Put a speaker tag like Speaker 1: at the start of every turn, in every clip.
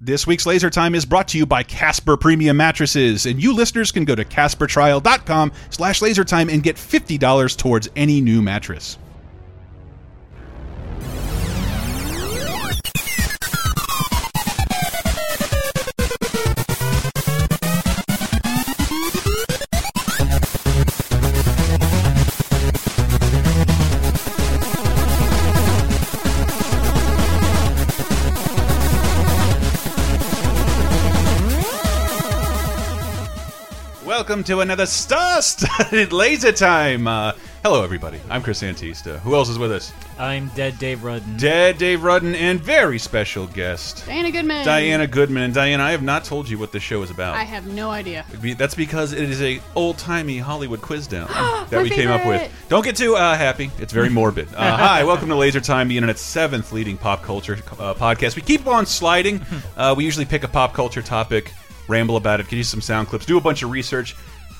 Speaker 1: This week's Laser Time is brought to you by Casper Premium Mattresses, and you listeners can go to CasperTrial.com slash lasertime and get $50 towards any new mattress. Welcome to another star-studded Laser Time. Uh, hello, everybody. I'm Chris Antista. Who else is with us?
Speaker 2: I'm dead Dave Rudden.
Speaker 1: Dead Dave Rudden and very special guest
Speaker 3: Diana Goodman.
Speaker 1: Diana Goodman. And Diana, I have not told you what this show is about.
Speaker 3: I have no idea.
Speaker 1: Be- That's because it is a old timey Hollywood quiz down that
Speaker 3: My
Speaker 1: we came up with.
Speaker 3: favorite.
Speaker 1: Don't get too uh, happy; it's very morbid. Uh, hi, welcome to Laser Time, the internet's seventh leading pop culture uh, podcast. We keep on sliding. Uh, we usually pick a pop culture topic, ramble about it, get you some sound clips, do a bunch of research.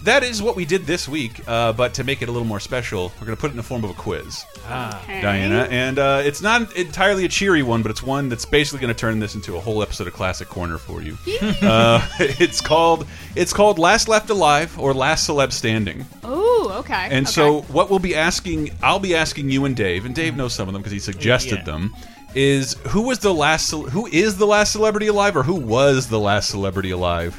Speaker 1: That is what we did this week, uh, but to make it a little more special, we're going to put it in the form of a quiz,
Speaker 2: Ah.
Speaker 3: Okay.
Speaker 1: Diana. And uh, it's not entirely a cheery one, but it's one that's basically going to turn this into a whole episode of Classic Corner for you. Uh, it's called it's called Last Left Alive or Last Celeb Standing.
Speaker 3: Ooh, okay.
Speaker 1: And
Speaker 3: okay.
Speaker 1: so what we'll be asking, I'll be asking you and Dave, and Dave knows some of them because he suggested
Speaker 2: Yeah.
Speaker 1: them. Is who was the last? cel- Who is the last celebrity alive, or who was the last celebrity alive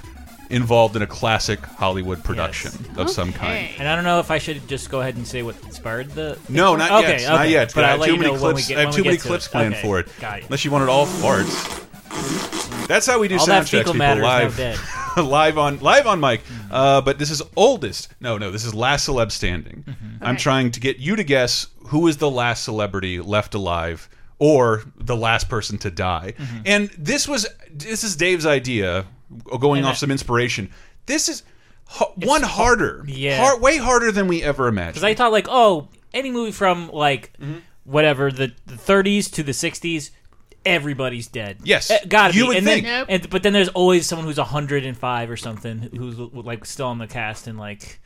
Speaker 1: involved in a classic Hollywood production of some kind?
Speaker 3: Okay.
Speaker 2: And I don't know if I should just go ahead and say what inspired the.
Speaker 1: No, not
Speaker 2: Okay,
Speaker 1: yet. Not
Speaker 2: okay.
Speaker 1: yet.
Speaker 2: But
Speaker 1: I
Speaker 2: I'll
Speaker 1: have
Speaker 2: let
Speaker 1: too
Speaker 2: you
Speaker 1: many
Speaker 2: know when we
Speaker 1: clips.
Speaker 2: get-
Speaker 1: I have
Speaker 2: when
Speaker 1: too
Speaker 2: we
Speaker 1: many
Speaker 2: get to
Speaker 1: clips
Speaker 2: it.
Speaker 1: planned
Speaker 2: Okay,
Speaker 1: for it.
Speaker 2: got it.
Speaker 1: Unless you want it all farts. That's how we do
Speaker 2: All
Speaker 1: sound
Speaker 2: that
Speaker 1: checks,
Speaker 2: fecal
Speaker 1: people
Speaker 2: matter is now
Speaker 1: live,
Speaker 2: dead.
Speaker 1: live on live on mic. Uh, but this is oldest. No, no, this is last celeb standing. I'm
Speaker 2: Mm-hmm.
Speaker 3: Okay.
Speaker 1: trying to get you to guess who is the last celebrity left alive or the last person to die.
Speaker 2: Mm-hmm.
Speaker 1: And this was this is Dave's idea, uh, going
Speaker 2: And
Speaker 1: off
Speaker 2: I-
Speaker 1: some inspiration. This is. ha- One harder,
Speaker 2: yeah.
Speaker 1: Har- way harder than we ever imagined.
Speaker 2: Because I thought like, oh, any movie from like
Speaker 1: Mm-hmm.
Speaker 2: whatever the, the 30s to the 60s, everybody's dead.
Speaker 1: Yes.
Speaker 2: Eh, gotta
Speaker 1: You
Speaker 2: be.
Speaker 1: would
Speaker 2: and
Speaker 1: think.
Speaker 2: then,
Speaker 3: Nope.
Speaker 2: and, but then there's always someone who's 105 or something who's like still on the cast, and like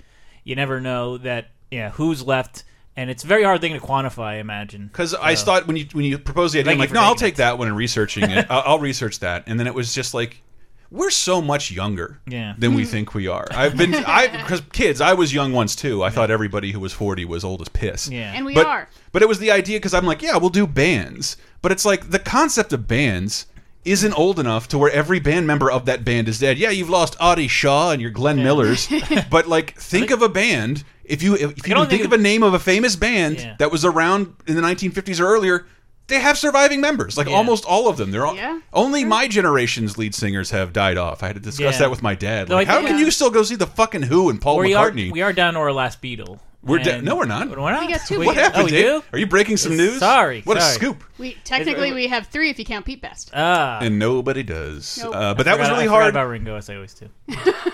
Speaker 2: you never know that yeah who's left, and it's a very hard thing to quantify. I imagine.
Speaker 1: Because I thought when you when you proposed the idea, I'm
Speaker 2: Thank
Speaker 1: like,
Speaker 2: you for
Speaker 1: no, I'll
Speaker 2: taking
Speaker 1: take that one and researching it. I'll, I'll research that, and then it was just like, we're so much younger
Speaker 2: Yeah.
Speaker 1: than we think we are. I've been, I because kids, I was young once too. I thought everybody who was 40 was old as piss.
Speaker 2: Yeah.
Speaker 3: And we
Speaker 1: but,
Speaker 3: are.
Speaker 1: But it was the idea because I'm like, yeah, we'll do bands, but it's like the concept of bands. Isn't old enough to where every band member of that band is dead. Yeah, you've lost Audie Shaw and your Glenn Millers, but like, think of a band. If you if, if you
Speaker 2: don't
Speaker 1: can think
Speaker 2: think
Speaker 1: of a name of a famous band
Speaker 2: Yeah.
Speaker 1: that was around in the 1950s or earlier, they have surviving members. Like
Speaker 2: Yeah.
Speaker 1: almost all of them. They're all,
Speaker 3: Yeah.
Speaker 1: only my generation's lead singers have died off. I had to discuss
Speaker 2: Yeah.
Speaker 1: that with my dad.
Speaker 2: No,
Speaker 1: Like,
Speaker 2: I
Speaker 1: how
Speaker 2: think- uh,
Speaker 1: can
Speaker 3: Yeah.
Speaker 1: you still go see the fucking Who and Paul
Speaker 2: we are
Speaker 1: McCartney?
Speaker 2: we are down to our last Beatle.
Speaker 1: We're da-
Speaker 2: And-
Speaker 1: no, we're not.
Speaker 2: We're not.
Speaker 3: We got two
Speaker 2: We-
Speaker 3: Beatles.
Speaker 1: what happened,
Speaker 2: oh, we
Speaker 1: Dave?
Speaker 2: do?
Speaker 1: Are you breaking some news?
Speaker 2: Sorry,
Speaker 1: What a
Speaker 2: sorry.
Speaker 1: scoop.
Speaker 3: we technically we have three if you count Pete Best.
Speaker 2: Ah,
Speaker 1: And nobody does.
Speaker 3: Nope.
Speaker 1: Uh, but that was
Speaker 2: forgot- I
Speaker 1: really
Speaker 2: forgot
Speaker 1: hard.
Speaker 2: about Ringo, as I always do.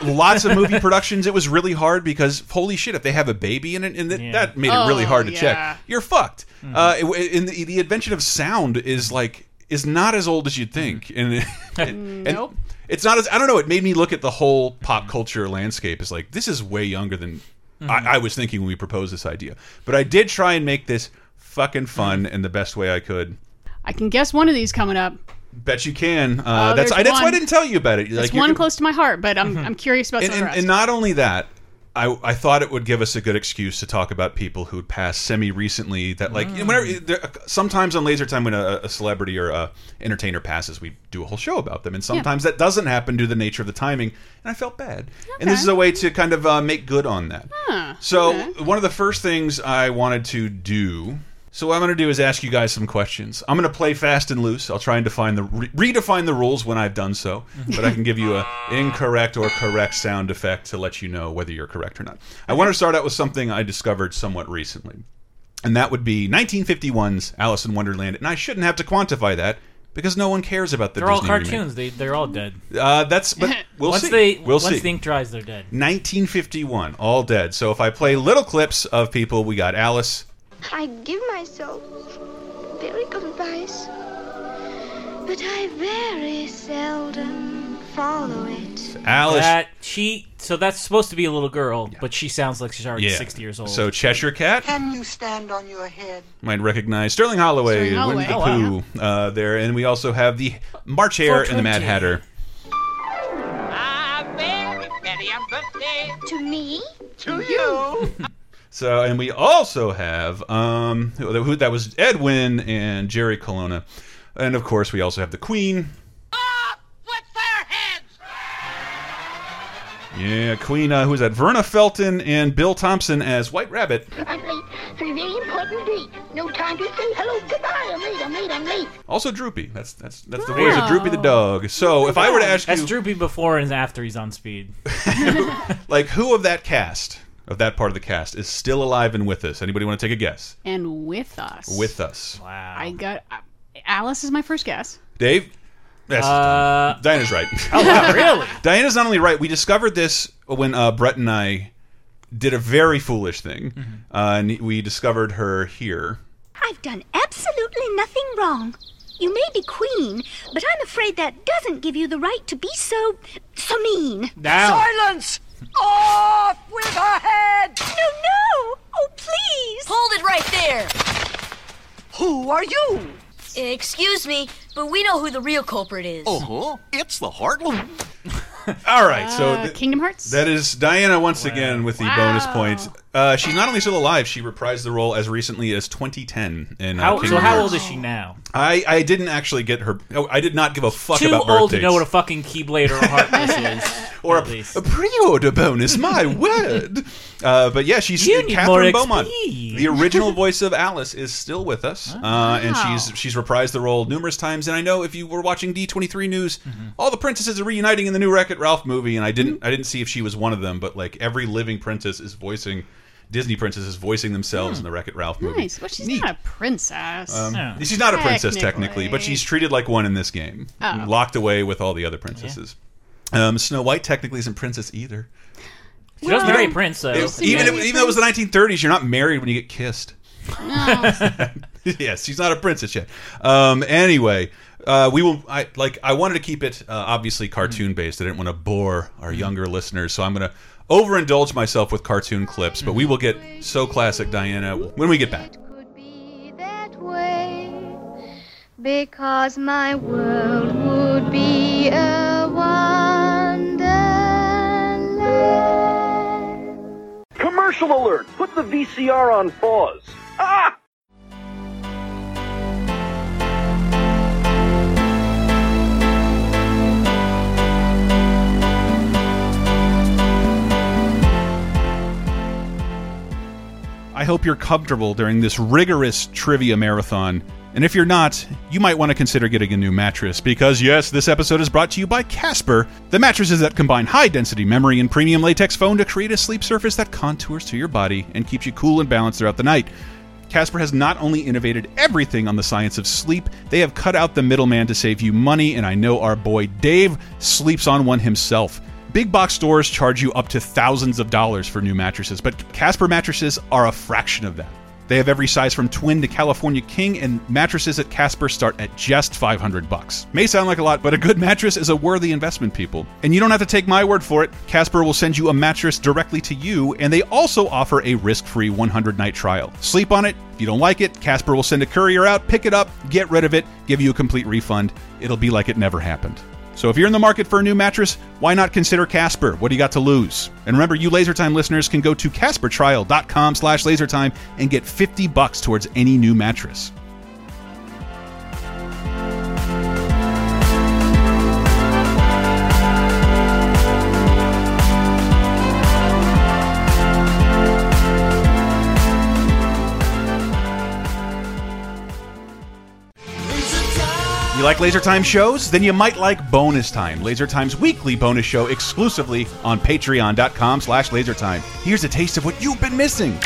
Speaker 1: Lots of movie productions. It was really hard because holy shit, if they have a baby in it, and that-
Speaker 2: Yeah. Hmm.
Speaker 1: that made it really
Speaker 3: Oh,
Speaker 1: hard to
Speaker 3: yeah.
Speaker 1: check. You're fucked. Uh, it- in the, the invention of sound is like is not as old as you'd think, and, and
Speaker 3: Hmm, Nope.
Speaker 1: it's not as I don't know. It made me look at the whole pop culture landscape as like this is way younger than
Speaker 2: Hmm.
Speaker 1: I, I was thinking when we proposed this idea. But I did try and make this fucking
Speaker 2: Hmm.
Speaker 1: fun in the best way I could.
Speaker 3: I can guess one of these coming up.
Speaker 1: Bet you can. Uh, that's
Speaker 3: Oh, there's
Speaker 1: I, that's why I
Speaker 3: one.
Speaker 1: didn't tell you about it.
Speaker 3: It's
Speaker 1: you're
Speaker 3: one
Speaker 1: gonna-
Speaker 3: close to my heart, but I'm I'm curious about
Speaker 1: and,
Speaker 3: some of
Speaker 1: and,
Speaker 3: the rest.
Speaker 1: and not only that I, I thought it would give us a good excuse to talk about people who'd passed semi recently that like
Speaker 3: Mm.
Speaker 1: whenever there, sometimes on laser time when a, a celebrity or a entertainer passes we do a whole show about them and sometimes that doesn't happen due to the nature of the timing and i felt bad and this
Speaker 3: Okay.
Speaker 1: is a way to kind of uh, make good on that
Speaker 3: Huh,
Speaker 1: so
Speaker 3: okay.
Speaker 1: one of the first things i wanted to do so what i'm going to do is ask you guys some questions i'm going to play fast and loose i'll try and define the re redefine the rules when i've done so
Speaker 3: Mm-hmm.
Speaker 1: but i can give you a incorrect or correct sound effect to let you know whether you're correct or not i want to start out with something i discovered somewhat recently and that would be 1951's alice in wonderland and i shouldn't have to quantify that because no one cares about the
Speaker 2: They're all
Speaker 1: Disney remake.
Speaker 2: cartoons. They they're all dead.
Speaker 1: Uh, that's but we'll
Speaker 2: once
Speaker 1: see.
Speaker 2: they
Speaker 1: we'll
Speaker 2: once
Speaker 1: see.
Speaker 2: the ink dries, they're dead.
Speaker 1: 1951, all dead. So if I play little clips of people, we got Alice.
Speaker 4: I give myself very good advice, but I very seldom follow it.
Speaker 1: Alice.
Speaker 2: That she so that's supposed to be a little girl, but she sounds like she's already sixty years old.
Speaker 1: So Cheshire Cat
Speaker 5: Can you stand on your head?
Speaker 1: might recognize Sterling Holloway,
Speaker 3: Sterling
Speaker 1: Winnie the
Speaker 2: Holloway.
Speaker 1: Pooh uh, there, and we also have the March Hare and the Mad
Speaker 2: 420.
Speaker 1: Hatter.
Speaker 6: Ah, very merry and birthday
Speaker 4: To me?
Speaker 6: to you.
Speaker 1: So, and we also have um, who, who- that was Edwin and Jerry Colonna, and of course we also have the Queen.
Speaker 6: Up with their heads.
Speaker 1: Yeah, Queen. Uh, who's that? Verna Felton and Bill Thompson as White Rabbit.
Speaker 4: I'm late for a very important date. No time to say hello, goodbye. I'm late, I'm late, I'm late.
Speaker 1: Also Droopy. That's that's that's the voice of Droopy the dog. So if I were to ask
Speaker 2: that's
Speaker 1: you,
Speaker 2: Droopy before and after he's on speed.
Speaker 1: like, who of that cast, of that part of the cast, is still alive and with us? Anybody want to take a guess?
Speaker 3: and with us.
Speaker 1: With us,
Speaker 2: Wow.
Speaker 3: I got uh, Alice is my first guess.
Speaker 1: Dave. Yes,
Speaker 2: uh,
Speaker 1: Diana's right. Oh.
Speaker 2: wow, really?
Speaker 1: Diana's not only right. We discovered this when uh, Brett and I did a very foolish thing,
Speaker 2: Mm-hmm.
Speaker 1: uh, and we discovered her here.
Speaker 4: I've done absolutely nothing wrong. You may be queen, but I'm afraid that doesn't give you the right to be so. so mean.
Speaker 2: Now
Speaker 6: Silence. Off with our heads.
Speaker 4: Uh, No, no! Oh, please!
Speaker 7: Hold it right there.
Speaker 6: Who are you?
Speaker 7: Excuse me, but we know who the real culprit is. Oh.
Speaker 8: Huh? Uh-huh. It's the Heartland.
Speaker 1: All right, so
Speaker 3: Uh,
Speaker 1: th-
Speaker 3: Kingdom Hearts.
Speaker 1: that is Diana once again with the bonus points. Uh, she's not only still alive; she reprised the role as recently as 2010. In uh,
Speaker 2: how,
Speaker 1: Kingdom
Speaker 2: so how
Speaker 1: Hearts.
Speaker 2: old is she now?
Speaker 1: I, I didn't actually get her. oh, I did not give a fuck
Speaker 2: Too
Speaker 1: about
Speaker 2: old
Speaker 1: birthdays
Speaker 2: to know what a fucking keyblade or a heartless is.
Speaker 1: or
Speaker 2: at least.
Speaker 1: a, a pre-order bonus. My word! Uh, but yeah, she's
Speaker 2: You need
Speaker 1: Catherine
Speaker 2: more
Speaker 1: Beaumont.
Speaker 2: XP.
Speaker 1: The original voice of Alice is still with us, uh, and
Speaker 3: Wow.
Speaker 1: she's she's reprised the role numerous times. And I know if you were watching D23 News,
Speaker 2: Mm-hmm.
Speaker 1: all the princesses are reuniting in the new Wreck-It Ralph movie, and I didn't I didn't see if she was one of them, but like every living princess is voicing. Disney princesses voicing themselves
Speaker 2: Hmm.
Speaker 1: in the Wreck-It Ralph movie.
Speaker 3: nice. Well, she's not a princess.
Speaker 2: No.
Speaker 1: She's not a princess
Speaker 3: Technically.
Speaker 1: technically, but she's treated like one in this game,
Speaker 3: Oh.
Speaker 1: locked away with all the other princesses. Um, Snow White technically isn't princess either.
Speaker 2: She does marry a prince though.
Speaker 1: It- even if,
Speaker 3: maybe
Speaker 1: even though it was the 1930s, you're not married when you get kissed. yes, she's not a princess yet. Um, anyway, uh, we will. I like. I wanted to keep it uh, obviously cartoon based. I didn't want to bore our younger listeners, so I'm going to overindulge myself with cartoon clips. But we will get so classic Diana when we get back.
Speaker 9: could be that way because my world would be a wonderland.
Speaker 10: Commercial alert! Put the VCR on pause. Ah!
Speaker 1: I hope you're comfortable during this rigorous trivia marathon. And if you're not, you might want to consider getting a new mattress because, yes, this episode is brought to you by Casper, the mattresses that combine high density memory and premium latex foam to create a sleep surface that contours to your body and keeps you cool and balanced throughout the night. Casper has not only innovated everything on the science of sleep, they have cut out the middleman to save you money, and I know our boy Dave sleeps on one himself. Big box stores charge you up to thousands of dollars for new mattresses, but Casper mattresses are a fraction of that. They have every size from twin to California king, and mattresses at Casper start at just 500 bucks. May sound like a lot, but a good mattress is a worthy investment, people. And you don't have to take my word for it. Casper will send you a mattress directly to you, and they also offer a risk-free 100-night trial. Sleep on it. If you don't like it, Casper will send a courier out, pick it up, get rid of it, give you a complete refund. It'll be like it never happened. So if you're in the market for a new mattress, why not consider Casper? What do you got to lose? And remember, you LaserTime listeners can go to CasperTrial.com slash LaserTime and get 50 bucks towards any new mattress. You like Laser Time shows? Then you might like Bonus Time, Laser Time's weekly bonus show exclusively on patreon.com slash lasertime. Here's a taste of what you've been missing.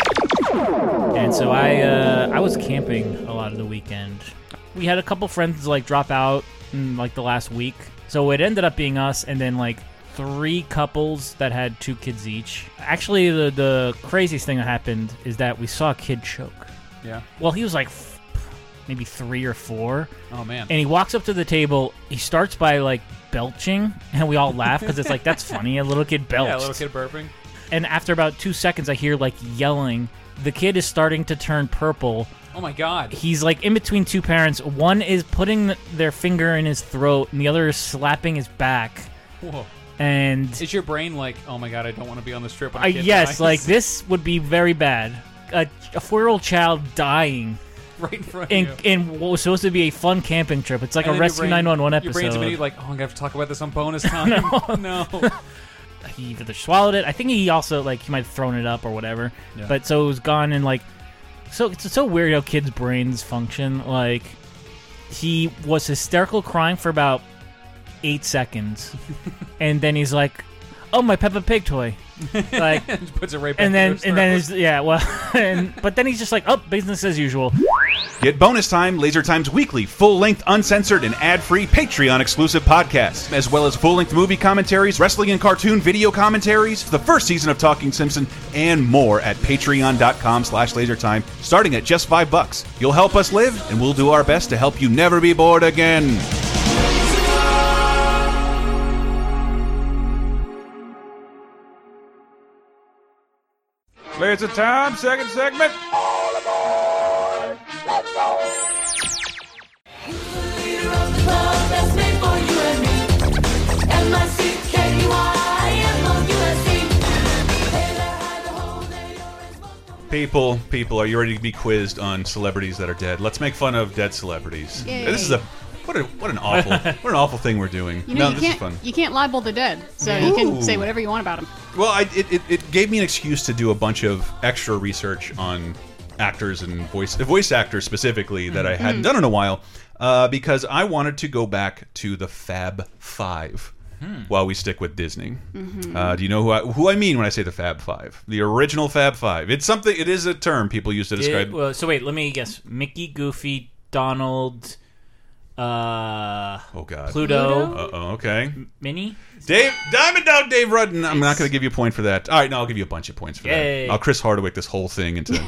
Speaker 2: And so I uh, I was camping a lot of the weekend. We had a couple friends like drop out in like the last week. So it ended up being us and then like three couples that had two kids each. Actually the the craziest thing that happened is that we saw a kid choke. Yeah. Well, he was like f- maybe three or four.
Speaker 1: Oh man.
Speaker 2: And he walks up to the table. He starts by like belching, and we all laugh because it's like that's funny. A little kid belched.
Speaker 8: Yeah, little kid burping.
Speaker 2: And after about two seconds, I hear like yelling. The kid is starting to turn purple.
Speaker 8: Oh my god.
Speaker 2: He's like in between two parents. One is putting their finger in his throat, and the other is slapping his back.
Speaker 8: Whoa.
Speaker 2: And
Speaker 8: Is your brain like, oh my god, I don't want to be on this trip? When
Speaker 2: I
Speaker 8: a kid
Speaker 2: Uh, yes,
Speaker 8: dies?"
Speaker 2: like this would be very bad. A, a four-year-old child dying
Speaker 8: right in front
Speaker 2: in
Speaker 8: of you.
Speaker 2: in what was supposed to be a fun camping trip. It's like
Speaker 8: And then
Speaker 2: a
Speaker 8: your
Speaker 2: Rescue
Speaker 8: brain-
Speaker 2: 911 episode.
Speaker 8: Your brain's immediately like, oh, I'm gonna have to talk about this on bonus time. no, no.
Speaker 2: he either swallowed it. I think he also like he might have thrown it up or whatever.
Speaker 8: Yeah.
Speaker 2: But so it was gone and like so it's so weird how kids' brains function. Like he was hysterical crying for about eight seconds, and then he's like, "Oh, my Peppa Pig toy!" Like
Speaker 8: Just puts it right back.
Speaker 2: and then
Speaker 8: in
Speaker 2: and then it's, yeah well and but then he's just like, "Oh, business as usual."
Speaker 1: Get bonus time, Laser Times weekly, full-length, uncensored, and ad-free Patreon-exclusive podcasts, as well as full-length movie commentaries, wrestling and cartoon video commentaries, the first season of Talking Simpson, and more at patreon.com slash lasertime, starting at just five bucks. You'll help us live, and we'll do our best to help you never be bored again. Laser Time, second segment. People, people, are you ready to be quizzed on celebrities that are dead? Let's make fun of dead celebrities.
Speaker 3: Yay.
Speaker 1: This is a what a what an awful what an awful thing we're doing.
Speaker 3: You
Speaker 1: no,
Speaker 3: know, you
Speaker 1: this
Speaker 3: can't
Speaker 1: is fun.
Speaker 3: you can't libel the dead, so you
Speaker 1: Ooh.
Speaker 3: can say whatever you want about them.
Speaker 1: Well, I, it, it it gave me an excuse to do a bunch of extra research on actors and voice voice actors specifically that I
Speaker 3: Mm-hmm.
Speaker 1: hadn't done in a while, uh, because I wanted to go back to the Fab Five.
Speaker 3: Hmm.
Speaker 1: While we stick with Disney,
Speaker 3: Mm-hmm.
Speaker 1: uh, do you know who I, who I mean when I say the Fab Five? The original Fab Five. It's something. It is a term people use to describe.
Speaker 2: well, so wait, let me guess. Mickey, Goofy, Donald, uh,
Speaker 1: oh God.
Speaker 2: Pluto,
Speaker 1: Uh oh. Okay.
Speaker 2: Minnie.
Speaker 1: Dave Diamond Dog Dave Rudden. I'm not going to give you a point for that. All right, no, I'll give you a bunch of points for
Speaker 2: Yay.
Speaker 1: that. I'll Chris Hardwick this whole thing into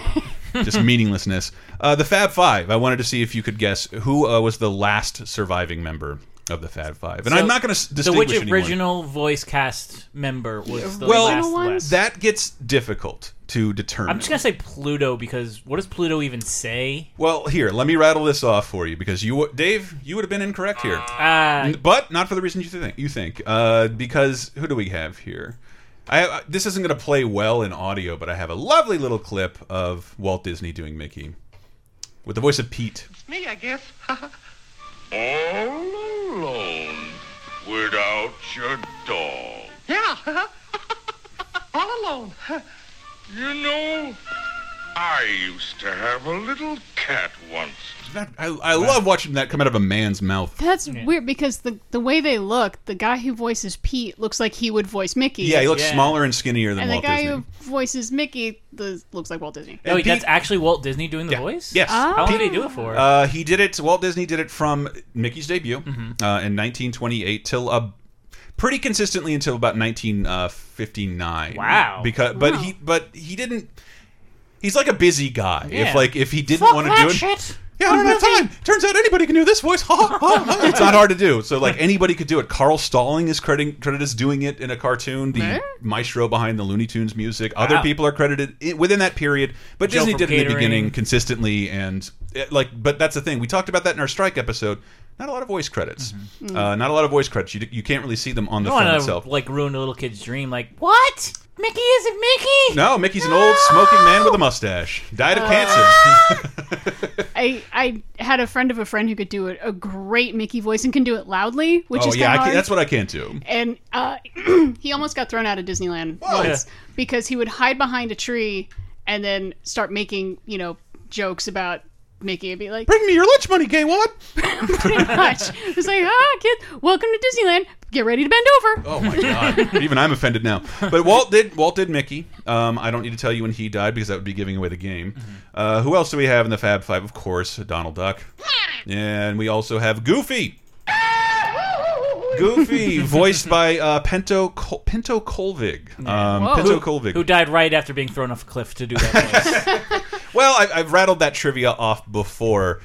Speaker 1: just meaninglessness. Uh, the Fab Five. I wanted to see if you could guess who uh, was the last surviving member of the Fab Five, and I'm not going to
Speaker 2: So
Speaker 1: distinguish
Speaker 2: which
Speaker 1: anyone.
Speaker 2: original voice cast member was the
Speaker 1: Well,
Speaker 2: last
Speaker 1: Original
Speaker 2: left?
Speaker 1: That gets difficult to determine.
Speaker 2: I'm just gonna say Pluto because what does Pluto even say?
Speaker 1: well, here, let me rattle this off for you because you, w- Dave, you would have been incorrect here.
Speaker 2: Uh,
Speaker 1: but not for the reason you think. You think uh, because who do we have here? I, I this isn't going to play well in audio, but I have a lovely little clip of Walt Disney doing Mickey with the voice of Pete.
Speaker 5: Me, I guess.
Speaker 10: All alone without your dog.
Speaker 5: yeah. All alone.
Speaker 10: You know, I used to have a little cat once.
Speaker 1: That- I, I love watching that come out of a man's mouth.
Speaker 3: That's weird because the the way they look, the guy who voices Pete looks like he would voice Mickey.
Speaker 1: Yeah, he looks
Speaker 2: Yeah.
Speaker 1: smaller and skinnier than
Speaker 3: and the
Speaker 1: Walt
Speaker 3: guy
Speaker 1: Disney.
Speaker 3: who voices Mickey the, looks like Walt Disney.
Speaker 2: no, wait,
Speaker 1: Pete-
Speaker 2: that's actually Walt Disney doing the
Speaker 1: Yeah.
Speaker 2: voice.
Speaker 1: Yes.
Speaker 2: How long
Speaker 1: Pete-
Speaker 2: did he do it for?
Speaker 1: Uh, he did it. Walt Disney did it from Mickey's debut
Speaker 2: Mm-hmm.
Speaker 1: uh, in 1928 till uh, pretty consistently until about 1959.
Speaker 2: Wow.
Speaker 1: Because but he but he didn't. He's like a busy guy.
Speaker 2: Yeah.
Speaker 1: If like if he didn't want to do it, yeah, I don't have time. Turns out anybody can do this voice. Ha, ha, ha. It's not hard to do. So like anybody could do it. Carl Stalling is credited credited as doing it in a cartoon. The maestro behind the Looney Tunes music. Other
Speaker 2: Wow.
Speaker 1: people are credited i- within that period, but
Speaker 2: Joe
Speaker 1: Disney
Speaker 2: from
Speaker 1: did it in the
Speaker 2: Catering.
Speaker 1: beginning consistently and it, like. But that's the thing. We talked about that in our strike episode. Not a lot of voice credits. Uh, not a lot of voice credits. You, d- you can't really see them on the
Speaker 2: I
Speaker 1: film
Speaker 2: don't
Speaker 1: itself.
Speaker 2: want to like ruin a little kid's dream. Like what? Mickey isn't Mickey.
Speaker 1: no, Mickey's an old smoking man with a mustache. Died of cancer. Oh,
Speaker 3: I I had a friend of a friend who could do a, a great Mickey voice and can do it loudly, which
Speaker 1: oh
Speaker 3: is kind
Speaker 1: yeah, I
Speaker 3: of
Speaker 1: can't,
Speaker 3: hard.
Speaker 1: that's what I can't do.
Speaker 3: and uh, he almost got thrown out of Disneyland once
Speaker 2: Yeah.
Speaker 3: because he would hide behind a tree and then start making you know jokes about Mickey and be like,
Speaker 1: Bring me your lunch money, gay wad.
Speaker 3: pretty much, it's like ah, kid, welcome to Disneyland. Get ready to bend over.
Speaker 1: Oh my god! Even I'm offended now. But Walt did Walt did Mickey. Um, I don't need to tell you when he died because that would be giving away the game.
Speaker 3: Mm-hmm.
Speaker 1: Uh, who else do we have in the Fab Five? Of course, Donald Duck. And we also have Goofy. Oh. Goofy, voiced by uh, Pinto Col- Pinto Colvig. Um,
Speaker 3: Whoa.
Speaker 1: Pinto
Speaker 3: Who-
Speaker 1: Colvig.
Speaker 2: Who died right after being thrown off a cliff to do that voice?
Speaker 1: Well, I, I've rattled that trivia off before.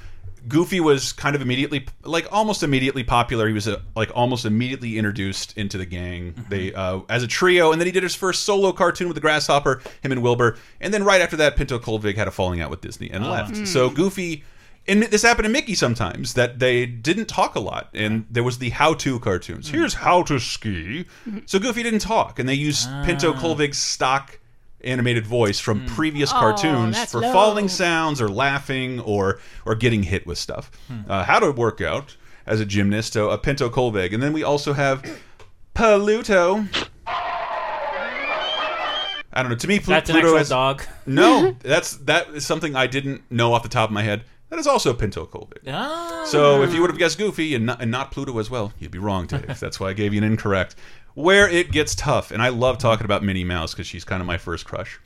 Speaker 1: Goofy was kind of immediately, like almost immediately popular. He was uh like almost immediately introduced into the gang. They uh, as a trio, and then he did his first solo cartoon with the Grasshopper, him and Wilbur, and then right after that, Pinto Colvig had a falling out with Disney and
Speaker 11: Oh,
Speaker 1: left.
Speaker 11: wow.
Speaker 1: So Goofy. And this happened to Mickey sometimes that they didn't talk a lot, and there was the how-to cartoons. Here's how to ski. So Goofy didn't talk, and they used Pinto Colvig's stock animated voice from previous
Speaker 11: Oh,
Speaker 1: cartoons
Speaker 11: that's
Speaker 1: for
Speaker 11: low.
Speaker 1: falling sounds or laughing or or getting hit with stuff.
Speaker 2: Hmm.
Speaker 1: Uh, how to work out as a gymnast, uh, a Pinto Colvig, and then we also have Paluto. I don't know. To me, Pl-
Speaker 2: That's an
Speaker 1: Pluto
Speaker 2: actual
Speaker 1: is
Speaker 2: dog.
Speaker 1: No, that's that is something I didn't know off the top of my head. That is also Pinto Colvig.
Speaker 2: Ah.
Speaker 1: So if you would have guessed Goofy and not, and not Pluto as well, you'd be wrong, Dave. That's why I gave you an incorrect. Where it gets tough, and I love talking about Minnie Mouse because she's kind of my first crush.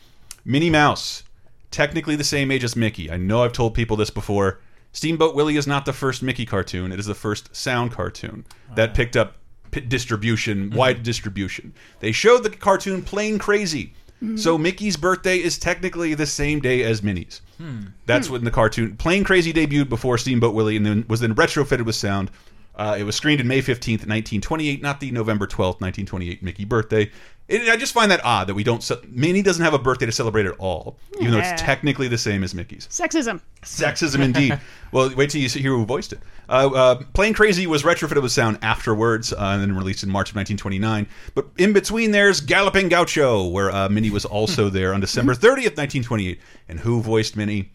Speaker 1: Minnie Mouse, technically the same age as Mickey. I know I've told people this before. Steamboat Willie is not the first Mickey cartoon. It is the first sound cartoon that picked up p distribution, wide distribution. They showed the cartoon plain crazy.
Speaker 11: Mhm.
Speaker 1: So Mickey's birthday is technically the same day as Minnie's.
Speaker 11: Hmm.
Speaker 1: That's when the cartoon Plain Crazy debuted before Steamboat Willie and then was then retrofitted with sound. Uh, it was screened in May 15th, 1928, not the November 12th, 1928 Mickey birthday. And I just find that odd that we don't. ce- Minnie doesn't have a birthday to celebrate at all, even though
Speaker 3: Yeah.
Speaker 1: it's technically the same as Mickey's.
Speaker 3: Sexism.
Speaker 1: Sexism indeed. well, wait till you see- hear who voiced it. Uh, uh, Plain Crazy was retrofitted with sound afterwards uh, and then released in March of 1929. But in between there's Galloping Gaucho, where uh, Minnie was also there on December 30th, 1928. And who voiced Minnie?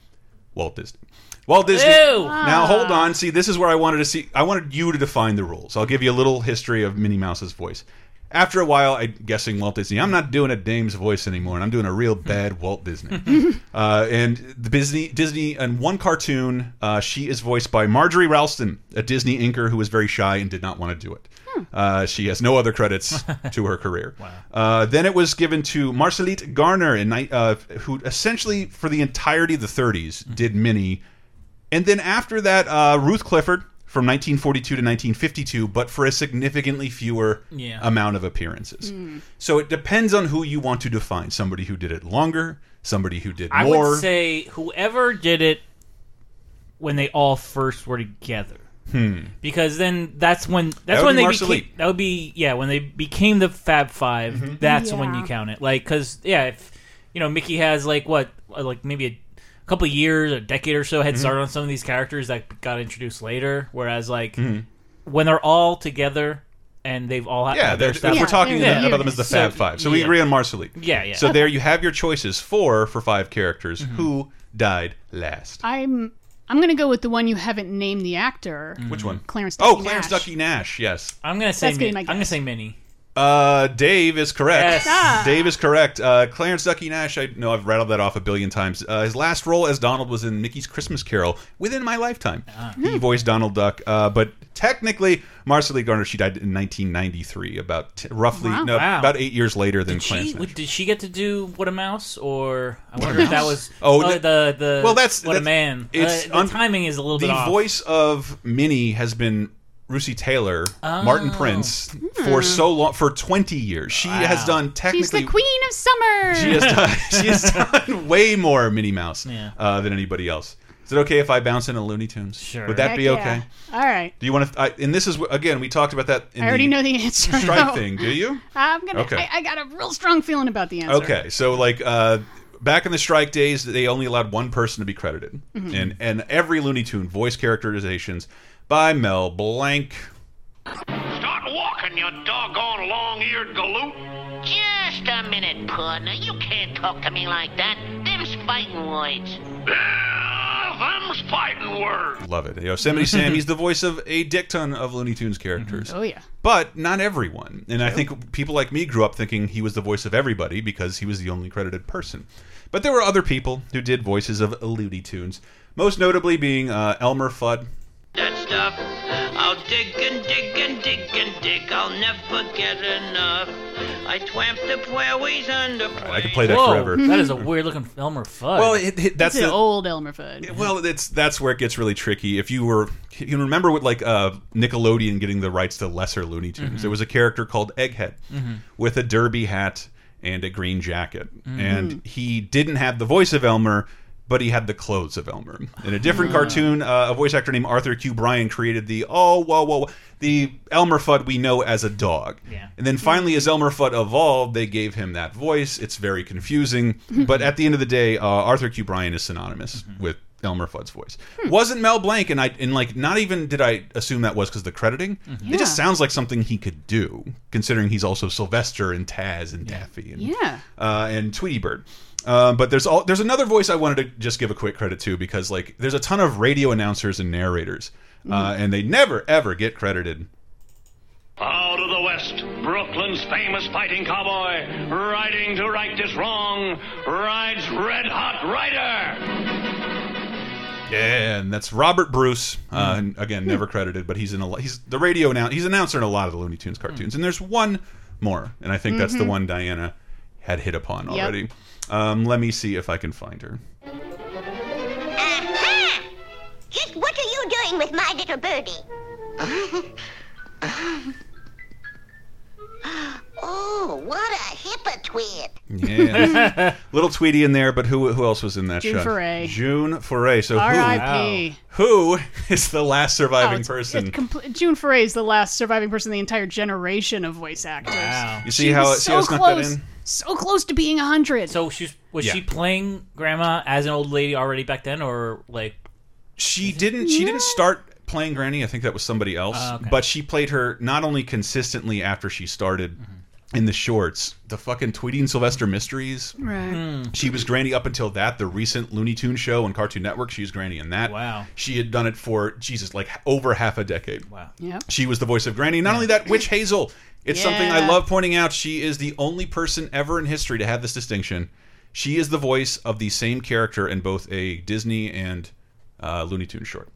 Speaker 1: Walt Disney. Walt Disney.
Speaker 11: Ew.
Speaker 1: Now hold on. See, this is where I wanted to see. I wanted you to define the rules. I'll give you a little history of Minnie Mouse's voice. After a while, I'm guessing Walt Disney. I'm not doing a dame's voice anymore, and I'm doing a real bad Walt Disney. uh, and the Disney, Disney, and one cartoon, uh, she is voiced by Marjorie Ralston, a Disney inker who was very shy and did not want to do it. Uh, she has no other credits to her career. Uh, then it was given to Marcelite Garner, in, ni- uh, who essentially, for the entirety of the 30s, did Minnie. And then after that, uh, Ruth Clifford from 1942 to 1952, but for a significantly fewer
Speaker 11: Yeah.
Speaker 1: amount of appearances.
Speaker 3: Hmm.
Speaker 11: Mm.
Speaker 1: So it depends on who you want to define. Somebody who did it longer, somebody who did
Speaker 2: I
Speaker 1: more.
Speaker 2: would say whoever did it when they all first were together,
Speaker 1: Hmm.
Speaker 2: because then that's when
Speaker 1: That
Speaker 2: that's
Speaker 1: would
Speaker 2: when
Speaker 1: be
Speaker 2: they
Speaker 1: Marceline.
Speaker 2: became that would be yeah when they became the Fab 5
Speaker 1: Mm-hmm.
Speaker 2: That's when you
Speaker 11: Yeah.
Speaker 2: count it, like because yeah, if you know Mickey has like what uh, like maybe a couple of years, a decade or so head
Speaker 11: Mhm.
Speaker 1: Mm-hmm.
Speaker 2: start on some of these characters that got introduced later, whereas like
Speaker 11: Mhm.
Speaker 2: when they're all together. And they've all had
Speaker 1: Mm-hmm. yeah,
Speaker 2: their
Speaker 1: they're-
Speaker 2: stuff.
Speaker 1: we're talking
Speaker 2: Yeah.
Speaker 1: about them as the Fab
Speaker 2: So-
Speaker 1: Five. So we
Speaker 2: yeah.
Speaker 1: agree on Marceline.
Speaker 2: Yeah, Mm-hmm. yeah.
Speaker 1: So there you have your choices four for five characters who died last.
Speaker 3: Um, I'm I'm gonna go with the one you haven't named the actor.
Speaker 1: Which one?
Speaker 3: Clarence.
Speaker 1: Oh,
Speaker 3: Ducky
Speaker 1: Clarence
Speaker 3: Nash.
Speaker 1: Ducky Nash. Yes.
Speaker 2: I'm gonna
Speaker 3: say That's gonna Min- be my I'm
Speaker 2: gonna say Minnie.
Speaker 1: Uh, Dave is correct.
Speaker 2: Yes. Ah.
Speaker 1: Dave is correct. Uh, Clarence Ducky Nash. I know I've rattled that off a billion times. Uh, his last role as Donald was in Mickey's Christmas Carol within my lifetime.
Speaker 2: Ah.
Speaker 3: Hmm.
Speaker 1: He voiced Donald Duck. Uh, but technically, Marcel Lee Garner. She died in 1993, about t roughly
Speaker 2: Wow.
Speaker 1: no,
Speaker 2: Wow.
Speaker 1: about eight years later than
Speaker 2: Did
Speaker 1: Clarence.
Speaker 2: she,
Speaker 1: Nash.
Speaker 2: did she get to do What a Mouse or I
Speaker 1: What a
Speaker 2: wonder if that
Speaker 1: Mouse?
Speaker 2: was
Speaker 1: Oh,
Speaker 2: oh,
Speaker 1: that-
Speaker 2: the the
Speaker 1: well, that's
Speaker 2: What
Speaker 1: that's-
Speaker 2: a Man.
Speaker 1: It's
Speaker 2: Uh, the
Speaker 1: un-
Speaker 2: timing is a little
Speaker 1: the
Speaker 2: bit off.
Speaker 1: voice of Minnie has been Russi Taylor, Martin
Speaker 2: Oh.
Speaker 1: Prince for so long for 20 years. She has done
Speaker 3: Hmm. She's
Speaker 1: technically
Speaker 3: the queen of summer.
Speaker 1: She has done. She has done way more Minnie Mouse uh, than anybody else. Is it okay if I bounce in a Looney Tunes? Sure. Would that
Speaker 3: Heck
Speaker 1: be
Speaker 3: yeah.
Speaker 1: okay?
Speaker 3: All right.
Speaker 1: Do you want to? I, and this is wh- again. We talked about that. In
Speaker 3: I already
Speaker 1: the
Speaker 3: know the answer.
Speaker 1: Stripe
Speaker 3: though.
Speaker 1: thing. Do you?
Speaker 3: I'm gonna.
Speaker 1: Okay.
Speaker 3: I, I got a real strong feeling about the answer.
Speaker 1: Okay. So like uh, back in the strike days, they only allowed one person to be credited,
Speaker 3: Mhm.
Speaker 1: and and every Looney Tune voice characterizations by Mel Blanc.
Speaker 5: Start walking, you doggone long-eared galoot.
Speaker 12: Just a minute, partner. You can't talk to me like that. Them's fighting words.
Speaker 5: Them's fighting words.
Speaker 1: Love it. Yosemite Sam. He's the voice of a dick ton of Looney Tunes characters.
Speaker 3: Oh yeah.
Speaker 1: but not everyone. And I think people like me grew up thinking he was the voice of everybody because he was the only credited person. But there were other people who did voices of Looney Tunes, most notably being uh, Elmer Fudd.
Speaker 13: That stuff. I'll dig and dig and dig and dig. I'll never get enough. I twamped the prairies and the
Speaker 1: I could play that
Speaker 2: Whoa,
Speaker 1: forever.
Speaker 2: That is a weird looking Elmer Fudd.
Speaker 1: Well, it- it- that's
Speaker 3: It's an
Speaker 1: the-
Speaker 3: old Elmer Fudd.
Speaker 1: Well, it's that's where it gets really tricky. If you were, you can remember with like uh, Nickelodeon getting the rights to lesser Looney Tunes,
Speaker 11: Mhm.
Speaker 1: there was a character called Egghead
Speaker 11: Mhm.
Speaker 1: with a derby hat and a green jacket,
Speaker 11: Mhm.
Speaker 1: and he didn't have the voice of Elmer. but he had the clothes of Elmer. In a different cartoon, uh, a voice actor named Arthur Q. Bryan created the oh whoa whoa, whoa the Elmer Fudd we know as a dog. Yeah. And then finally, as Elmer Fudd evolved, they gave him that voice. It's very confusing, but at the end of the day, uh, Arthur Q. Bryan is synonymous with Elmer Fudd's voice.
Speaker 3: Hmm.
Speaker 1: Wasn't Mel Blanc, and I and like not even did I assume that was because the crediting. It just
Speaker 3: Mm-hmm. Yeah.
Speaker 1: sounds like something he could do, considering he's also Sylvester and Taz and Daffy and
Speaker 3: Yeah.
Speaker 1: uh, and Tweety Bird. Uh, but there's all there's another voice I wanted to just give a quick credit to because like there's a ton of radio announcers and narrators, uh,
Speaker 5: Mhm.
Speaker 3: Mm-hmm.
Speaker 1: and they never ever get credited.
Speaker 5: Out of the West, Brooklyn's famous fighting cowboy, riding to right this wrong, rides Red Hot Rider.
Speaker 1: Yeah, and that's Robert Bruce.
Speaker 3: Hmm.
Speaker 1: Uh, and again, never credited, but he's in a lo- he's the radio now. He's an announcer in a lot of the Looney Tunes
Speaker 3: Hmm.
Speaker 1: cartoons, and there's one more, and I think that's
Speaker 3: Mm-hmm.
Speaker 1: the
Speaker 5: Mhm.
Speaker 1: one Diana had hit upon
Speaker 5: Yep.
Speaker 1: already. Um, let me see if I can find her.
Speaker 11: Just what are you doing with my little birdie? oh, what a hypocrite.
Speaker 1: Yeah, little Tweety in there, but who who else was in that
Speaker 11: June
Speaker 1: shot?
Speaker 11: Foray.
Speaker 1: June Foray. So
Speaker 3: R.I.P..
Speaker 1: who who is the last
Speaker 3: Oh,
Speaker 1: surviving person?
Speaker 3: Compl- June Foray is the last surviving person in the entire generation of voice actors.
Speaker 1: You see
Speaker 3: She
Speaker 1: how
Speaker 3: was
Speaker 1: see
Speaker 3: so
Speaker 1: how I snuck that
Speaker 3: close.
Speaker 1: in?
Speaker 3: So close to being hundred.
Speaker 2: So she's was
Speaker 1: Yeah.
Speaker 2: she playing grandma as an old lady already back then, or like
Speaker 1: She didn't. She didn't start playing Granny. I think that was somebody else.
Speaker 2: Oh, okay.
Speaker 1: But she played her not only consistently after she started in the shorts, the fucking Tweety and Sylvester Mysteries.
Speaker 3: Right.
Speaker 1: She was Granny up until that. The recent Looney Tunes show on Cartoon Network, she was Granny in that. Wow. She had done it for Jesus, like over half a decade. Wow.
Speaker 3: Yep.
Speaker 1: She was the voice of Granny. Not only that, Witch Hazel. It's something I
Speaker 3: Yeah.
Speaker 1: love pointing out. She is the only person ever in history to have this distinction. She is the voice of the same character in both a Disney and uh, Looney Tunes short.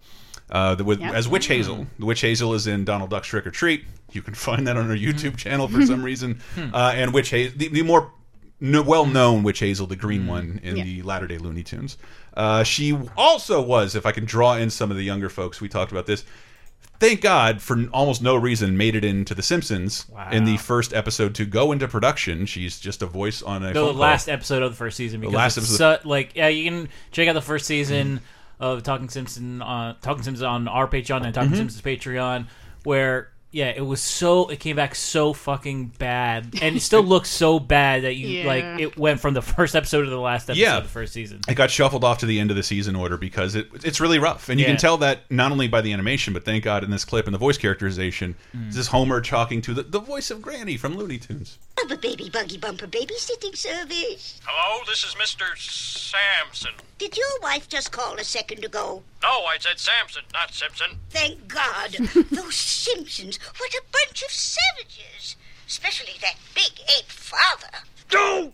Speaker 1: Uh, the, with,
Speaker 5: Yeah.
Speaker 1: As Witch Hazel. The Witch Hazel is in Donald Duck's Trick or Treat. You can find that on our YouTube channel for some reason.
Speaker 5: Hmm.
Speaker 1: Uh, and Witch Hazel, the, the more no, well-known Witch Hazel, the green one in
Speaker 5: Yeah.
Speaker 1: the latter-day Looney Tunes. Uh, she also was, if I can draw in some of the younger folks, we talked about this. Thank God, for almost no reason, made it into The Simpsons in the first episode to go into production. She's just a voice on a
Speaker 2: the
Speaker 1: phone call.
Speaker 2: last episode of the first season?
Speaker 1: The
Speaker 2: Because
Speaker 1: last
Speaker 2: it's
Speaker 1: episode.
Speaker 2: so- like yeah, you can check out the first season of Talking Simpson on Talking Simpsons on our Patreon and
Speaker 1: Mm-hmm.
Speaker 2: Talking
Speaker 14: Mhm.
Speaker 2: Simpsons Patreon, where yeah, it was so it came back so fucking bad, and it still looks so bad that you
Speaker 14: Yeah.
Speaker 2: like it went from the first episode to the last episode of the first season.
Speaker 1: It got shuffled off to the end of the season order because it it's really rough, and you
Speaker 2: Yeah.
Speaker 1: can tell that not only by the animation, but thank God in this clip and the voice characterization,
Speaker 11: Mm.
Speaker 1: this is Homer talking to the, the voice of Granny from Looney Tunes.
Speaker 11: Bubba Baby Buggy Bumper Babysitting Service.
Speaker 15: Hello, this is Mr. Samson.
Speaker 11: Did your wife just call a second ago?
Speaker 15: No, I said Samson, not Simpson.
Speaker 11: Thank God. Those Simpsons, what a bunch of savages. Especially that big ape father.
Speaker 15: Don't!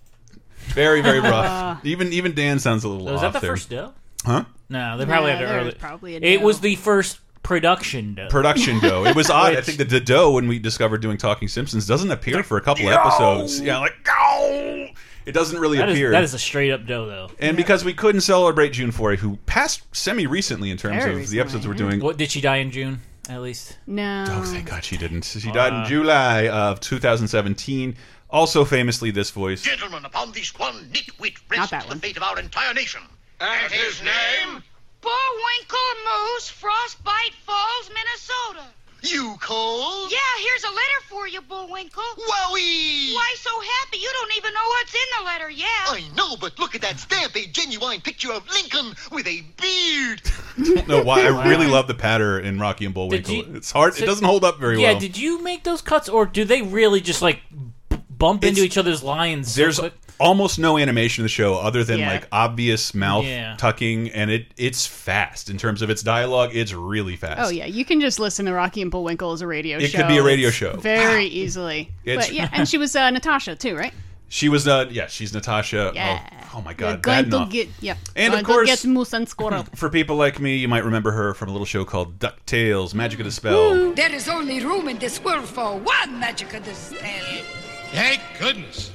Speaker 1: Very very
Speaker 2: Ah.
Speaker 1: rough. even even Dan sounds a little
Speaker 2: Was
Speaker 1: off
Speaker 2: that the
Speaker 1: there.
Speaker 2: first dough?
Speaker 1: Huh?
Speaker 2: No, they probably
Speaker 1: Yeah,
Speaker 2: had
Speaker 1: there
Speaker 2: an early.
Speaker 1: was probably a
Speaker 2: it
Speaker 1: dough.
Speaker 2: was the first production dough.
Speaker 1: Production dough. It was odd. I
Speaker 2: Which-
Speaker 1: think that the dough when we discovered doing Talking Simpsons doesn't appear for a couple of episodes. Yeah, like go. It doesn't really
Speaker 2: That is-
Speaker 1: appear.
Speaker 2: that is a straight up dough though.
Speaker 1: and because we couldn't celebrate June Foray, who passed semi recently in terms
Speaker 2: Very
Speaker 1: of the episodes we're doing,
Speaker 2: What did she die in June? At least
Speaker 3: no.
Speaker 1: Oh, thank God she didn't. She died in
Speaker 2: Uh.
Speaker 1: July of 2017. Also, famously, this voice.
Speaker 5: Gentlemen, upon this one nitwit rests the fate of our entire nation. And his name?
Speaker 16: Bullwinkle Moose, Frostbite Falls, Minnesota.
Speaker 5: You, Cole?
Speaker 16: Yeah, here's a letter for you, Bullwinkle.
Speaker 5: Wowie!
Speaker 16: Why so happy? You don't even know what's in the letter yet.
Speaker 5: I know, but look at that stamp, a genuine picture of Lincoln with a beard.
Speaker 1: No, why?
Speaker 2: Wow.
Speaker 1: I really love the patter in Rocky and Bullwinkle. it's hard.
Speaker 2: So-
Speaker 1: it doesn't hold up very
Speaker 2: yeah,
Speaker 1: well.
Speaker 2: did you make those cuts, or do they really just like b- bump into each other's lines? so
Speaker 1: There's
Speaker 2: quick?
Speaker 1: almost no animation in the show other than
Speaker 2: Yeah.
Speaker 1: like obvious mouth
Speaker 2: Yeah.
Speaker 1: tucking, and it it's fast in terms of its dialogue. It's really fast.
Speaker 3: Oh yeah, you can just listen to Rocky and Bullwinkle as a radio
Speaker 1: It
Speaker 3: show.
Speaker 1: could be a radio
Speaker 3: It's
Speaker 1: show.
Speaker 3: very easily.
Speaker 1: It's-
Speaker 3: But yeah, and she was uh, Natasha too, right?
Speaker 1: She was uh yeah, she's Natasha.
Speaker 3: Yeah.
Speaker 1: Oh, oh my God,
Speaker 3: going
Speaker 1: bad
Speaker 3: to
Speaker 1: knock.
Speaker 3: get yeah.
Speaker 1: And, of
Speaker 3: going to
Speaker 1: course-
Speaker 3: get moose and squirrel.
Speaker 1: For people like me, you might remember her from a little show called DuckTales: Magic of the Spell.
Speaker 17: There is only room in this world for one magic of the spell.
Speaker 1: Thank goodness.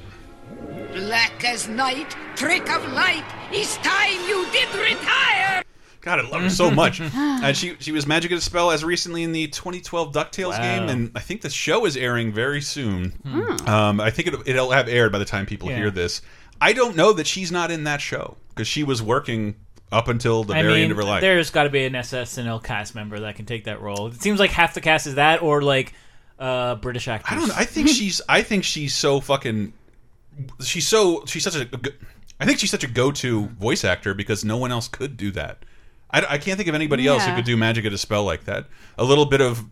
Speaker 17: Black as night, trick of light, it's time you did retire!
Speaker 1: God, I love her so much. and she she was Magic of the Spell as recently in the 2012 Ducktales
Speaker 5: Wow.
Speaker 1: game, and I think the show is airing very soon.
Speaker 5: Hmm.
Speaker 1: Um, I think it, it'll have aired by the time people
Speaker 5: Yeah.
Speaker 1: hear this. I don't know that she's not in that show because she was working up until the
Speaker 2: I
Speaker 1: very
Speaker 2: mean,
Speaker 1: end of her life.
Speaker 2: There's got to be an SSNL cast member that can take that role. It seems like half the cast is that, or like uh, British actors.
Speaker 1: I don't. I think she's. I think she's so fucking. She's so. She's such a. go- I think she's such a go-to voice actor because no one else could do that. I, I can't think of anybody else who
Speaker 3: Yeah.
Speaker 1: could do magic at a spell like that. A little bit of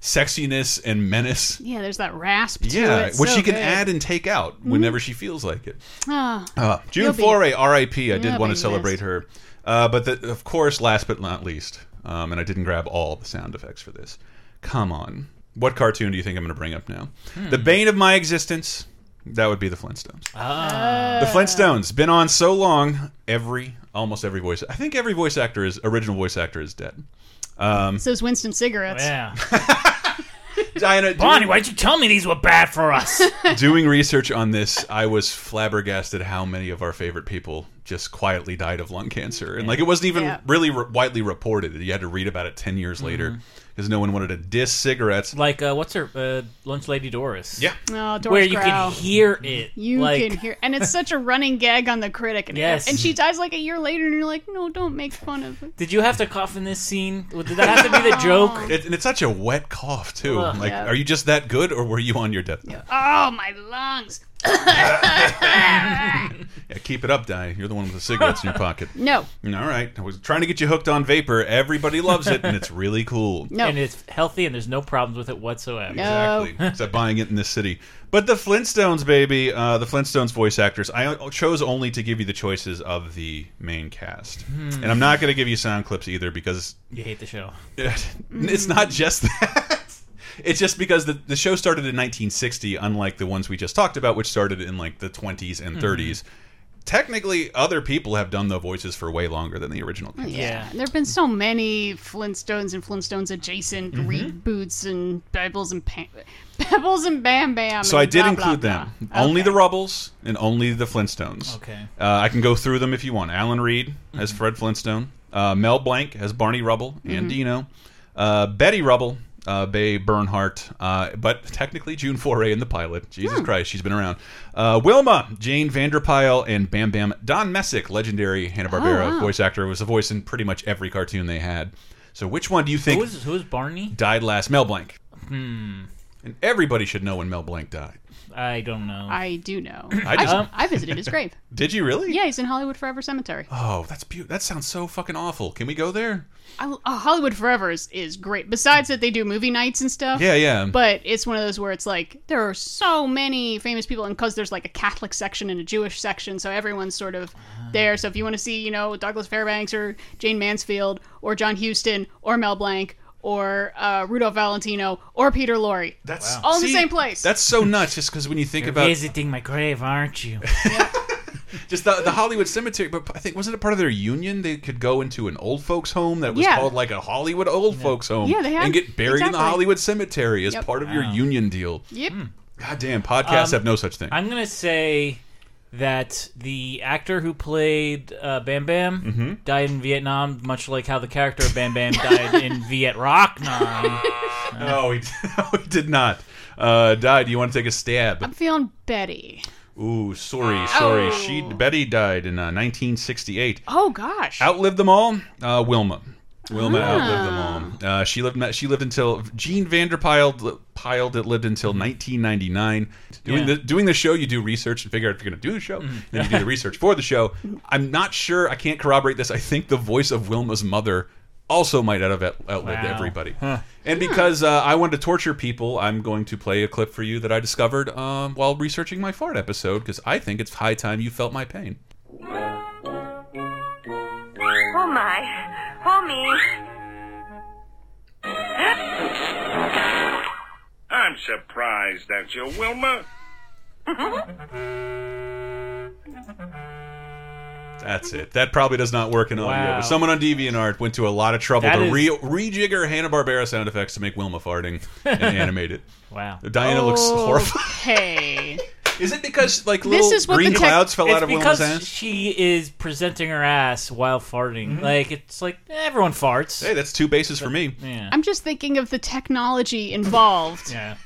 Speaker 1: sexiness and menace.
Speaker 3: Yeah, there's that rasp. to
Speaker 1: Yeah,
Speaker 3: it.
Speaker 1: which
Speaker 3: So
Speaker 1: she can
Speaker 3: good. Mm-hmm.
Speaker 1: add and take out whenever she feels like it.
Speaker 3: Ah.
Speaker 1: Uh, June
Speaker 3: You'll be-
Speaker 1: Foray, R.I.P. I
Speaker 3: you'll
Speaker 1: did want
Speaker 3: be
Speaker 1: to celebrate
Speaker 3: missed.
Speaker 1: her, uh, but the, of course, last but not least, um, and I didn't grab all the sound effects for this. Come on, what cartoon do you think I'm going to bring up now?
Speaker 2: Hmm.
Speaker 1: The bane of my existence. That would be the Flintstones.
Speaker 2: Ah.
Speaker 3: Uh.
Speaker 1: The Flintstones been on so long. Every almost every voice. I think every voice actor is original voice actor is dead. Um,
Speaker 3: So is Winston cigarettes.
Speaker 2: Oh, Yeah.
Speaker 1: Diana,
Speaker 2: Bonnie, why'd you tell me these were bad for us?
Speaker 1: doing research on this, I was flabbergasted how many of our favorite people just quietly died of lung cancer, and like it wasn't even
Speaker 2: Yeah.
Speaker 1: really re widely reported. You had to read about it ten years later because no one wanted to diss cigarettes.
Speaker 2: Mm-hmm. like uh, what's her uh, lunch lady Doris? Yeah,
Speaker 3: No, Oh, Doris
Speaker 2: where you can
Speaker 3: Growl.
Speaker 2: hear it.
Speaker 3: You
Speaker 2: like,
Speaker 3: can hear, and it's such a running gag on the critic. And,
Speaker 2: Yes.
Speaker 3: and she dies like a year later, and you're like, no, don't make fun of it.
Speaker 2: Did you have to cough in this scene? Well, Did that have to be the joke?
Speaker 1: It, and it's such a wet cough too.
Speaker 2: Ugh.
Speaker 1: like,
Speaker 2: Yeah.
Speaker 1: are you just that good, or were you on your death? Yeah.
Speaker 3: Oh, my lungs.
Speaker 1: keep it up, Di. You're the one with the cigarettes in your pocket.
Speaker 3: No.
Speaker 1: All right, I was trying to get you hooked on vapor. Everybody loves it, and it's really cool.
Speaker 2: and it's healthy, and there's no problems with it whatsoever.
Speaker 1: Exactly. Except buying it in this city. But the Flintstones, baby, uh, the Flintstones voice actors. I o- chose only to give you the choices of the main cast,
Speaker 2: Hmm.
Speaker 1: and I'm not going to give you sound clips either because
Speaker 2: You hate the show.
Speaker 1: it's not just that. It's just because the, the show started in 1960, unlike the ones we just talked about, which started in like the 20s and
Speaker 2: Mhm.
Speaker 1: 30s. Technically, other people have done the voices for way longer than the original.
Speaker 3: Yeah.
Speaker 1: cast.
Speaker 3: There have been so many Flintstones and Flintstones adjacent
Speaker 1: Mhm.
Speaker 3: reboots and Pebbles and Pam- Pebbles and Bam Bam.
Speaker 1: So
Speaker 3: and
Speaker 1: I did
Speaker 3: blah, blah,
Speaker 1: include
Speaker 3: blah.
Speaker 1: them. Only the Rubbles and only the Flintstones.
Speaker 2: Okay. Mm-hmm.
Speaker 1: Uh, I can go through them if you want. Alan Reed as Fred Flintstone. Uh, Mel Blanc as Barney Rubble and
Speaker 2: Mhm.
Speaker 1: Dino. Uh, Betty Rubble, uh, Bay Bernhardt, uh, but technically June Foray in the pilot. Jesus
Speaker 2: Hmm.
Speaker 1: Christ, she's been around. Uh, Wilma, Jane Vanderpyle, and Bam Bam. Don Messick, legendary Hanna-Barbera
Speaker 2: Oh, wow.
Speaker 1: voice actor, was the voice in pretty much every cartoon they had. So which one do you
Speaker 2: Who
Speaker 1: think
Speaker 2: was who was Barney?
Speaker 1: died last? Mel Blanc.
Speaker 2: Hmm.
Speaker 1: And everybody should know when Mel Blanc died.
Speaker 2: I don't know.
Speaker 3: I do know.
Speaker 1: I
Speaker 3: I,
Speaker 1: just-
Speaker 3: I visited his grave.
Speaker 1: Did you really?
Speaker 3: Yeah, he's in Hollywood Forever Cemetery.
Speaker 1: Oh, that's beautiful. That sounds so fucking awful. Can we go there?
Speaker 3: I, uh, Hollywood Forever is, is great. Besides that, they do movie nights and stuff.
Speaker 1: Yeah, yeah.
Speaker 3: But it's one of those where it's like there are so many famous people, and because there's like a Catholic section and a Jewish section, so everyone's sort of
Speaker 1: Ah.
Speaker 3: there. So if you want to see, you know, Douglas Fairbanks or Jane Mansfield or John Huston or Mel Blanc or uh, Rudolph Valentino or Peter Lorre,
Speaker 1: that's
Speaker 3: all in
Speaker 1: See,
Speaker 3: the same place.
Speaker 1: That's so nuts, just because when you think about
Speaker 2: visiting my grave, aren't you?
Speaker 1: just the, the Hollywood Cemetery, but I think wasn't it part of their union? They could go into an old folks home that was
Speaker 3: Yeah.
Speaker 1: called like a Hollywood old folks home,
Speaker 3: Yeah, they had-
Speaker 1: and get buried in the
Speaker 3: exactly.
Speaker 1: Hollywood Cemetery as
Speaker 3: Yep.
Speaker 1: part of your union deal.
Speaker 3: yep.
Speaker 1: Goddamn, podcasts
Speaker 2: Um,
Speaker 1: have no such thing.
Speaker 2: I'm gonna say that the actor who played uh, Bam Bam
Speaker 1: Mhm.
Speaker 2: died in Vietnam, much like how the character of Bam Bam died in Viet Rock.
Speaker 1: no, he, no, he did not. Uh, Di, do you want to take a stab?
Speaker 3: I'm feeling Betty.
Speaker 1: Ooh, sorry, sorry.
Speaker 3: Oh.
Speaker 1: She Betty died in uh, 1968.
Speaker 3: Oh gosh.
Speaker 1: Outlived them all, uh, Wilma. Wilma
Speaker 3: Ah.
Speaker 1: outlived them all. Uh, she lived. She lived until Jean Vanderpyle li- piled it lived until 1999. Doing
Speaker 2: Yeah. Mm-hmm.
Speaker 1: the doing the show, you do research and figure out if you're going to do the show. Then you do the research for the show. I'm not sure. I can't corroborate this. I think the voice of Wilma's mother also might have out- outlived
Speaker 2: Wow.
Speaker 1: everybody. And because uh, I wanted to torture people, I'm going to play a clip for you that I discovered um, while researching my fart episode because I think it's high time you felt my pain.
Speaker 14: Oh my. Oh me.
Speaker 10: I'm surprised at you, Wilma.
Speaker 1: That's it. That probably does not work in audio.
Speaker 2: Wow.
Speaker 1: But someone on DeviantArt went to a lot of trouble
Speaker 2: That
Speaker 1: to
Speaker 2: is-
Speaker 1: re- rejigger Hanna Barbera sound effects to make Wilma farting and animate it.
Speaker 2: Wow.
Speaker 1: Diana looks horrified.
Speaker 3: Hey.
Speaker 1: Is it because like
Speaker 3: Oh. This
Speaker 1: little
Speaker 3: is what
Speaker 1: green
Speaker 3: the tech-
Speaker 1: clouds fell
Speaker 2: it's
Speaker 1: out of
Speaker 2: because
Speaker 1: Wilma's ass?
Speaker 2: she is presenting her ass while farting.
Speaker 1: Mhm.
Speaker 2: Like it's like everyone farts.
Speaker 1: Hey, that's two bases for me.
Speaker 2: Yeah.
Speaker 3: I'm just thinking of the technology involved.
Speaker 2: yeah.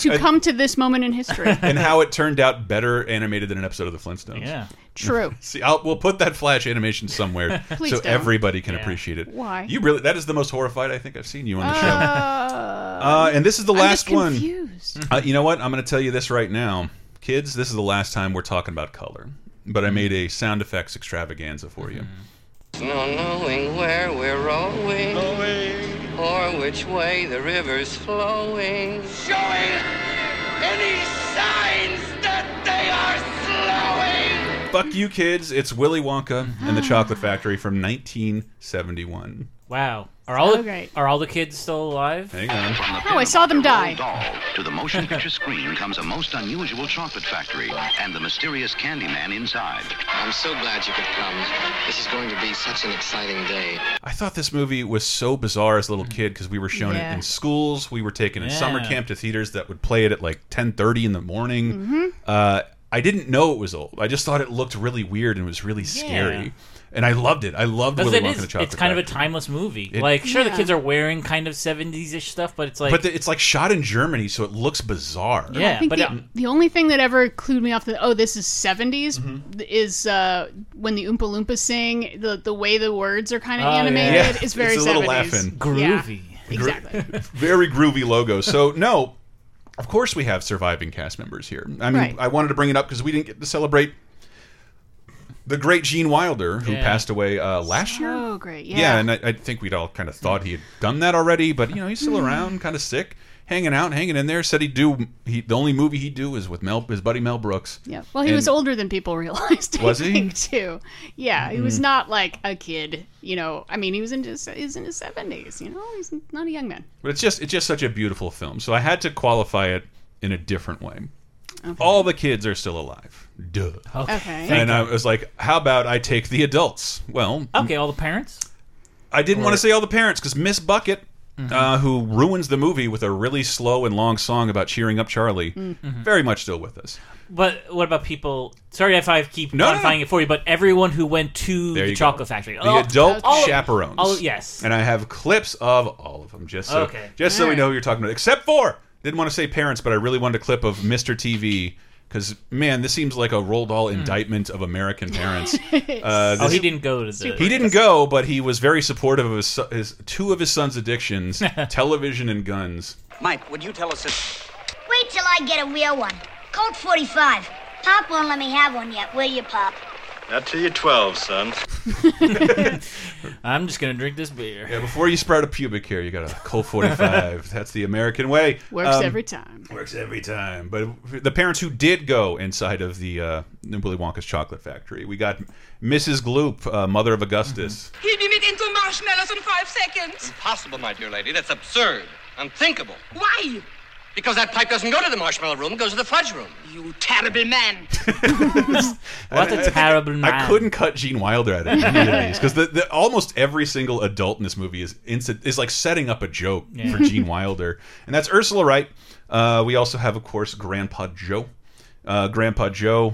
Speaker 3: to come to this moment in history.
Speaker 1: and how it turned out better animated than an episode of The Flintstones.
Speaker 2: Yeah.
Speaker 3: True.
Speaker 1: See, I'll, we'll put that flash animation somewhere
Speaker 3: Please
Speaker 1: so
Speaker 3: don't.
Speaker 1: everybody can
Speaker 3: Yeah.
Speaker 1: appreciate it.
Speaker 3: Why?
Speaker 1: You really? That is the most horrified I think I've seen you on the
Speaker 3: show.
Speaker 1: Uh, and this is the
Speaker 3: I'm
Speaker 1: last
Speaker 3: just
Speaker 1: one.
Speaker 3: confused.
Speaker 1: Uh, you know what? I'm going to tell you this right now, kids. This is the last time we're talking about color. But I made a sound effects extravaganza for you.
Speaker 2: Mm-hmm.
Speaker 13: No knowing where we're rowing, or which way the river's flowing.
Speaker 6: Showing any signs that they are slowing.
Speaker 1: Fuck you, kids! It's Willy Wonka and
Speaker 2: Mm-hmm.
Speaker 1: the Chocolate Factory from 1971.
Speaker 2: Wow. Are all
Speaker 3: So
Speaker 2: the,
Speaker 3: great.
Speaker 2: are all the kids still alive?
Speaker 1: Hang on.
Speaker 3: No, I saw them die.
Speaker 18: To the motion picture screen comes a most unusual chocolate factory and the mysterious Candyman inside. I'm so glad you could come. This is going to be such an exciting day.
Speaker 1: I thought this movie was so bizarre as a little kid because we were shown
Speaker 18: Yeah.
Speaker 1: it in schools. We were taken in summer
Speaker 18: Yeah.
Speaker 1: camp to theaters that would play it at like 10:30 in the morning.
Speaker 18: Mhm.
Speaker 1: Uh, I didn't know it was old. I just thought it looked really weird and was really scary. And I loved it. I loved
Speaker 2: Because
Speaker 1: Willy
Speaker 2: it
Speaker 1: Wonka
Speaker 2: is-
Speaker 1: and the Chocolate
Speaker 2: it's kind of a
Speaker 1: Factory.
Speaker 2: timeless movie.
Speaker 1: It-
Speaker 2: like, sure, the
Speaker 1: Yeah.
Speaker 2: kids are wearing kind of 70s ish stuff, but it's like.
Speaker 1: but the- it's like shot in Germany, so it looks bizarre.
Speaker 2: Yeah,
Speaker 3: I think
Speaker 2: but
Speaker 3: the,
Speaker 2: uh,
Speaker 3: the only thing that ever clued me off that oh this is 70s
Speaker 1: Mm-hmm.
Speaker 3: is uh, when the Oompa Loompas sing the the way the words are kind of animated is very
Speaker 1: Ah, it's a little
Speaker 3: 70s.
Speaker 1: laughing,
Speaker 3: Yeah. exactly.
Speaker 1: very groovy logo. So no, of course we have surviving cast members here. I mean,
Speaker 18: Right.
Speaker 1: I wanted to bring it up because we didn't get to celebrate the great Gene Wilder who
Speaker 18: Yeah.
Speaker 1: passed away uh, last year.
Speaker 3: Oh great, yeah.
Speaker 1: and I, I think we'd all kind of thought he had done that already, but you know he's still
Speaker 3: Hmm.
Speaker 1: around, kind of sick, hanging out, hanging in there. Said he'd do. He the only movie he'd do is with Mel, his buddy Mel Brooks.
Speaker 3: yeah. Well, he
Speaker 1: And-
Speaker 3: was older than people realized. I
Speaker 1: Was he?
Speaker 3: think, too? Yeah, he was
Speaker 1: Mm.
Speaker 3: not like a kid. You know, I mean, he was in his he's in his seventies. You know, he's not a young man.
Speaker 1: But it's just it's just such a beautiful film. So I had to qualify it in a different way. All the kids are still alive. Duh.
Speaker 2: Okay. Okay.
Speaker 1: And I was like, how about I take the adults? Well,
Speaker 2: okay, all the parents?
Speaker 1: I didn't want
Speaker 2: Or-
Speaker 1: to say all the parents because Miss Bucket, uh, who ruins the movie with a really slow and long song about cheering up Charlie,
Speaker 2: Mhm.
Speaker 1: very much still with us.
Speaker 2: But what about people? Sorry if I keep
Speaker 1: No, no,
Speaker 2: modifying it for you, but everyone who went to
Speaker 1: There you
Speaker 2: the
Speaker 1: go.
Speaker 2: chocolate factory,
Speaker 1: The adult chaperones.
Speaker 2: Oh yes,
Speaker 1: And I have clips of all of them just so
Speaker 2: Okay.
Speaker 1: just so we
Speaker 2: Alright.
Speaker 1: know who you're talking about. Except for didn't want to say parents, but I really wanted a clip of Mr. TV because man, this seems like a roll doll indictment of American parents.
Speaker 2: Hmm.
Speaker 1: Uh,
Speaker 2: oh,
Speaker 1: this-
Speaker 2: he didn't go to the.
Speaker 1: He didn't go, but he was very supportive of his, so- his two of his son's addictions: television and guns.
Speaker 6: Mike, would you tell us if.
Speaker 11: Wait till I get a real one. Colt 45. Pop won't let me have one yet, will you, Pop?
Speaker 15: Not till you're 12, son.
Speaker 2: I'm just gonna drink this beer.
Speaker 1: Yeah, before you sprout a pubic hair, you got a Colt 45. That's the American way.
Speaker 3: Works
Speaker 1: Um,
Speaker 3: every time.
Speaker 1: Works every time. But the parents who did go inside of the uh, Willy Wonka's chocolate factory, we got Mrs. Gloop, uh, mother of Augustus.
Speaker 2: Mm-hmm.
Speaker 6: He'll be made into marshmallows in five seconds.
Speaker 19: Impossible, my dear lady. That's absurd. Unthinkable.
Speaker 6: Why?
Speaker 19: Because that pipe doesn't go to the marshmallow room, it goes to the fudge room.
Speaker 6: You terrible man.
Speaker 1: What
Speaker 2: a terrible
Speaker 1: I
Speaker 2: man.
Speaker 1: couldn't cut Gene Wilder out of any of these because the, the, almost every single adult in this movie is inci- is like setting up a joke
Speaker 18: Yeah.
Speaker 1: for Gene Wilder, and that's Ursula Wright. Uh, we also have, of course, Grandpa Joe. Uh, Grandpa Joe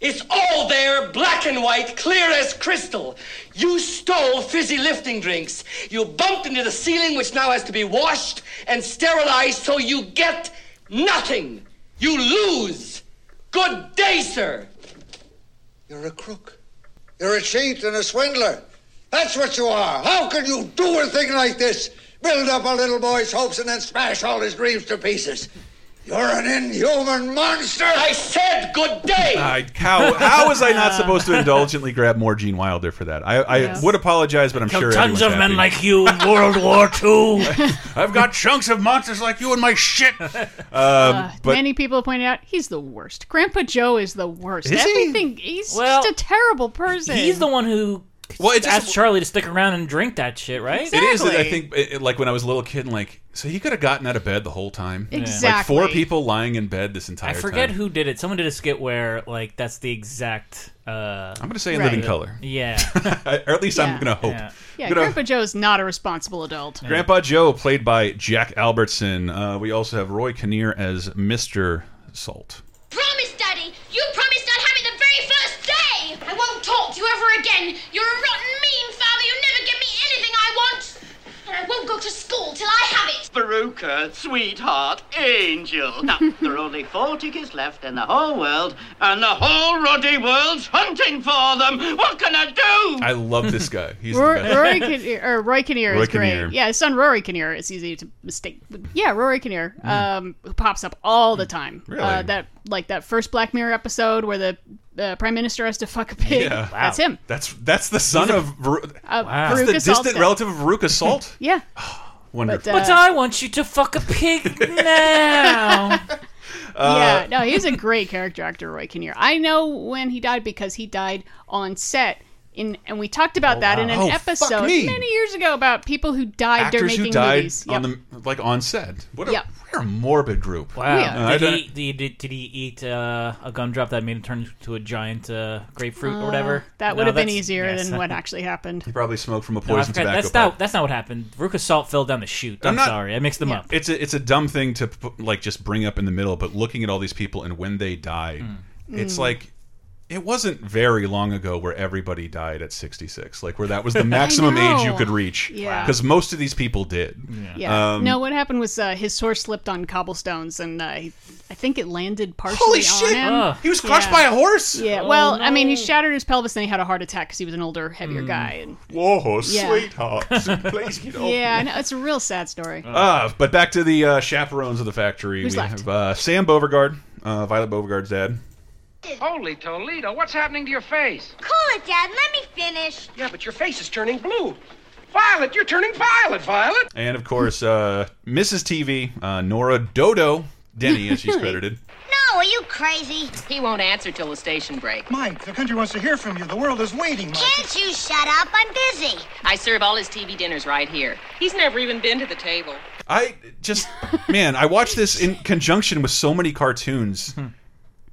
Speaker 19: It's all there, black and white, clear as crystal. You stole fizzy lifting drinks. You bumped into the ceiling, which now has to be washed and sterilized, so you get nothing. You lose. Good day, sir.
Speaker 20: You're a crook. You're a cheat and a swindler. That's what you are. How can you do a thing like this? Build up a little boy's hopes and then smash all his dreams to pieces. You're an inhuman monster. I
Speaker 19: said good day.
Speaker 1: I, how how was I not supposed to indulgently grab more Gene Wilder for that? I, I
Speaker 2: Yes.
Speaker 1: would apologize, but I'm
Speaker 2: Kill
Speaker 1: sure
Speaker 2: tons of
Speaker 1: everyone's
Speaker 2: men
Speaker 1: happy.
Speaker 2: like you in World War II.
Speaker 1: I've got chunks of monsters like you in my shit. Um,
Speaker 3: Uh,
Speaker 1: but
Speaker 3: many people pointed out he's the worst. Grandpa Joe is the worst.
Speaker 2: Is he?
Speaker 3: Everything he's
Speaker 2: Well,
Speaker 3: just a terrible person.
Speaker 2: He's the one who
Speaker 1: well, it
Speaker 2: asked Charlie to stick around and drink that shit, right?
Speaker 1: it is that I think it, it- like when I was a little kid, like so he could have gotten out of bed the whole time. Like
Speaker 2: Exactly.
Speaker 1: four people lying in bed this entire
Speaker 2: I
Speaker 1: time.
Speaker 2: forget who did it. Someone did a skit where like that's the exact. Uh,
Speaker 1: I'm gonna say in living color.
Speaker 2: Yeah,
Speaker 1: or at least I'm gonna hope.
Speaker 2: Yeah.
Speaker 3: yeah,
Speaker 1: Gonna-
Speaker 3: Grandpa Joe is not a responsible adult.
Speaker 1: Grandpa Joe, played by Jack Albertson. Uh, we also have Roy Kinnear as Mr. Salt.
Speaker 21: Promise, Daddy! You promised I'd have it the very first day! I won't talk to you ever again! You're a rotten, mean father! You never give me anything I want! And I won't go to school till I have it!
Speaker 13: Veruca, sweetheart, angel. Now, there are only four tickets left in the whole world, and the whole ruddy world's hunting for them. What can I do?
Speaker 1: I love this guy. He's the
Speaker 3: Rory,
Speaker 1: best.
Speaker 3: Rory Kinnear, or Roy Kinnear
Speaker 1: Roy
Speaker 3: is great.
Speaker 1: Kinnear.
Speaker 3: Yeah, his son Rory Kinnear is easy to mistake. But yeah, Rory Kinnear, um, who pops up all the time.
Speaker 1: Hmm. Really?
Speaker 3: Uh, that like that first Black Mirror episode where the uh, prime minister has to fuck a pig.
Speaker 1: Yeah.
Speaker 3: That's him.
Speaker 1: That's that's the son of Ver-
Speaker 3: Uh,
Speaker 1: that's the
Speaker 3: Veruca
Speaker 1: distant
Speaker 3: Saltstead.
Speaker 1: relative of Veruca Salt.
Speaker 3: Yeah. uh,
Speaker 1: Wonderful.
Speaker 2: But uh, I want you to fuck a pig now.
Speaker 1: Uh,
Speaker 3: yeah, no, he's a great character actor, Roy Kinnear. I know when he died because he died on set. In, and we talked about that in
Speaker 1: wow.
Speaker 3: an
Speaker 1: Oh, fuck
Speaker 3: episode
Speaker 1: me.
Speaker 3: many years ago about people who died during
Speaker 1: Actors
Speaker 3: making
Speaker 1: who died
Speaker 3: movies. Yep.
Speaker 1: on the like on set. What a
Speaker 3: Yep.
Speaker 1: what a morbid group. Uh, I
Speaker 2: Wow. Did
Speaker 1: don't-
Speaker 2: he, did, he, did, he eat uh, a gumdrop that made it turn into a giant uh, grapefruit or whatever?
Speaker 3: Uh, that
Speaker 2: No,
Speaker 3: would have been
Speaker 2: that's-
Speaker 3: easier
Speaker 2: yes.
Speaker 3: than what actually happened.
Speaker 1: He probably smoked from a
Speaker 2: No, I
Speaker 1: poison
Speaker 2: forgot-
Speaker 1: tobacco.
Speaker 2: that's, not, that's not what happened. Veruca Salt fell down the chute. I'm,
Speaker 1: not-
Speaker 2: sorry. I mixed them up.
Speaker 1: It's a it's a dumb thing to p- like just bring up in the middle, but looking at all these people and when they died, it's
Speaker 2: Hmm.
Speaker 3: Mm.
Speaker 1: like it wasn't very long ago where everybody died at 66, like where that was the maximum age you
Speaker 3: know.
Speaker 1: could reach.
Speaker 3: Yeah.
Speaker 1: because most of these people did.
Speaker 3: Yeah.
Speaker 1: Um,
Speaker 3: no, what happened was uh, his horse slipped on cobblestones, and uh, he, I think it landed partially
Speaker 1: Holy
Speaker 3: on
Speaker 1: shit!
Speaker 3: him.
Speaker 1: He was crushed by a horse?
Speaker 3: Yeah.
Speaker 1: Oh,
Speaker 3: well, I mean, he shattered his pelvis, and he had a heart attack because he was an older,
Speaker 1: Hmm.
Speaker 3: heavier guy. And
Speaker 1: Whoa,
Speaker 3: Yeah.
Speaker 1: sweetheart, please get over
Speaker 3: yeah, I know, it's a real sad story.
Speaker 1: Uh, but back to the uh, chaperones of the factory.
Speaker 3: Who's
Speaker 1: we
Speaker 3: left?
Speaker 1: have uh, Sam Beauregard, uh, Violet Beauregard's dad.
Speaker 4: Holy Toledo, what's happening to your face?
Speaker 11: Cool it, Dad. Let me finish.
Speaker 4: Yeah, but your face is turning blue. Violet, you're turning violet, Violet.
Speaker 1: And of course, uh, Mrs. TV, uh, Nora Dodo Denny, as she's credited.
Speaker 11: No, are you crazy?
Speaker 22: He won't answer till the station break.
Speaker 23: Mike, the country wants to hear from you. The world is waiting, Mike.
Speaker 11: Can't you shut up? I'm busy.
Speaker 22: I serve all his TV dinners right here. He's never even been to the table.
Speaker 1: I just, man, I watched this in conjunction with so many cartoons.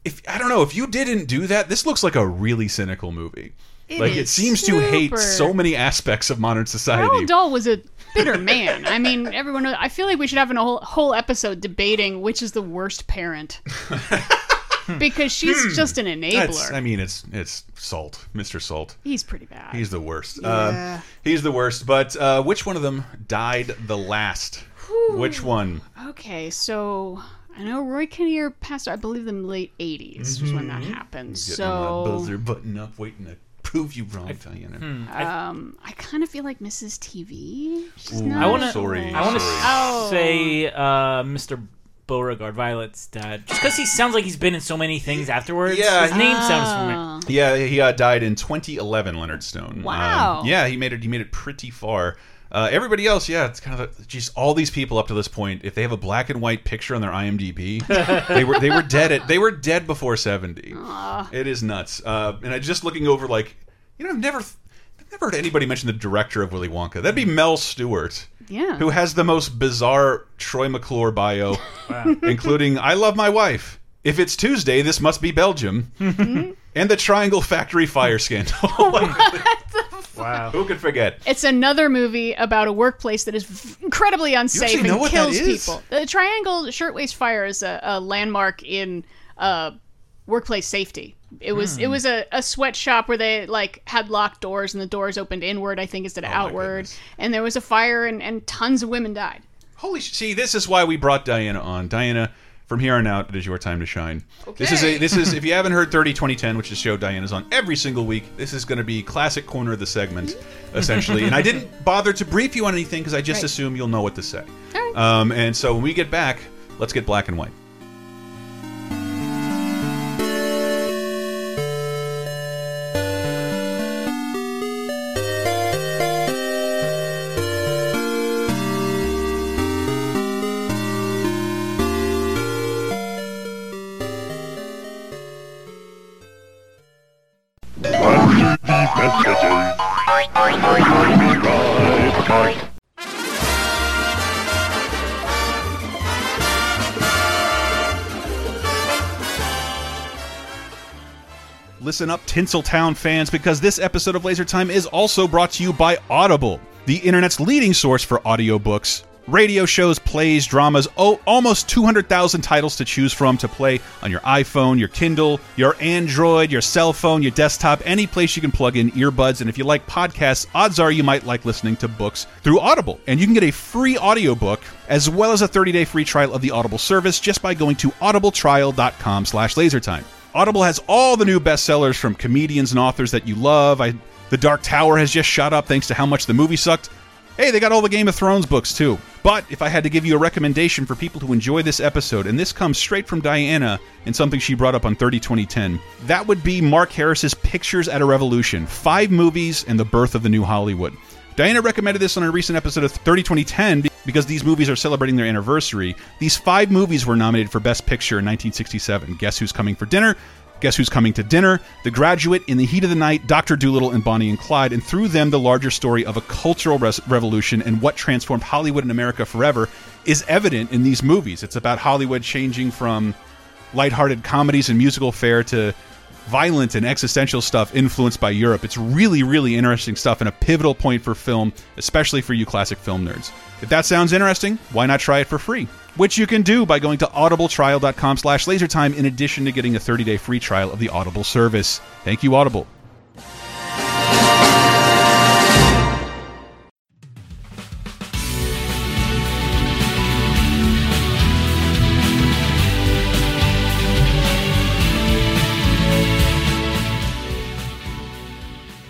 Speaker 1: If I don't know if you didn't do that, this looks like a really cynical movie.
Speaker 3: It
Speaker 1: like
Speaker 3: is
Speaker 1: it seems to hate
Speaker 3: super-
Speaker 1: so many aspects of modern society.
Speaker 3: Harold Dahl was a bitter man. I mean, everyone. Knows, I feel like we should have a whole whole episode debating which is the worst parent. because she's
Speaker 1: Hmm.
Speaker 3: just an enabler.
Speaker 1: That's- I mean, it's it's Salt, Mr. Salt.
Speaker 3: He's pretty bad.
Speaker 1: He's the worst.
Speaker 3: Yeah.
Speaker 1: Uh, he's the worst. But uh, which one of them died the last? Which one?
Speaker 3: Okay, so I know Roy Kinnear passed. I believe in the late '80s was when that
Speaker 1: Mhm.
Speaker 3: happened.
Speaker 1: Getting my
Speaker 3: So,
Speaker 1: buzzer button up, waiting to prove you wrong, Diana.
Speaker 3: um, I kind of feel like Mrs. TV. She's
Speaker 1: Ooh,
Speaker 3: not.
Speaker 2: I want to.
Speaker 1: Sorry,
Speaker 2: I want to
Speaker 1: sorry.
Speaker 3: Oh.
Speaker 2: say uh, Mr. Beauregard, Violet's dad, just because he sounds like he's been in so many things afterwards.
Speaker 1: Yeah,
Speaker 2: his name
Speaker 1: he-
Speaker 3: Ah.
Speaker 2: sounds familiar.
Speaker 1: Yeah, he uh, died in 2011. Leonard Stone.
Speaker 2: Wow.
Speaker 1: Um, yeah, he made it. He made it pretty far. Uh, everybody else, yeah, it's kind of a, geez. All these people up to this point, if they have a black and white picture on their IMDb, they were they were dead at they were dead before 70.
Speaker 3: Aw.
Speaker 1: It is nuts. Uh, and I just looking over like, you know, I've never I've never heard anybody mention the director of Willy Wonka. That'd be Mel Stewart.
Speaker 3: Yeah.
Speaker 1: Who has the most bizarre Troy McClure bio, including I love my wife. If it's Tuesday, this must be Belgium. and the Triangle Factory fire scandal. wow. Who could forget?
Speaker 3: It's another movie about a workplace that is v- incredibly unsafe
Speaker 1: actually know
Speaker 3: and
Speaker 1: what that
Speaker 3: kills
Speaker 1: is?
Speaker 3: people. The Triangle Shirtwaist Fire is a, a landmark in uh, workplace safety. It was
Speaker 24: Hmm.
Speaker 3: it was a, a sweatshop where they like had locked doors and the doors opened inward, I think, instead
Speaker 1: Oh
Speaker 3: of outward. And there was a fire and, and tons of women died.
Speaker 1: Holy sh- See, this is why we brought Diana on. Diana, from here on out, it is your time to shine. This is a this is if you haven't heard 30 2010, which is a show Diana's on every single week, this is going to be classic corner of the segment essentially. and I didn't bother to brief you on anything cuz I just
Speaker 3: Right.
Speaker 1: assume you'll know what to say. Um, and so when we get back, let's get black and white. Listen up, Tinseltown fans, because this episode of Laser Time is also brought to you by Audible, the internet's leading source for audiobooks. radio shows, plays, dramas, oh, almost 200,000 titles to choose from to play on your iPhone, your Kindle, your Android, your cell phone, your desktop, any place you can plug in earbuds. And if you like podcasts, odds are you might like listening to books through Audible. And you can get a free audiobook as well as a 30-day free trial of the Audible service just by going to audibletrial.com slash lasertime. Audible has all the new bestsellers from comedians and authors that you love. I, the Dark Tower has just shot up thanks to how much the movie sucked. Hey, they got all the Game of Thrones books too. But if I had to give you a recommendation for people who enjoy this episode, and this comes straight from Diana and something she brought up on 30 2010, that would be Mark Harris's Pictures at a Revolution Five Movies and the Birth of the New Hollywood. Diana recommended this on a recent episode of 30 2010 be- because these movies are celebrating their anniversary. These five movies were nominated for Best Picture in 1967. Guess Who's Coming for Dinner? Guess Who's Coming to Dinner, The Graduate, In the Heat of the Night, Dr. Doolittle, and Bonnie and Clyde, and through them, the larger story of a cultural res- revolution and what transformed Hollywood and America forever is evident in these movies. It's about Hollywood changing from lighthearted comedies and musical fare to violent and existential stuff influenced by Europe. It's really, really interesting stuff and a pivotal point for film, especially for you classic film nerds. If that sounds interesting, why not try it for free? Which you can do by going to audibletrial.com slash lasertime in addition to getting a 30-day free trial of the Audible service. Thank you, Audible.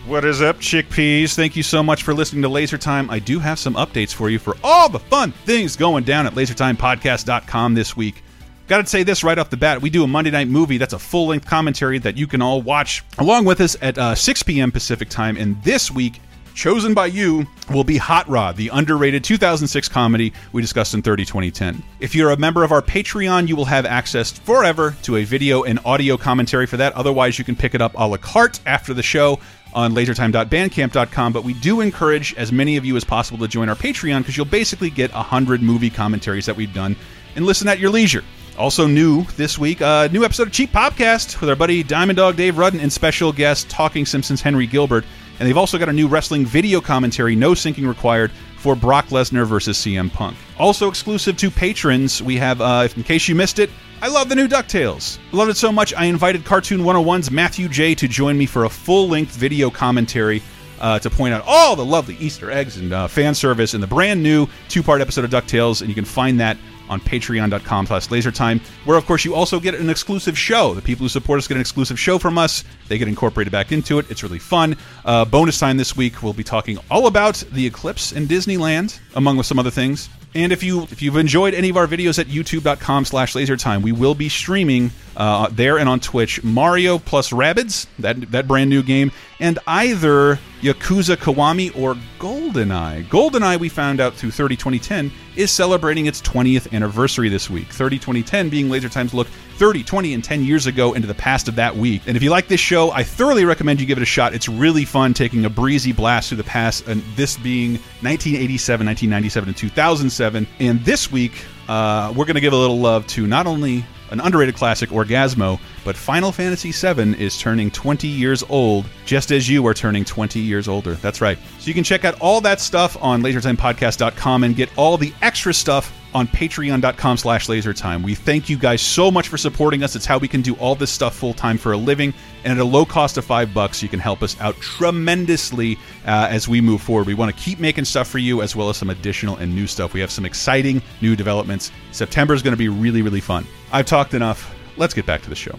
Speaker 1: What is up, chickpeas? Thank you so much for listening to Laser Time. I do have some updates for you for all the fun things going down at lasertimepodcast.com this week. Got to say this right off the bat. We do a Monday night movie that's a full length commentary that you can all watch along with us at uh, 6 p.m. Pacific time. And this week, chosen by you, will be Hot Rod, the underrated 2006 comedy we discussed in 30 2010. If you're a member of our Patreon, you will have access forever to a video and audio commentary for that. Otherwise, you can pick it up a la carte after the show on lasertime.bandcamp.com, but we do encourage as many of you as possible to join our Patreon because you'll basically get 100 movie commentaries that we've done and listen at your leisure. Also, new this week, a uh, new episode of Cheap Podcast with our buddy Diamond Dog Dave Rudden and special guest Talking Simpsons Henry Gilbert. And they've also got a new wrestling video commentary, no syncing required, for Brock Lesnar versus CM Punk. Also exclusive to patrons, we have, uh, if- in case you missed it, I love the new DuckTales. Loved it so much, I invited Cartoon 101's Matthew J. to join me for a full length video commentary uh, to point out all the lovely Easter eggs and uh, fan service in the brand new two part episode of DuckTales, and you can find that on patreon.com slash lasertime where of course you also get an exclusive show the people who support us get an exclusive show from us they get incorporated back into it it's really fun uh, bonus time this week we'll be talking all about the eclipse in disneyland among with some other things and if you if you've enjoyed any of our videos at youtube.com slash lasertime we will be streaming uh, there and on twitch mario plus rabbids that that brand new game and either yakuza kiwami or goldeneye goldeneye we found out through 30 2010 is celebrating its 20th anniversary this week 30 2010 being lasertime's look 30 20 and 10 years ago into the past of that week and if you like this show i thoroughly recommend you give it a shot it's really fun taking a breezy blast through the past and this being 1987 1997 and 2007 and this week uh, we're going to give a little love to not only an underrated classic orgasmo but final fantasy VII is turning 20 years old just as you are turning 20 years older that's right so you can check out all that stuff on lasertimepodcast.com and get all the extra stuff on patreon.com slash lasertime we thank you guys so much for supporting us it's how we can do all this stuff full time for a living and at a low cost of five bucks you can help us out tremendously uh, as we move forward we want to keep making stuff for you as well as some additional and new stuff we have some exciting new developments september is going to be really really fun i've talked enough let's get back to the show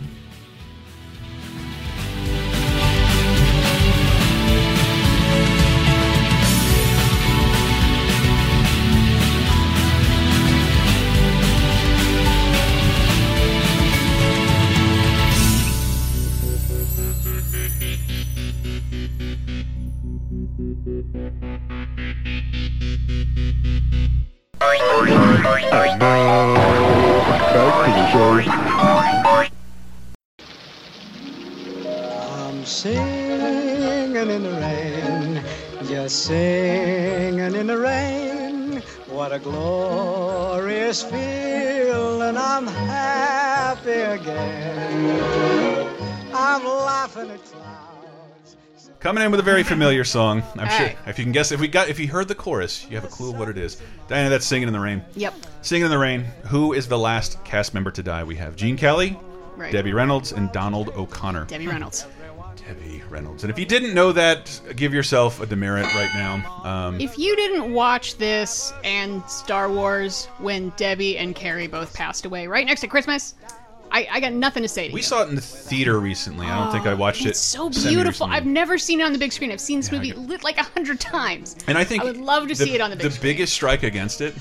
Speaker 7: I'm singing in the rain, just singing in the rain. What a glorious feeling! I'm happy again. I'm laughing at clouds.
Speaker 5: Coming in with a very familiar song. I'm
Speaker 3: All
Speaker 5: sure
Speaker 3: right.
Speaker 5: if you can guess if we got if you heard the chorus, you have a clue of what it is. Diana, that's singing in the rain.
Speaker 3: Yep.
Speaker 5: Singing in the rain. Who is the last cast member to die? We have Gene Kelly,
Speaker 3: Right.
Speaker 5: Debbie Reynolds, and Donald O'Connor.
Speaker 3: Debbie Reynolds.
Speaker 5: Debbie Reynolds. And if you didn't know that, give yourself a demerit right now. Um,
Speaker 3: If you didn't watch this and Star Wars when Debbie and Carrie both passed away, right next to Christmas, I, I got nothing to say to
Speaker 5: we
Speaker 3: you.
Speaker 5: saw it in the theater recently. I don't think I watched it.
Speaker 3: Oh, It's so
Speaker 5: seven years
Speaker 3: beautiful.
Speaker 5: ago.
Speaker 3: I've never seen it on the big screen. I've seen this
Speaker 5: Yeah, I
Speaker 3: movie lit like a hundred times.
Speaker 5: And I think
Speaker 3: I would love to
Speaker 5: the-
Speaker 3: see it on the big screen.
Speaker 5: biggest strike against it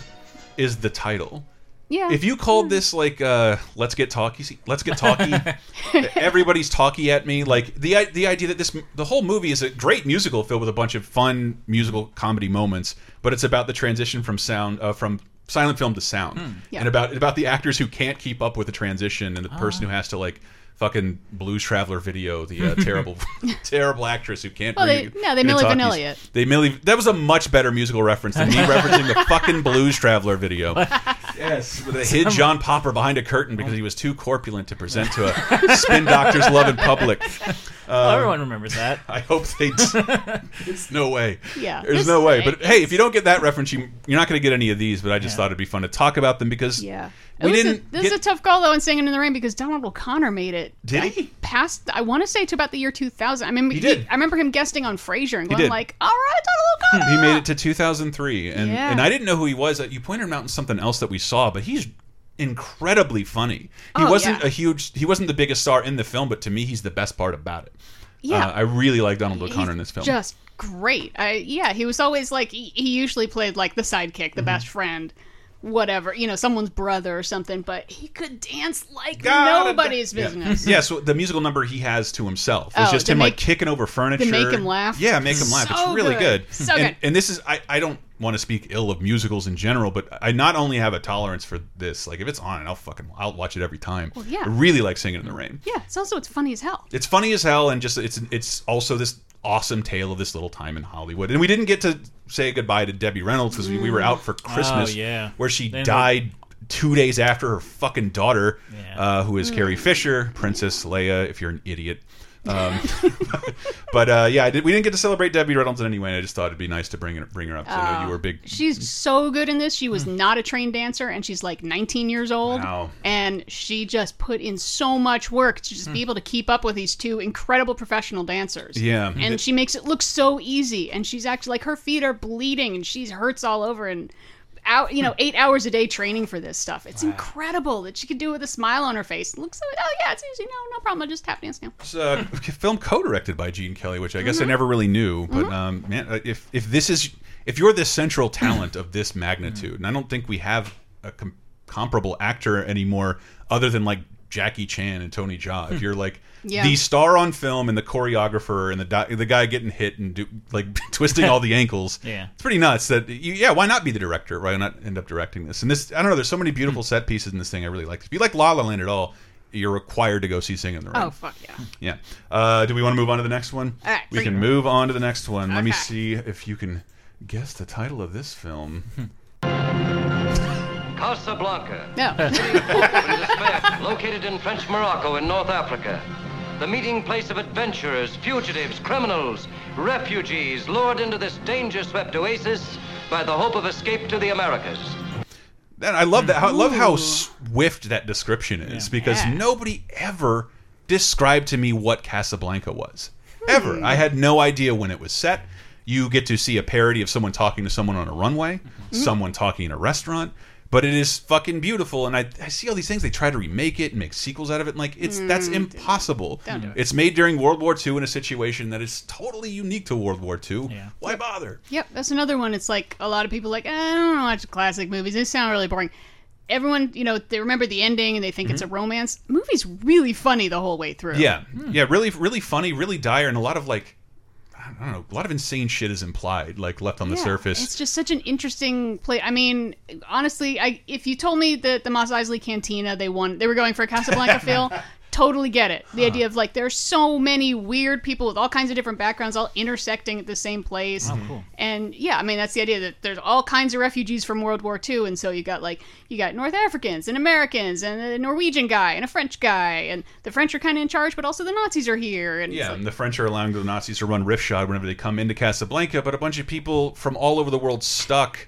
Speaker 5: is the title.
Speaker 3: Yeah.
Speaker 5: If you
Speaker 3: Hmm.
Speaker 5: called this like uh, "Let's get talky," let's get talky. everybody's talky at me. Like the i- the idea that this the whole movie is a great musical filled with a bunch of fun musical comedy moments, but it's about the transition from sound uh, from silent film to sound,
Speaker 25: Hmm.
Speaker 3: Yeah.
Speaker 5: and about about the actors who can't keep up with the transition and the person who has to like fucking Blues Traveler video the uh, terrible terrible actress who can't.
Speaker 3: Well, they-
Speaker 5: read
Speaker 3: no, they
Speaker 5: in a
Speaker 3: Milli
Speaker 5: talkies.
Speaker 3: Vanilli it.
Speaker 5: They merely that was a much better musical reference than me referencing the fucking Blues Traveler video.
Speaker 25: Yes.
Speaker 5: They hid John Popper behind a curtain because he was too corpulent to present to a spin doctor's love in public.
Speaker 1: Um,
Speaker 2: Well, everyone remembers that.
Speaker 5: I hope they. d- There's no way.
Speaker 2: Yeah.
Speaker 5: There's
Speaker 2: This-
Speaker 5: no way. But hey, if you don't get that reference, you, you're not going to get any of these. But I just thought it'd be fun to talk about them because
Speaker 3: Yeah.
Speaker 5: we
Speaker 3: It was a-
Speaker 5: didn't.
Speaker 3: this
Speaker 5: get,
Speaker 3: is a tough call though in singing in the rain because Donald O'Connor made it.
Speaker 5: Did
Speaker 3: I
Speaker 5: he?
Speaker 3: Past I want to say to about the year 2000. I mean,
Speaker 5: He did.
Speaker 3: I remember him guesting on Frasier and
Speaker 5: He
Speaker 3: going
Speaker 5: did. Hmm,
Speaker 3: like, "All right, Donald O'Connor."
Speaker 5: he made it uh, to 2003, and
Speaker 3: Yeah.
Speaker 5: and I didn't know who he was. You pointed him out in something else that we saw, but he's incredibly funny. He
Speaker 3: Oh,
Speaker 5: wasn't
Speaker 3: yeah.
Speaker 5: a huge. He wasn't the biggest star in the film, but to me, he's the best part about it.
Speaker 3: Yeah.
Speaker 5: Uh, I really like Donald O'Connor
Speaker 3: He's
Speaker 5: in this film.
Speaker 3: Just great. I yeah, he was always like he, he usually played like the sidekick,
Speaker 5: Mm-hmm.
Speaker 3: the best friend, whatever, you know, someone's brother or something, but he could dance like nobody's business.
Speaker 5: Yeah, so the musical number he has to himself is
Speaker 3: Oh,
Speaker 5: just
Speaker 3: to
Speaker 5: him like
Speaker 3: make-
Speaker 5: kicking over furniture.
Speaker 3: make him laugh?
Speaker 5: Yeah, make him laugh.
Speaker 3: So
Speaker 5: it's really
Speaker 3: good.
Speaker 5: good.
Speaker 3: So
Speaker 5: and,
Speaker 3: good.
Speaker 5: And this is I, I don't want to speak ill of musicals in general, but I not only have a tolerance for this, like if it's on, I'll fucking I'll watch it every time.
Speaker 3: Well, yeah.
Speaker 5: I really like Singing in the Rain.
Speaker 3: Yeah, it's also it's funny as hell.
Speaker 5: It's funny as hell, and just it's it's also this awesome tale of this little time in Hollywood. And we didn't get to say goodbye to Debbie Reynolds because we, we were out for
Speaker 2: Oh,
Speaker 5: Christmas,
Speaker 2: yeah.
Speaker 5: where she
Speaker 2: Then-
Speaker 5: died two days after her fucking daughter, uh, who is Carrie Fisher, Princess Leia. If you're an idiot. Um, but uh, yeah, I did, we didn't get to celebrate Debbie Reynolds in any way. and I just thought it'd be nice to bring it, bring her up. 'cause I know
Speaker 3: Uh,
Speaker 5: you were a big
Speaker 3: She's so good in this. She was not a trained dancer, and she's like 19 years old.
Speaker 5: Hmm. Wow.
Speaker 3: And she just put in so much work to
Speaker 5: Hmm.
Speaker 3: just be able to keep up with these two incredible professional dancers.
Speaker 5: Yeah.
Speaker 3: And she makes it look so easy. And she's actually like her feet are bleeding, and she hurts all over. And out, you know,
Speaker 5: Hmm.
Speaker 3: eight hours a day training for this stuff. It's incredible that she could do it with a smile on her face. It looks so. Oh yeah, it's easy. No, no problem. I just tap dance now.
Speaker 5: It's a uh, film co-directed by Gene Kelly, which I guess
Speaker 3: Mhm.
Speaker 5: I never really knew. But
Speaker 3: Mhm.
Speaker 5: um, man, uh, if if this is if you're this central talent of this magnitude,
Speaker 3: Mm-hmm.
Speaker 5: and I don't think we have a com comparable actor anymore, other than like Jackie Chan and Tony Jaa.
Speaker 3: Hmm.
Speaker 5: If you're like
Speaker 25: Yeah.
Speaker 5: the star on film and the choreographer and the di the guy getting hit and do, like twisting all the ankles,
Speaker 2: Yeah.
Speaker 5: it's pretty nuts. That you, yeah, why not be the director? Why not end up directing this? And this, I don't know. There's so
Speaker 3: Hmm.
Speaker 5: many beautiful set pieces in this thing. I really like. If you like La La Land at all, you're required to go see Sing in the Rain.
Speaker 3: Oh fuck yeah.
Speaker 5: Yeah. Uh, do we want to move on to the next one?
Speaker 3: All right,
Speaker 5: we
Speaker 3: free-
Speaker 5: can move on to the next one. Let me see if you can guess the title of this film.
Speaker 13: Casablanca.
Speaker 3: No.
Speaker 13: City of hope and despair, located in French Morocco in North Africa. The meeting place of adventurers, fugitives, criminals, refugees lured into this danger swept oasis by the hope of escape to the Americas.
Speaker 5: And I love that. How, I love how swift that description is because nobody ever described to me what Casablanca was.
Speaker 3: Hmm.
Speaker 5: Ever.
Speaker 25: Mm-hmm.
Speaker 5: I had no idea when it was set. You get to see a parody of someone talking to someone on a runway,
Speaker 25: Mm-hmm.
Speaker 5: someone talking in a restaurant, but it is fucking beautiful. And I, I see all these things. They try to remake it and make sequels out of it. And like it's that's
Speaker 25: Mm,
Speaker 5: impossible.
Speaker 25: Don't do it.
Speaker 5: It's made during World War II in a situation that is totally unique to World War II. Why bother?
Speaker 3: Yep, that's another one. It's like a lot of people are like, "Eh, I don't watch classic movies. They sound really boring. Everyone, you know, they remember the ending and they think it's a
Speaker 5: Mhm.
Speaker 3: romance. Movie's really funny the whole way through.
Speaker 5: Yeah,
Speaker 3: Hmm.
Speaker 5: yeah, really, really funny, really dire, and a lot of like, I don't know, a lot of insane shit is implied, like left on the
Speaker 3: Yeah,
Speaker 5: surface.
Speaker 3: It's just such an interesting play. I mean, honestly, I if you told me that the Mos Eisley Cantina they won, they were going for a Casablanca feel, totally get it. The idea of like there's so many weird people with all kinds of different backgrounds all intersecting at the same place.
Speaker 8: Wow, cool.
Speaker 3: And yeah, I mean that's the idea that there's all kinds of refugees from World War II, and so you got like you got North Africans and Americans and a Norwegian guy and a French guy, and the French are kind of in charge, but also the Nazis are here. And it's
Speaker 1: Yeah,
Speaker 3: like-
Speaker 1: and the French are allowing the Nazis to run roughshod whenever they come into Casablanca, but a bunch of people from all over the world stuck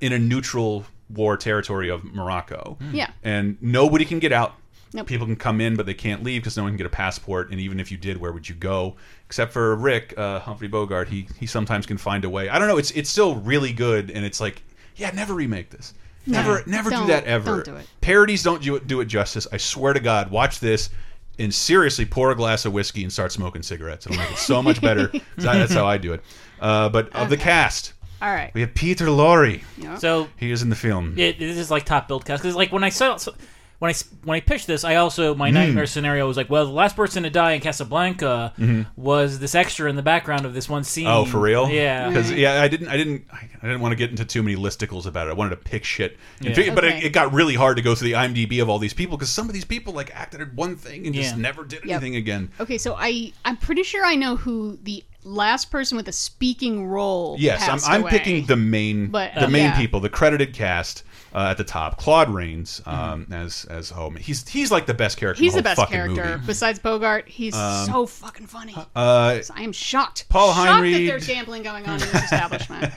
Speaker 1: in a neutral war territory of Morocco.
Speaker 3: Hmm. Yeah.
Speaker 1: And nobody can get out.
Speaker 3: Nope.
Speaker 1: People can come in, but they can't leave because no one can get a passport. And even if you did, where would you go? Except for Rick, uh, Humphrey Bogart, he he sometimes can find a way. I don't know. It's it's still really good, and it's like, yeah, never remake this.
Speaker 3: No,
Speaker 1: Never, never do
Speaker 3: don't-
Speaker 1: that ever.
Speaker 3: don't do it.
Speaker 1: Parodies don't do it, do it justice. I swear to God, watch this and seriously pour a glass of whiskey and start smoking cigarettes. It'll make it so much better. 'Cause I- that's how I do it. Uh, but of the cast,
Speaker 3: All right.
Speaker 1: we have Peter Lorre.
Speaker 3: Yeah.
Speaker 2: So-
Speaker 1: he is in the film.
Speaker 2: It, this is like top build cast because like when I saw so- when I s- when I pitched this, I also my
Speaker 1: Mm.
Speaker 2: nightmare scenario was like, well, the last person to die in Casablanca
Speaker 1: Mhm.
Speaker 2: was this extra in the background of this one scene.
Speaker 1: Oh, for real?
Speaker 2: Yeah.
Speaker 1: Because yeah, I didn't, I didn't, I didn't want to get into too many listicles about it. I wanted to pick shit, and
Speaker 2: Yeah.
Speaker 1: figure, but it,
Speaker 2: Okay.
Speaker 1: it got really hard to go through the IMDb of all these people because some of these people like acted in one thing and just
Speaker 3: Yeah.
Speaker 1: never did
Speaker 3: Yep.
Speaker 1: anything again.
Speaker 3: Okay, so I I'm pretty sure I know who the last person with a speaking role.
Speaker 1: Yes, I'm,
Speaker 3: passed
Speaker 1: I'm
Speaker 3: away.
Speaker 1: picking the main
Speaker 3: But,
Speaker 1: the
Speaker 3: uh,
Speaker 1: main
Speaker 3: yeah.
Speaker 1: people, the credited cast uh, at the top. Claude Rains um, as as Home. He's he's like the best character.
Speaker 3: He's
Speaker 1: in
Speaker 3: the
Speaker 1: the, whole
Speaker 3: best
Speaker 1: fucking
Speaker 3: character
Speaker 1: Movie.
Speaker 3: besides Bogart. He's
Speaker 1: Um,
Speaker 3: so fucking funny.
Speaker 1: Uh,
Speaker 3: I am shocked.
Speaker 1: Paul
Speaker 3: shocked
Speaker 1: Heinried.
Speaker 3: that there's gambling going on in this establishment.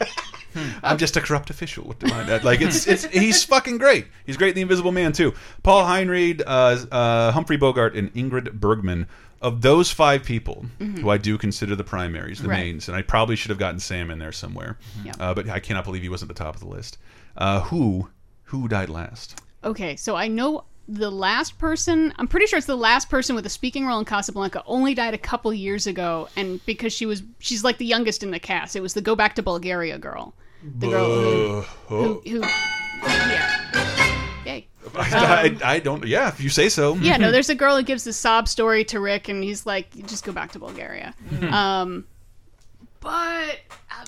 Speaker 1: I'm just a corrupt official. What do I know? Like it's it's he's fucking great. He's great in The Invisible Man too. Paul Heinried, uh, uh, Humphrey Bogart, and Ingrid Bergman. Of those five people,
Speaker 3: Mm-hmm.
Speaker 12: Mhm.
Speaker 1: who I do consider the primaries, the
Speaker 12: Right.
Speaker 1: mains, and I probably should have gotten Sam in there somewhere,
Speaker 3: Yeah.
Speaker 1: uh, but I cannot believe he wasn't at the top of the list. Uh, who who died last?
Speaker 3: Okay, so I know the last person. I'm pretty sure it's the last person with a speaking role in Casablanca. Only died a couple years ago, and because she was she's like the youngest in the cast. It was the Go Back to Bulgaria girl. The girl who, who, who yeah. Yay.
Speaker 1: I, I, I don't. Yeah, if you say so.
Speaker 3: yeah, no, there's a girl who gives the sob story to Rick, and he's like, just go back to Bulgaria.
Speaker 1: Mhm.
Speaker 3: Um, but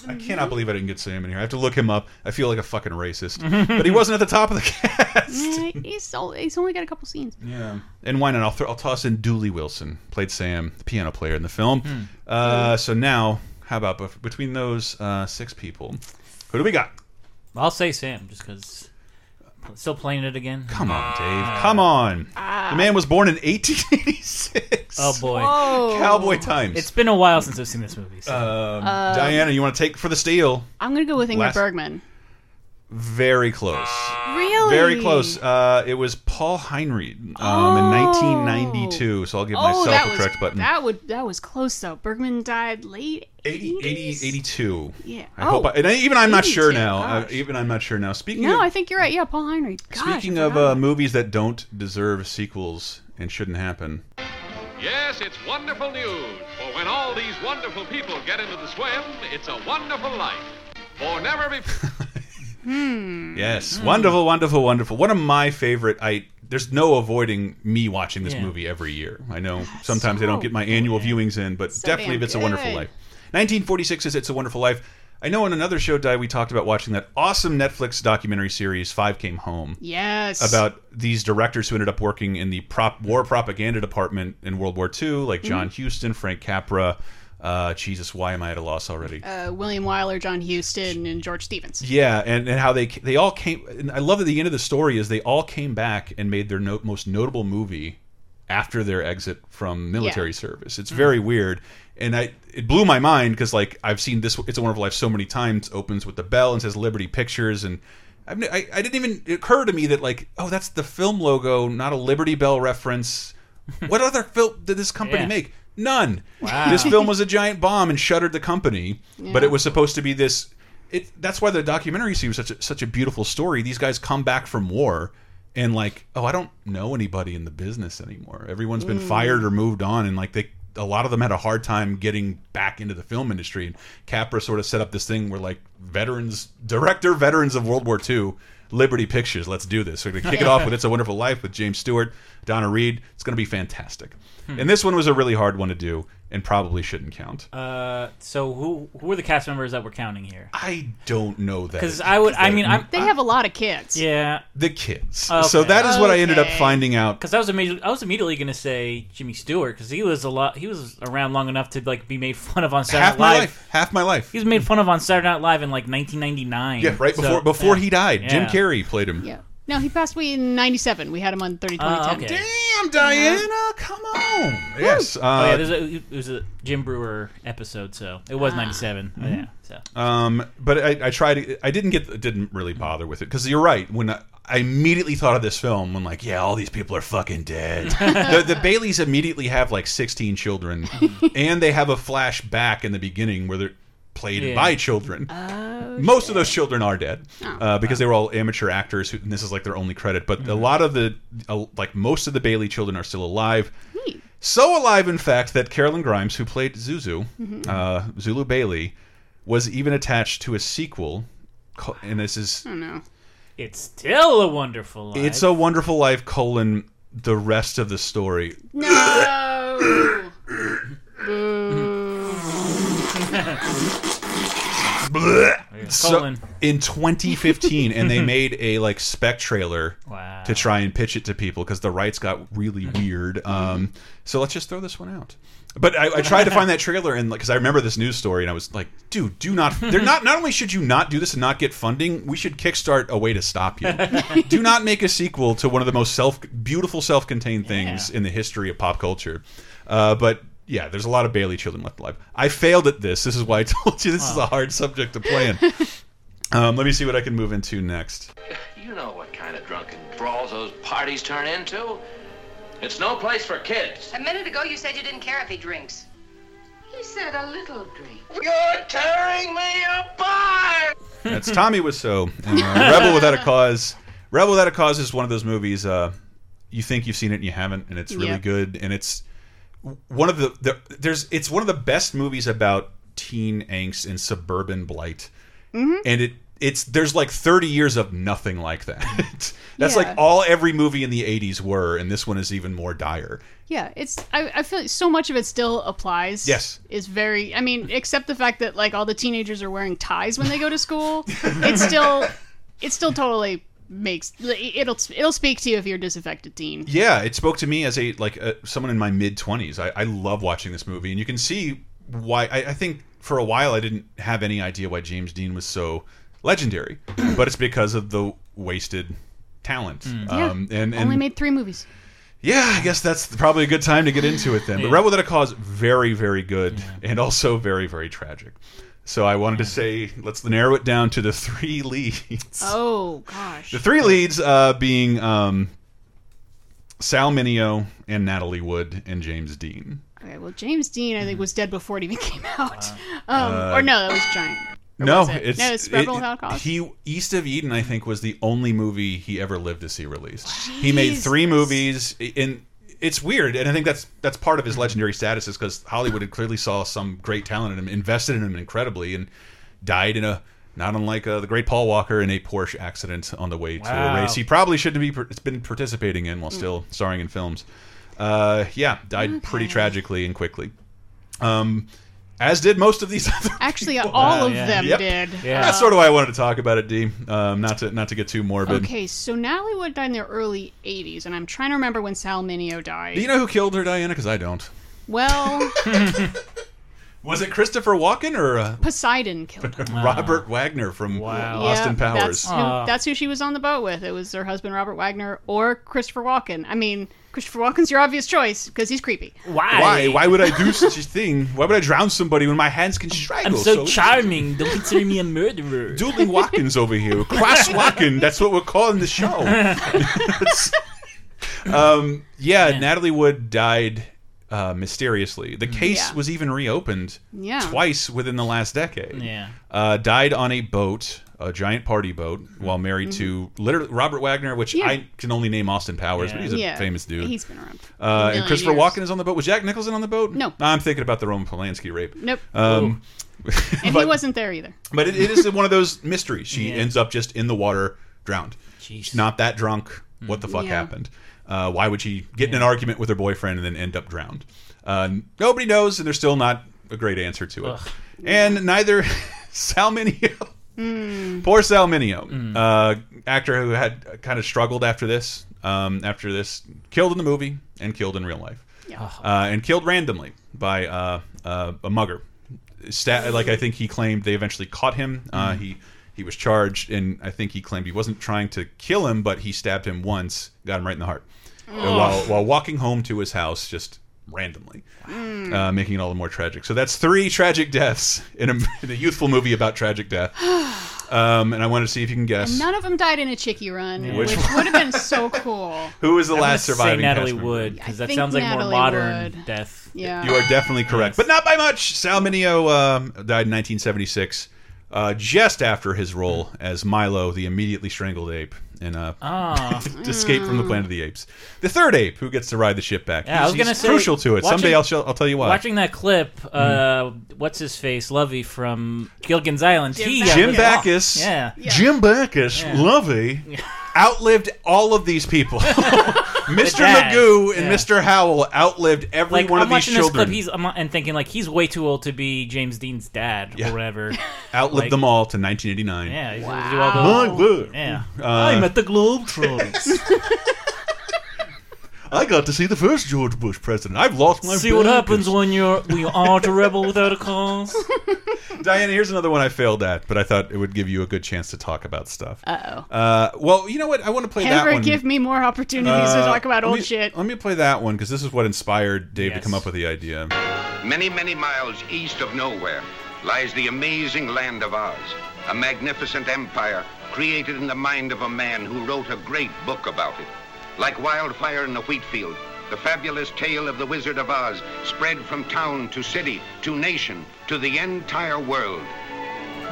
Speaker 1: I cannot believe I didn't get Sam in here. I have to look him up. I feel like a fucking racist. but he wasn't at the top of the
Speaker 3: eh, he's, al- he's only got a couple scenes.
Speaker 1: Yeah. And why not? I'll, th I'll toss in Dooley Wilson, played Sam, the piano player in the film. Uh, so now, how about bef- between those uh, six people, who do we got?
Speaker 2: I'll say Sam just because. Still playing it again?
Speaker 1: Come on, Dave. Come on. the man was born in 1886.
Speaker 2: Oh boy,
Speaker 1: Whoa. Cowboy times.
Speaker 2: It's been a while since I've seen this movie. So.
Speaker 1: Um,
Speaker 3: Uh,
Speaker 1: Diana, you want to take for the steal?
Speaker 3: I'm gonna go with Ingrid
Speaker 1: Last-
Speaker 3: Bergman.
Speaker 1: Very close.
Speaker 3: Really?
Speaker 1: Very close. Uh, it was Paul Heinried um, in 1992. So I'll give
Speaker 3: oh,
Speaker 1: myself
Speaker 3: that
Speaker 1: a
Speaker 3: was
Speaker 1: correct button.
Speaker 3: that would that was close though. Bergman died late.
Speaker 1: 80, 80, 82.
Speaker 3: Yeah.
Speaker 1: I
Speaker 3: Oh,
Speaker 1: hope. I, and I- even I'm not sure
Speaker 3: 82,
Speaker 1: now. Uh, even I'm not sure now. Speaking
Speaker 3: No,
Speaker 1: of,
Speaker 3: I think you're right. Yeah, Paul Heinrich. Gosh, I
Speaker 1: speaking of
Speaker 3: forgot.
Speaker 1: uh, movies that don't deserve sequels and shouldn't happen,
Speaker 16: Yes, it's wonderful news. For when all these wonderful people get into the swim, it's a wonderful life. For never before.
Speaker 1: yes,
Speaker 12: Hmm.
Speaker 1: wonderful, wonderful, wonderful. One of my favorite. I there's no avoiding me watching this
Speaker 12: Yeah.
Speaker 1: movie every year. I know sometimes I don't get my annual viewings in, but
Speaker 12: So
Speaker 1: definitely
Speaker 12: damn
Speaker 1: if it's a wonderful
Speaker 12: good.
Speaker 1: life. 1946 is It's a Wonderful Life. I know in another show, Di, we talked about watching that awesome Netflix documentary series, Five Came Home.
Speaker 3: Yes.
Speaker 1: About these directors who ended up working in the prop war propaganda department in World War II, like John
Speaker 12: Mm-hmm.
Speaker 3: Mhm.
Speaker 1: Huston, Frank Capra. Uh, Jesus, why am I at a loss already?
Speaker 3: uh, William Wyler, John Huston, and George Stevens.
Speaker 1: Yeah, and, and how they they all came. And I love that the end of the story is they all came back and made their no, most notable movie after their exit from military
Speaker 12: Yeah.
Speaker 1: service. It's very
Speaker 12: Mm-hmm.
Speaker 1: weird, and I it blew my mind because like I've seen this. It's a Wonderful Life so many times. Opens with the bell and says Liberty Pictures, and I've, ni I didn't even it occur to me that like oh that's the film logo, not a Liberty Bell reference. What other film did this company
Speaker 12: Yeah.
Speaker 1: make? None.
Speaker 12: Wow.
Speaker 1: This film was a giant bomb and shuttered the company, but
Speaker 12: Yeah.
Speaker 1: it was supposed to be this. It that's why the documentary seems such a, such a beautiful story. These guys come back from war and like, oh, I don't know anybody in the business anymore. Everyone's been
Speaker 12: Mm.
Speaker 1: fired or moved on, and like they. A lot of them had a hard time getting back into the film industry. And Capra sort of set up this thing where, like, veterans, director veterans of World War II, Liberty Pictures, let's do this. We're going to kick it off with It's a Wonderful Life with James Stewart, Donna Reed. It's going to be fantastic.
Speaker 12: Hmm.
Speaker 1: And this one was a really hard one to do. and probably shouldn't count.
Speaker 2: Uh, so who who are the cast members that we're counting here?
Speaker 1: I don't know that.
Speaker 2: Because I would, I mean, I'm
Speaker 3: They have a lot of kids.
Speaker 2: yeah.
Speaker 1: The kids. So that is what I ended up finding out.
Speaker 2: Because I was immediately, I was immediately going to say Jimmy Stewart because he was a lot, he was around long enough to like be made fun of on Saturday
Speaker 1: Half
Speaker 2: Night
Speaker 1: my
Speaker 2: Live.
Speaker 1: life. Half my life.
Speaker 2: He was made fun of on Saturday Night Live in like 1999.
Speaker 1: Yeah, right
Speaker 2: So-
Speaker 1: before before
Speaker 2: yeah.
Speaker 1: he died, Jim
Speaker 2: Yeah.
Speaker 1: Carrey played him.
Speaker 3: Yeah. No, he passed away in 97. We had him on 30
Speaker 2: Oh,
Speaker 3: 2010.
Speaker 2: okay.
Speaker 1: Damn, Diana, come on. Yes. Uh,
Speaker 2: oh yeah, there's a, it was a Jim Brewer episode, so it was 97.
Speaker 1: Mm-hmm.
Speaker 2: Yeah, so
Speaker 1: Um, but I, I tried. I didn't get. Didn't really bother with it because you're right. When I, I immediately thought of this film, when like, yeah, all these people are fucking dead. the, the Baileys immediately have like 16 children, and they have a flashback in the beginning where they're played
Speaker 8: Yeah.
Speaker 1: by children. Most of those children are dead uh, because they were all amateur actors, who, and this is like their only credit. But a lot of the, uh, like most of the Bailey children are still alive. So alive, in fact, that Carolyn Grimes, who played Zuzu,
Speaker 8: Mhm.
Speaker 1: uh, Zulu Bailey, was even attached to a sequel, co- and this is
Speaker 2: Hmm.
Speaker 3: Oh, no.
Speaker 2: it's still a wonderful. Life.
Speaker 1: "It's a Wonderful Life: colon The Rest of the Story."
Speaker 3: No!
Speaker 1: Blech. So,
Speaker 2: colon.
Speaker 1: in 2015, and they made a like spec trailer
Speaker 2: Wow.
Speaker 1: to try and pitch it to people because the rights got really weird. Um, so let's just throw this one out. But I, I tried to find that trailer and because I remember this news story and I was like, dude, do not. They're not. Not only should you not do this and not get funding, we should kickstart a way to stop you. do not make a sequel to one of the most self beautiful self contained things in the history of pop culture. Uh, but yeah, there's a lot of Bailey children left alive. I failed at this. This is why I told you this is a hard subject to plan. um, let me see what I can move into next.
Speaker 9: You know what kind of drunken brawls those parties turn into. It's no place for kids.
Speaker 6: A minute ago, you said you didn't care if he drinks. He said a little drink.
Speaker 4: You're tearing me apart!
Speaker 1: That's Tommy was so and, uh, Rebel Without a Cause. Rebel Without a Cause is one of those movies uh, you think you've seen it and you haven't, and it's really
Speaker 8: Yeah.
Speaker 1: good. And it's one of the, the there's it's one of the best movies about teen angst and suburban blight. And it it's there's like 30 years of nothing like that. That's
Speaker 3: Yeah.
Speaker 1: like all every movie in the 80s were, and this one is even more dire.
Speaker 3: Yeah, it's. I, I feel like so much of it still applies.
Speaker 1: Yes.
Speaker 3: is very. I mean, except the fact that like all the teenagers are wearing ties when they go to school. it's still. It still totally makes. It'll it'll speak to you if you're a disaffected teen.
Speaker 1: Yeah, it spoke to me as a like uh, someone in my mid twenties. I, I love watching this movie, and you can see why. I, I think for a while I didn't have any idea why James Dean was so legendary, but it's because of the wasted talent. Um,
Speaker 3: yeah,
Speaker 1: and, and
Speaker 3: only made three movies.
Speaker 1: yeah, I guess that's probably a good time to get into it then. But
Speaker 8: Yeah.
Speaker 1: Rebel That a Cause, very, very good, and also very, very tragic. So I wanted to say, let's narrow it down to the three leads.
Speaker 3: Oh gosh.
Speaker 1: The three leads uh, being um, Sal Mineo and Natalie Wood and James Dean.
Speaker 3: Okay, well, James Dean, I think, was dead before it even came out. um,
Speaker 1: Uh,
Speaker 3: or no, that was Giant. Or
Speaker 1: no,
Speaker 3: was it?
Speaker 1: it's
Speaker 3: no, it's Rebel Without a Cause.
Speaker 1: He East of Eden, I think, was the only movie he ever lived to see released. He made three movies, and it's weird. And I think that's that's part of his legendary status is because Hollywood had clearly saw some great talent in him, invested in him incredibly, and died in a not unlike uh, the great Paul Walker in a Porsche accident on the way to a
Speaker 8: Wow.
Speaker 1: race he probably shouldn't be. It's been participating in
Speaker 3: Hmm.
Speaker 1: while
Speaker 8: Mm.
Speaker 1: still starring in films. Uh, yeah, died pretty tragically and quickly. Um, as did most of these other
Speaker 3: Actually, all of them
Speaker 1: Yep.
Speaker 3: did.
Speaker 1: That's
Speaker 3: Uh,
Speaker 1: sort of why I wanted to talk about it, D. Um, not to not to get too morbid.
Speaker 3: Okay, so Natalie Wood died in the early 80s, and I'm trying to remember when Sal Mineo died.
Speaker 1: Do you know who killed her, Diana? Because I don't.
Speaker 3: Well,
Speaker 1: Was it Christopher Walken or uh,
Speaker 3: Poseidon killed her.
Speaker 1: Robert Wagner from Austin
Speaker 3: Yeah,
Speaker 1: Powers?
Speaker 3: That's who, that's who she was on the boat with. It was her husband, Robert Wagner, or Christopher Walken. I mean, Christopher Walken's your obvious choice because he's creepy.
Speaker 1: Why? Why would I do such a thing? Why would I drown somebody when my hands can strangle?
Speaker 2: I'm so charming. Don't consider me a murderer.
Speaker 1: Dueling Watkins over here. Cross Walken. That's what we're calling the show. It's- um, yeah, Natalie Wood died uh, mysteriously. The case
Speaker 8: Yeah.
Speaker 1: was even reopened
Speaker 8: Yeah.
Speaker 1: twice within the last decade.
Speaker 8: Yeah.
Speaker 1: Uh, died on a boat, a giant party boat, while married to literally Robert Wagner, which
Speaker 8: Mm-hmm. Yeah.
Speaker 1: I can only name Austin Powers, but he's a
Speaker 8: Yeah.
Speaker 1: famous dude.
Speaker 8: He's been around for a
Speaker 1: Uh, and
Speaker 8: million
Speaker 1: Christopher
Speaker 8: years.
Speaker 1: Walken is on the boat. Was Jack Nicholson on the boat?
Speaker 3: No.
Speaker 1: I'm thinking about the Roman Polanski rape.
Speaker 3: Nope.
Speaker 1: Um,
Speaker 3: And he
Speaker 1: but-
Speaker 3: wasn't there either.
Speaker 1: but it, it is one of those mysteries. She
Speaker 3: Yeah.
Speaker 1: ends up just in the water, drowned. She's Not that drunk. What the fuck
Speaker 3: Yeah.
Speaker 1: happened? Uh, why would she get in an argument with her boyfriend and then end up drowned? Uh, nobody knows, and there's still not a great answer to it. And neither Salminio, poor Salminio, uh, actor who had kind of struggled after this, um, after this, killed in the movie and killed in real life,
Speaker 3: Yeah.
Speaker 1: uh, and killed randomly by uh, uh, a mugger. Stat, like I think he claimed they eventually caught him. Uh,
Speaker 8: Mhm.
Speaker 1: He he was charged, and I think he claimed he wasn't trying to kill him, but he stabbed him once, got him right in the heart, uh,
Speaker 8: Ugh.
Speaker 1: while while walking home to his house just randomly,
Speaker 8: Mm.
Speaker 1: uh, making it all the more tragic. So that's three tragic deaths in a, in a youthful movie about tragic death. Um, and I want to see if you can guess
Speaker 3: And none of them died in a chicky run,
Speaker 1: Yeah.
Speaker 3: which,
Speaker 1: Which one-
Speaker 3: would have been so cool.
Speaker 1: who was the last
Speaker 2: say
Speaker 1: surviving.
Speaker 2: Natalie
Speaker 1: cast member.
Speaker 2: Wood because that
Speaker 3: think
Speaker 2: sounds like more
Speaker 3: Natalie
Speaker 2: modern
Speaker 3: Wood.
Speaker 2: death.
Speaker 3: Yeah.
Speaker 1: You are definitely correct, but not by much. Sal Mineo um, died in 1976, uh, just after his role as Milo, the immediately strangled ape, in uh,
Speaker 2: Ah.
Speaker 1: Escape from the Planet of the Apes. The third ape who gets to ride the ship back.
Speaker 2: Yeah, I was
Speaker 1: He's-
Speaker 2: gonna
Speaker 1: he's
Speaker 2: say
Speaker 1: crucial to it.
Speaker 2: watching-
Speaker 1: Someday I'll, show, I'll tell you why.
Speaker 2: Watching that clip,
Speaker 1: Mm-hmm.
Speaker 2: uh, what's his face, Lovey from Gilligan's Island. he got
Speaker 1: Jim
Speaker 2: really-
Speaker 1: Backus,
Speaker 2: Yeah.
Speaker 1: Jim Backus,
Speaker 2: Yeah.
Speaker 1: Lovey, outlived all of these people. Mr.
Speaker 2: dad,
Speaker 1: Magoo and
Speaker 2: yeah.
Speaker 1: Mr. Howell outlived every
Speaker 2: Like
Speaker 1: one
Speaker 2: I'm
Speaker 1: of these
Speaker 2: watching this clip,
Speaker 1: children.
Speaker 2: he's I'm, and thinking like he's way too old to be James Dean's dad or whatever.
Speaker 1: outlived
Speaker 2: like-
Speaker 1: them all to 1989.
Speaker 2: Yeah, he's gonna do all
Speaker 1: My
Speaker 2: the
Speaker 1: word.
Speaker 2: Yeah.
Speaker 1: Uh,
Speaker 2: I'm at the Globetrotters.
Speaker 1: I got to see the first George Bush president. I've lost my.
Speaker 2: See what
Speaker 1: brain.
Speaker 2: happens when you're when you aren't a rebel without a cause.
Speaker 1: Diana, here's another one I failed at, but I thought it would give you a good chance to talk about stuff.
Speaker 3: Uh-oh.
Speaker 1: Uh, well, you know what? I want to play that
Speaker 3: Ever
Speaker 1: one.
Speaker 3: give me more opportunities to
Speaker 1: Uh,
Speaker 3: talk about
Speaker 1: let
Speaker 3: old
Speaker 1: me-
Speaker 3: shit.
Speaker 1: Let me play that one because this is what inspired Dave to come up with the idea.
Speaker 12: Many, many miles east of nowhere lies the amazing land of Oz, a magnificent empire created in the mind of a man who wrote a great book about it. Like wildfire in the wheat field, the fabulous tale of the Wizard of Oz spread from town to city to nation to the entire world.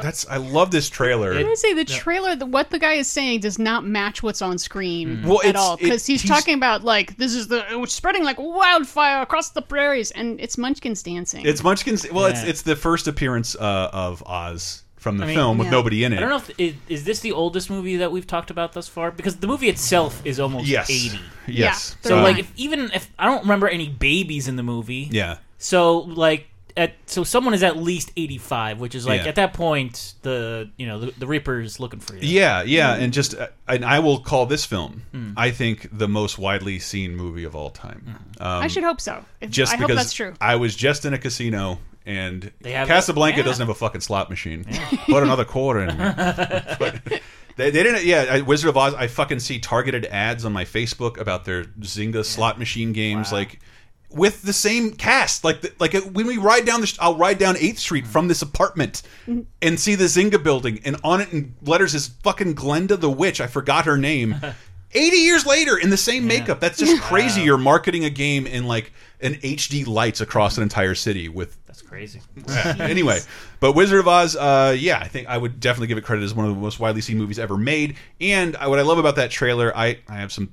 Speaker 1: That's I love this trailer.
Speaker 3: I would say the trailer, the, what the guy is saying, does not match what's on screen
Speaker 1: Mm. Well,
Speaker 3: at
Speaker 1: it's-
Speaker 3: all.
Speaker 1: it-
Speaker 3: Because he's,
Speaker 1: he's-
Speaker 3: talking about like this is the it was spreading like wildfire across the prairies, and it's Munchkins dancing.
Speaker 1: It's Munchkins. Well, it's
Speaker 2: Yeah.
Speaker 1: it's the first appearance uh, of Oz from the
Speaker 2: I mean,
Speaker 1: film with
Speaker 2: yeah.
Speaker 1: nobody in it.
Speaker 2: I don't know if is, is this the oldest movie that we've talked about thus far because the movie itself is almost
Speaker 1: Yes.
Speaker 2: eighty.
Speaker 1: Yes. Yeah,
Speaker 2: so
Speaker 1: they're
Speaker 2: like
Speaker 1: right.
Speaker 2: if, even if I don't remember any babies in the movie.
Speaker 1: Yeah.
Speaker 2: So like at so someone is at least eighty five, which is like
Speaker 1: Yeah.
Speaker 2: at that point the you know the, the Reaper's looking for you.
Speaker 1: Yeah, yeah, and just uh, and I will call this film,
Speaker 2: Mm.
Speaker 1: I think, the most widely seen movie of all time. Um,
Speaker 3: I should hope so. If,
Speaker 1: just
Speaker 3: I
Speaker 1: because
Speaker 3: hope that's true.
Speaker 1: I was just in a casino and
Speaker 2: They have-
Speaker 1: Casablanca
Speaker 2: yeah.
Speaker 1: doesn't have a fucking slot machine. Put another quarter in. there. But they, they didn't. Yeah, I, Wizard of Oz. I fucking see targeted ads on my Facebook about their Zynga slot machine games, like with the same cast. Like the, like when we ride down the, sh- I'll ride down Eighth Street
Speaker 2: Mm.
Speaker 1: from this apartment
Speaker 3: Mm-hmm.
Speaker 1: and see the Zynga building, and on it in letters is fucking Glenda the Witch. I forgot her name. 80 years later in the same makeup. That's just crazy. You're marketing a game in like an HD lights across an entire city with.
Speaker 2: That's crazy.
Speaker 1: anyway, but Wizard of Oz, uh, yeah, I think I would definitely give it credit as one of the most widely seen movies ever made. And I, what I love about that trailer, I, I have some.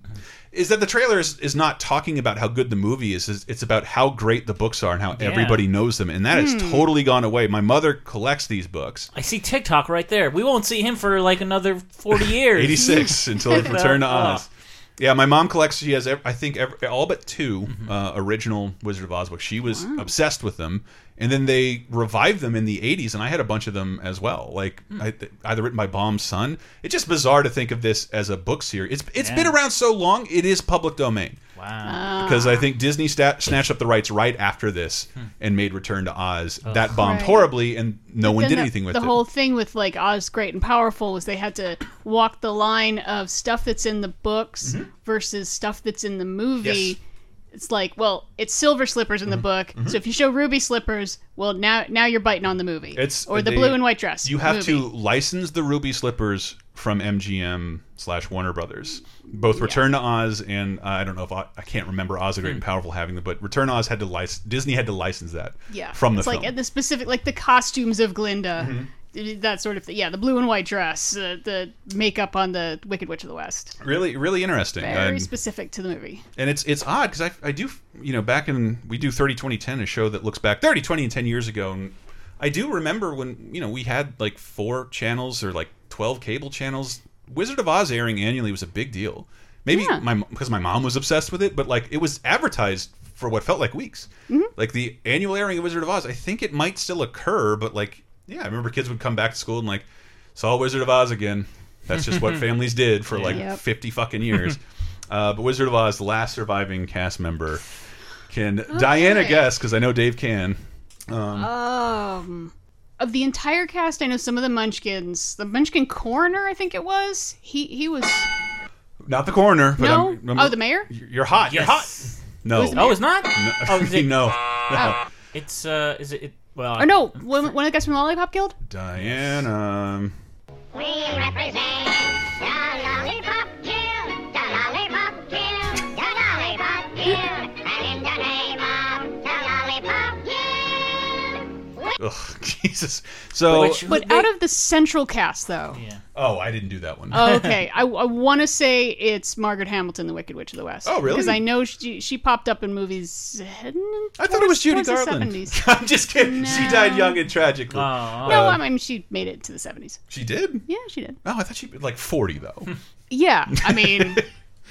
Speaker 1: Is that the trailer is, is not talking about how good the movie is. It's, it's about how great the books are and how
Speaker 2: Yeah.
Speaker 1: everybody knows them. And that has
Speaker 2: Hmm.
Speaker 1: totally gone away. My mother collects these books.
Speaker 2: I see TikTok right there. We won't see him for like another forty years.
Speaker 1: 86 until it
Speaker 2: You know?
Speaker 1: returned to
Speaker 2: Oh.
Speaker 1: Oz. Yeah, my mom collects. She has, ev- I think, ev all but 2 uh, original Wizard of Oz books. She was
Speaker 2: Wow.
Speaker 1: obsessed with them, and then they revived them in the '80s, and I had a bunch of them as well. Like I, th- either written by Baum's son. It's just bizarre to think of this as a book series. It's it's been
Speaker 2: Yeah.
Speaker 1: around so long, it is public domain.
Speaker 2: Wow.
Speaker 1: Because I think Disney sta snatched up the rights right after this and made Return to Oz.
Speaker 2: Ugh.
Speaker 1: That bombed
Speaker 3: Right.
Speaker 1: horribly, and no one
Speaker 3: Then
Speaker 1: did
Speaker 3: the-
Speaker 1: anything with
Speaker 3: the
Speaker 1: it.
Speaker 3: whole thing with like Oz Great and Powerful was they had to walk the line of stuff that's in the books
Speaker 1: Mm-hmm.
Speaker 17: Mhm.
Speaker 3: versus stuff that's in the movie.
Speaker 17: Yes.
Speaker 3: It's like, well, it's silver slippers
Speaker 1: Mm-hmm.
Speaker 3: in the book, so if you show ruby slippers, well, now now you're biting on the movie.
Speaker 1: It's
Speaker 3: or the
Speaker 1: they-
Speaker 3: blue and white dress.
Speaker 1: You have
Speaker 3: movie.
Speaker 1: to license the ruby slippers from MGM slash Warner Brothers. Both Return to Oz and uh, I don't know if I, I can't remember Oz the
Speaker 3: Hmm.
Speaker 1: Great and Powerful having them, but Return to Oz had to license Disney had to license that.
Speaker 3: yeah
Speaker 1: from the
Speaker 3: it's
Speaker 1: film. Mm-hmm.
Speaker 3: like at the specific like the costumes of Glinda. That sort of thing. Yeah, the blue and white dress, uh, the makeup on the Wicked Witch of the West.
Speaker 1: really, really interesting.
Speaker 3: Very
Speaker 1: And-
Speaker 3: specific to the movie.
Speaker 1: and it's it's odd because I, I do you know back in we do 30 20 10 a show that looks back 30 20 and 10 years ago and i do remember when you know we had like four channels or like 12 cable channels wizard of oz airing annually was a big deal Maybe my because my mom was obsessed with it, but like it was advertised for what felt like weeks. Like the annual airing of Wizard of Oz, I think it might still occur, but like yeah, I remember kids would come back to school and like saw Wizard of Oz again. That's just what families did for like
Speaker 2: Yep.
Speaker 1: fifty fucking years. uh, but Wizard of Oz, the last surviving cast member, can Diana
Speaker 3: Okay.
Speaker 1: guess? Because I know Dave can. Um,
Speaker 3: Um, of the entire cast, I know some of the Munchkins. The Munchkin coroner, I think it was. He he was
Speaker 1: not the coroner, but
Speaker 3: no.
Speaker 1: I'm, I'm-
Speaker 3: oh, the mayor.
Speaker 1: You're hot. You're hot. No.
Speaker 3: Who's the mayor? Oh, it's not?
Speaker 1: No.
Speaker 3: Oh, is it-
Speaker 1: no.
Speaker 3: Oh.
Speaker 1: No.
Speaker 2: It's uh, is it? it well,
Speaker 3: Or Oh, no, one, one of the guys from the Lollipop Guild.
Speaker 1: Diana.
Speaker 4: We represent the Lollipop Guild, the Lollipop Guild, the Lollipop Guild, and in the name of the Lollipop
Speaker 1: Ugh, Jesus. So.
Speaker 3: but out of the central cast, though.
Speaker 1: oh, I didn't do that one.
Speaker 3: Oh, okay, I, I want to say it's Margaret Hamilton, the Wicked Witch of the West.
Speaker 1: Oh, really?
Speaker 3: Because I know she, she popped up in movies. uh, I
Speaker 1: thought it was Judy Garland.
Speaker 3: The 70s.
Speaker 1: I'm just kidding. She died young and tragically.
Speaker 3: no,
Speaker 1: Uh,
Speaker 3: I mean she made it to the seventies.
Speaker 1: She did. Hmm.
Speaker 3: Yeah, she did.
Speaker 1: Oh, I thought she'd be like 40 though.
Speaker 3: Yeah, I mean,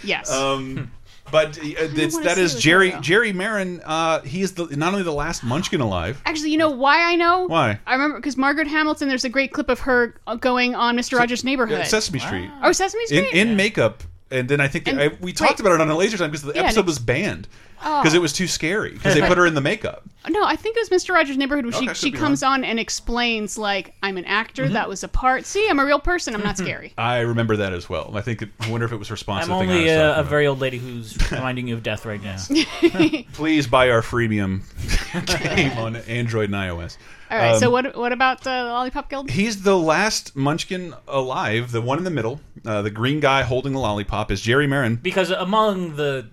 Speaker 3: yes.
Speaker 1: Um, but uh, it's,
Speaker 3: wanna
Speaker 1: that
Speaker 3: say
Speaker 1: is
Speaker 3: it was
Speaker 1: Jerry
Speaker 3: her, though.
Speaker 1: Jerry Marin. Uh, he is the, not only the last Munchkin alive.
Speaker 3: Actually, you know why I know?
Speaker 1: Why?
Speaker 3: I remember because Margaret Hamilton. There's a great clip of her going on Mr. Rogers' Neighborhood.
Speaker 1: uh, Sesame Street.
Speaker 3: Oh, Sesame Street.
Speaker 1: In, in makeup, and then I think I, we talked about it on a later time because the
Speaker 3: Yeah, and
Speaker 1: episode
Speaker 3: it-
Speaker 1: was banned
Speaker 3: Oh.
Speaker 1: because it was too scary because they put her in the makeup.
Speaker 3: No, I think it was Mr. Rogers' Neighborhood where
Speaker 1: Okay,
Speaker 3: she,
Speaker 1: could
Speaker 3: she
Speaker 1: be Mm-hmm.
Speaker 3: comes on and explains like I'm an actor. That was a part. See, I'm a real person. I'm not scary.
Speaker 1: I remember that as well. I think it, I wonder if it was responsive.
Speaker 2: I'm
Speaker 1: thing I
Speaker 2: only
Speaker 1: was talking
Speaker 2: uh, a
Speaker 1: about.
Speaker 2: very old lady who's reminding you of death right now.
Speaker 1: Please buy our freemium game on Android and iOS.
Speaker 3: All right. so
Speaker 1: Um,
Speaker 3: what what about the Lollipop Guild?
Speaker 1: He's the last Munchkin alive. The one in the middle, uh, the green guy holding the lollipop, is Jerry Marin.
Speaker 2: because among the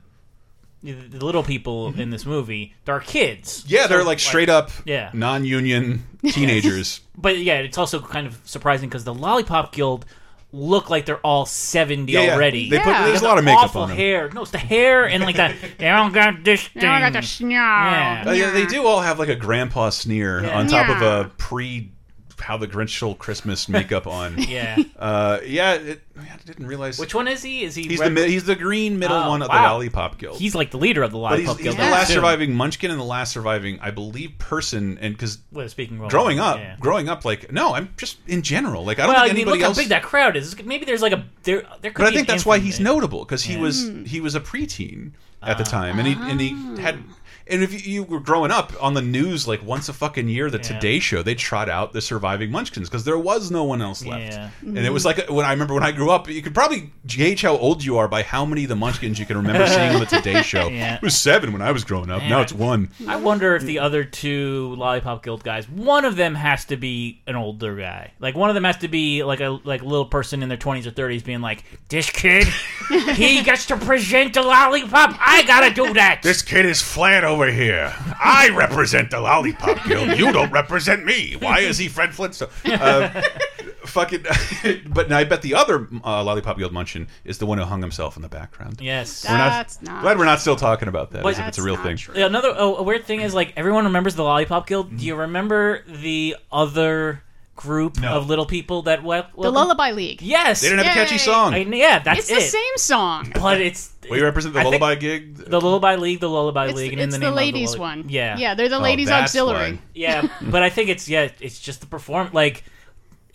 Speaker 2: the little people in this movie, there are kids.
Speaker 1: Mm-hmm. Yeah, they're
Speaker 2: So,
Speaker 1: like straight up
Speaker 2: Yeah.
Speaker 1: non-union teenagers.
Speaker 2: But yeah, it's also kind of surprising because the Lollipop Guild look like they're all seventy
Speaker 1: Yeah, yeah.
Speaker 2: already.
Speaker 1: They put- Yeah. there's a
Speaker 2: They
Speaker 1: lot
Speaker 2: have
Speaker 1: of makeup
Speaker 2: awful
Speaker 1: on them.
Speaker 2: hair. No, it's the hair and like that. They all got this thing.
Speaker 3: They all got the snarl.
Speaker 2: Yeah.
Speaker 1: Uh, yeah, they do all have like a grandpa sneer
Speaker 2: Yeah.
Speaker 1: on top
Speaker 3: Yeah.
Speaker 1: of a pre How the Grinch Stole Christmas makeup on.
Speaker 2: Yeah.
Speaker 1: uh, yeah. It, I didn't realize
Speaker 2: Which one is he? Is he?
Speaker 1: he's
Speaker 2: red-
Speaker 1: the mi- he's the green middle
Speaker 2: Oh,
Speaker 1: one of the
Speaker 2: wow.
Speaker 1: Lollipop Guild.
Speaker 2: He's like the leader of the
Speaker 1: But he's-
Speaker 2: Lollipop
Speaker 1: he's,
Speaker 2: Guild.
Speaker 1: the last
Speaker 2: Yeah.
Speaker 1: surviving Munchkin and the last surviving, I believe, person. And because
Speaker 2: Well, speaking role,
Speaker 1: growing up,
Speaker 2: yeah.
Speaker 1: growing up, like no, I'm just in general. Like I don't
Speaker 2: well,
Speaker 1: think
Speaker 2: I mean,
Speaker 1: anybody
Speaker 2: look
Speaker 1: else.
Speaker 2: how big that crowd is. Maybe there's like a there. There could
Speaker 1: but I
Speaker 2: be
Speaker 1: think
Speaker 2: an
Speaker 1: that's why
Speaker 2: infant
Speaker 1: he's
Speaker 2: there.
Speaker 1: notable because he
Speaker 2: Yeah. Ah.
Speaker 1: was he was a preteen at the time, and he and he had. And if you you were growing up on the news, like once a fucking year, the
Speaker 2: Yeah.
Speaker 1: Today Show, they trot out the surviving Munchkins because there was no one else left.
Speaker 2: Yeah.
Speaker 1: And it was like when I remember when I grew up, you could probably gauge how old you are by how many of the Munchkins you can remember seeing on the Today Show.
Speaker 2: Yeah.
Speaker 1: It was seven when I was growing up. Now
Speaker 2: Yeah.
Speaker 1: it's one.
Speaker 2: I wonder if the other two Lollipop Guild guys, one of them has to be an older guy. Like one of them has to be like a like a little person in their twenties or thirties, being like, "This kid, he gets to present the lollipop. I gotta do that."
Speaker 1: This kid is flat over here. I represent the Lollipop Guild. You don't represent me. Why is he Fred Flintstone? Uh, fucking. but now I bet the other uh, Lollipop Guild Munchin is the one who hung himself in the background.
Speaker 2: Yes,
Speaker 1: We're not-
Speaker 3: That's not
Speaker 1: glad we're not still talking about that.
Speaker 2: But-
Speaker 1: as if it's a real thing.
Speaker 2: Yeah, another oh, a weird thing is like everyone remembers the Lollipop Guild. Do
Speaker 1: Mm.
Speaker 2: you remember the other group of little people that wel-
Speaker 3: The
Speaker 2: welcome-
Speaker 3: Lullaby League.
Speaker 2: Yes,
Speaker 1: They didn't have a catchy Yay. song.
Speaker 2: I- yeah, that's
Speaker 3: it's
Speaker 2: it.
Speaker 3: the same song.
Speaker 2: But it's
Speaker 1: We represent the
Speaker 2: I think
Speaker 1: Lullaby Gig.
Speaker 2: the Lullaby League, the Lullaby
Speaker 3: It's,
Speaker 2: League, and in
Speaker 3: it's
Speaker 2: the
Speaker 3: the,
Speaker 2: name of
Speaker 3: ladies
Speaker 2: Lullaby-
Speaker 3: one.
Speaker 2: Yeah,
Speaker 3: Yeah,
Speaker 1: Oh,
Speaker 3: they're the ladies auxiliary.
Speaker 2: Yeah, but I think it's yeah, it's just the perform like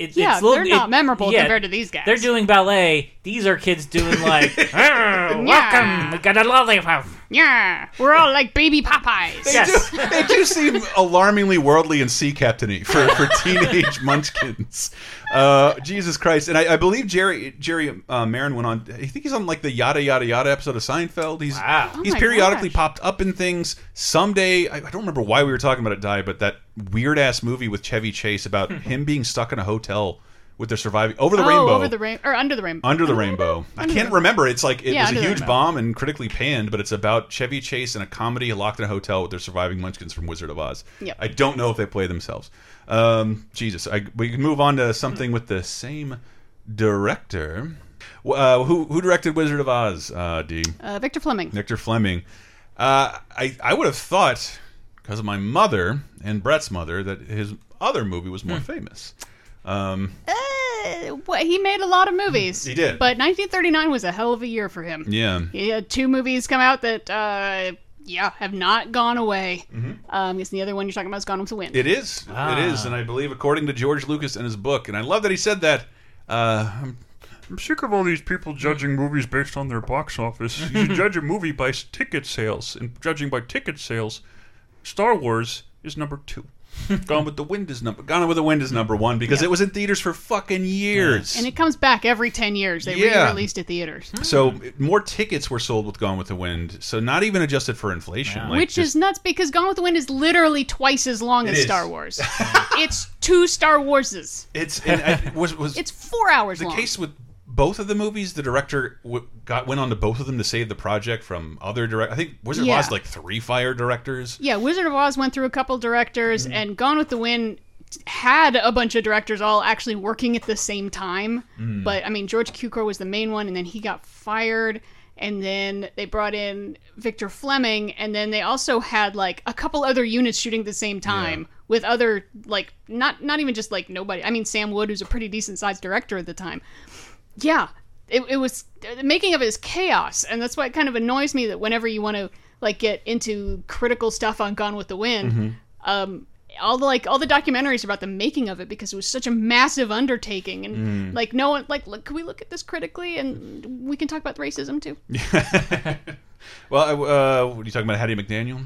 Speaker 2: it,
Speaker 3: Yeah,
Speaker 2: it's little,
Speaker 3: they're not
Speaker 2: it-
Speaker 3: memorable
Speaker 2: yeah,
Speaker 3: compared to these guys.
Speaker 2: They're doing ballet. These are kids doing like "Arr, welcome. We got a lollipop.
Speaker 3: Yeah, we're all like baby Popeyes.
Speaker 1: They, do, they do seem alarmingly worldly and sea captainy for, for teenage munchkins. Uh, Jesus Christ! And I, I believe Jerry Jerry uh, Marin went on. I think he's on like the yada yada yada episode of Seinfeld. He's
Speaker 2: Oh
Speaker 1: he's
Speaker 2: my
Speaker 1: periodically popped up in things. Someday I, I don't remember why we were talking about it, Di, but that weird ass movie with Chevy Chase about him being stuck in a hotel with their surviving over the
Speaker 3: oh,
Speaker 1: rainbow.
Speaker 3: over the rain or under the rainbow.
Speaker 1: Under the Rainbow. I can't remember. It's like it
Speaker 3: Yeah,
Speaker 1: was
Speaker 3: Under
Speaker 1: a
Speaker 3: the
Speaker 1: huge
Speaker 3: Rainbow.
Speaker 1: bomb and critically panned, but it's about Chevy Chase and a comedy locked in a hotel with their surviving Munchkins from Wizard of Oz.
Speaker 3: Yep.
Speaker 1: I don't know if they play themselves. Um, Jesus, I, we can move on to something with the same director. Uh, who who directed Wizard of Oz? Uh, D.
Speaker 3: Uh, Victor Fleming.
Speaker 1: Victor Fleming. Uh, I I would have thought because of my
Speaker 3: Hmm.
Speaker 1: mother and Brett's mother that his other movie was more famous. Um,
Speaker 3: uh, what- he made a lot of movies.
Speaker 1: He did.
Speaker 3: But 1939 was a hell of a year for him.
Speaker 1: Yeah.
Speaker 3: He had two movies come out that, uh, yeah, have not gone away. Um, I guess the other one you're talking about is Gone with the Wind.
Speaker 1: Mm-hmm. It is. It is. And
Speaker 3: Ah.
Speaker 1: I believe, according to George Lucas in his book, and I love that he said that. Uh, I'm, I'm sick of all these people judging movies based on their box office. You should judge a movie by s- ticket sales, and judging by ticket sales, Star Wars is number two. Gone with the Wind is number. Gone with the Wind is number one because it was in theaters for fucking years.
Speaker 3: And it comes back every 10 years. They
Speaker 1: Yeah.
Speaker 3: re-released at theaters.
Speaker 1: so more tickets were sold with Gone with the Wind. So not even adjusted for inflation, like
Speaker 3: Which
Speaker 1: just-
Speaker 3: is nuts because Gone with the Wind is literally twice as long
Speaker 1: It
Speaker 3: as
Speaker 1: is.
Speaker 3: Star Wars. it's two Star Warses.
Speaker 1: it's and I, was was
Speaker 3: It's four hours
Speaker 1: the
Speaker 3: long.
Speaker 1: case with both of the movies, the director w- got went on to both of them to save the project from other direct. I think Wizard
Speaker 3: Yeah.
Speaker 1: of Oz like three fire directors.
Speaker 3: yeah, Wizard of Oz went through a couple directors, and Gone with the Wind had a bunch of directors all actually working at the same time.
Speaker 8: Mm.
Speaker 3: But I mean, George Cukor was the main one, and then he got fired. And then they brought in Victor Fleming, and then they also had like a couple other units shooting at the same time with other like not not even just like nobody. I mean, Sam Wood, who's a pretty decent sized director at the time. Yeah, it, it was the making of it is chaos, and that's why it kind of annoys me that whenever you want to like get into critical stuff on Gone with the Wind,
Speaker 1: Mm-hmm.
Speaker 3: um, all the like all the documentaries about the making of it because it was such a massive undertaking and
Speaker 1: Mm.
Speaker 3: like no one like look, can we look at this critically and we can talk about racism too.
Speaker 1: Well, I- uh, what are you talking about Hattie McDaniel?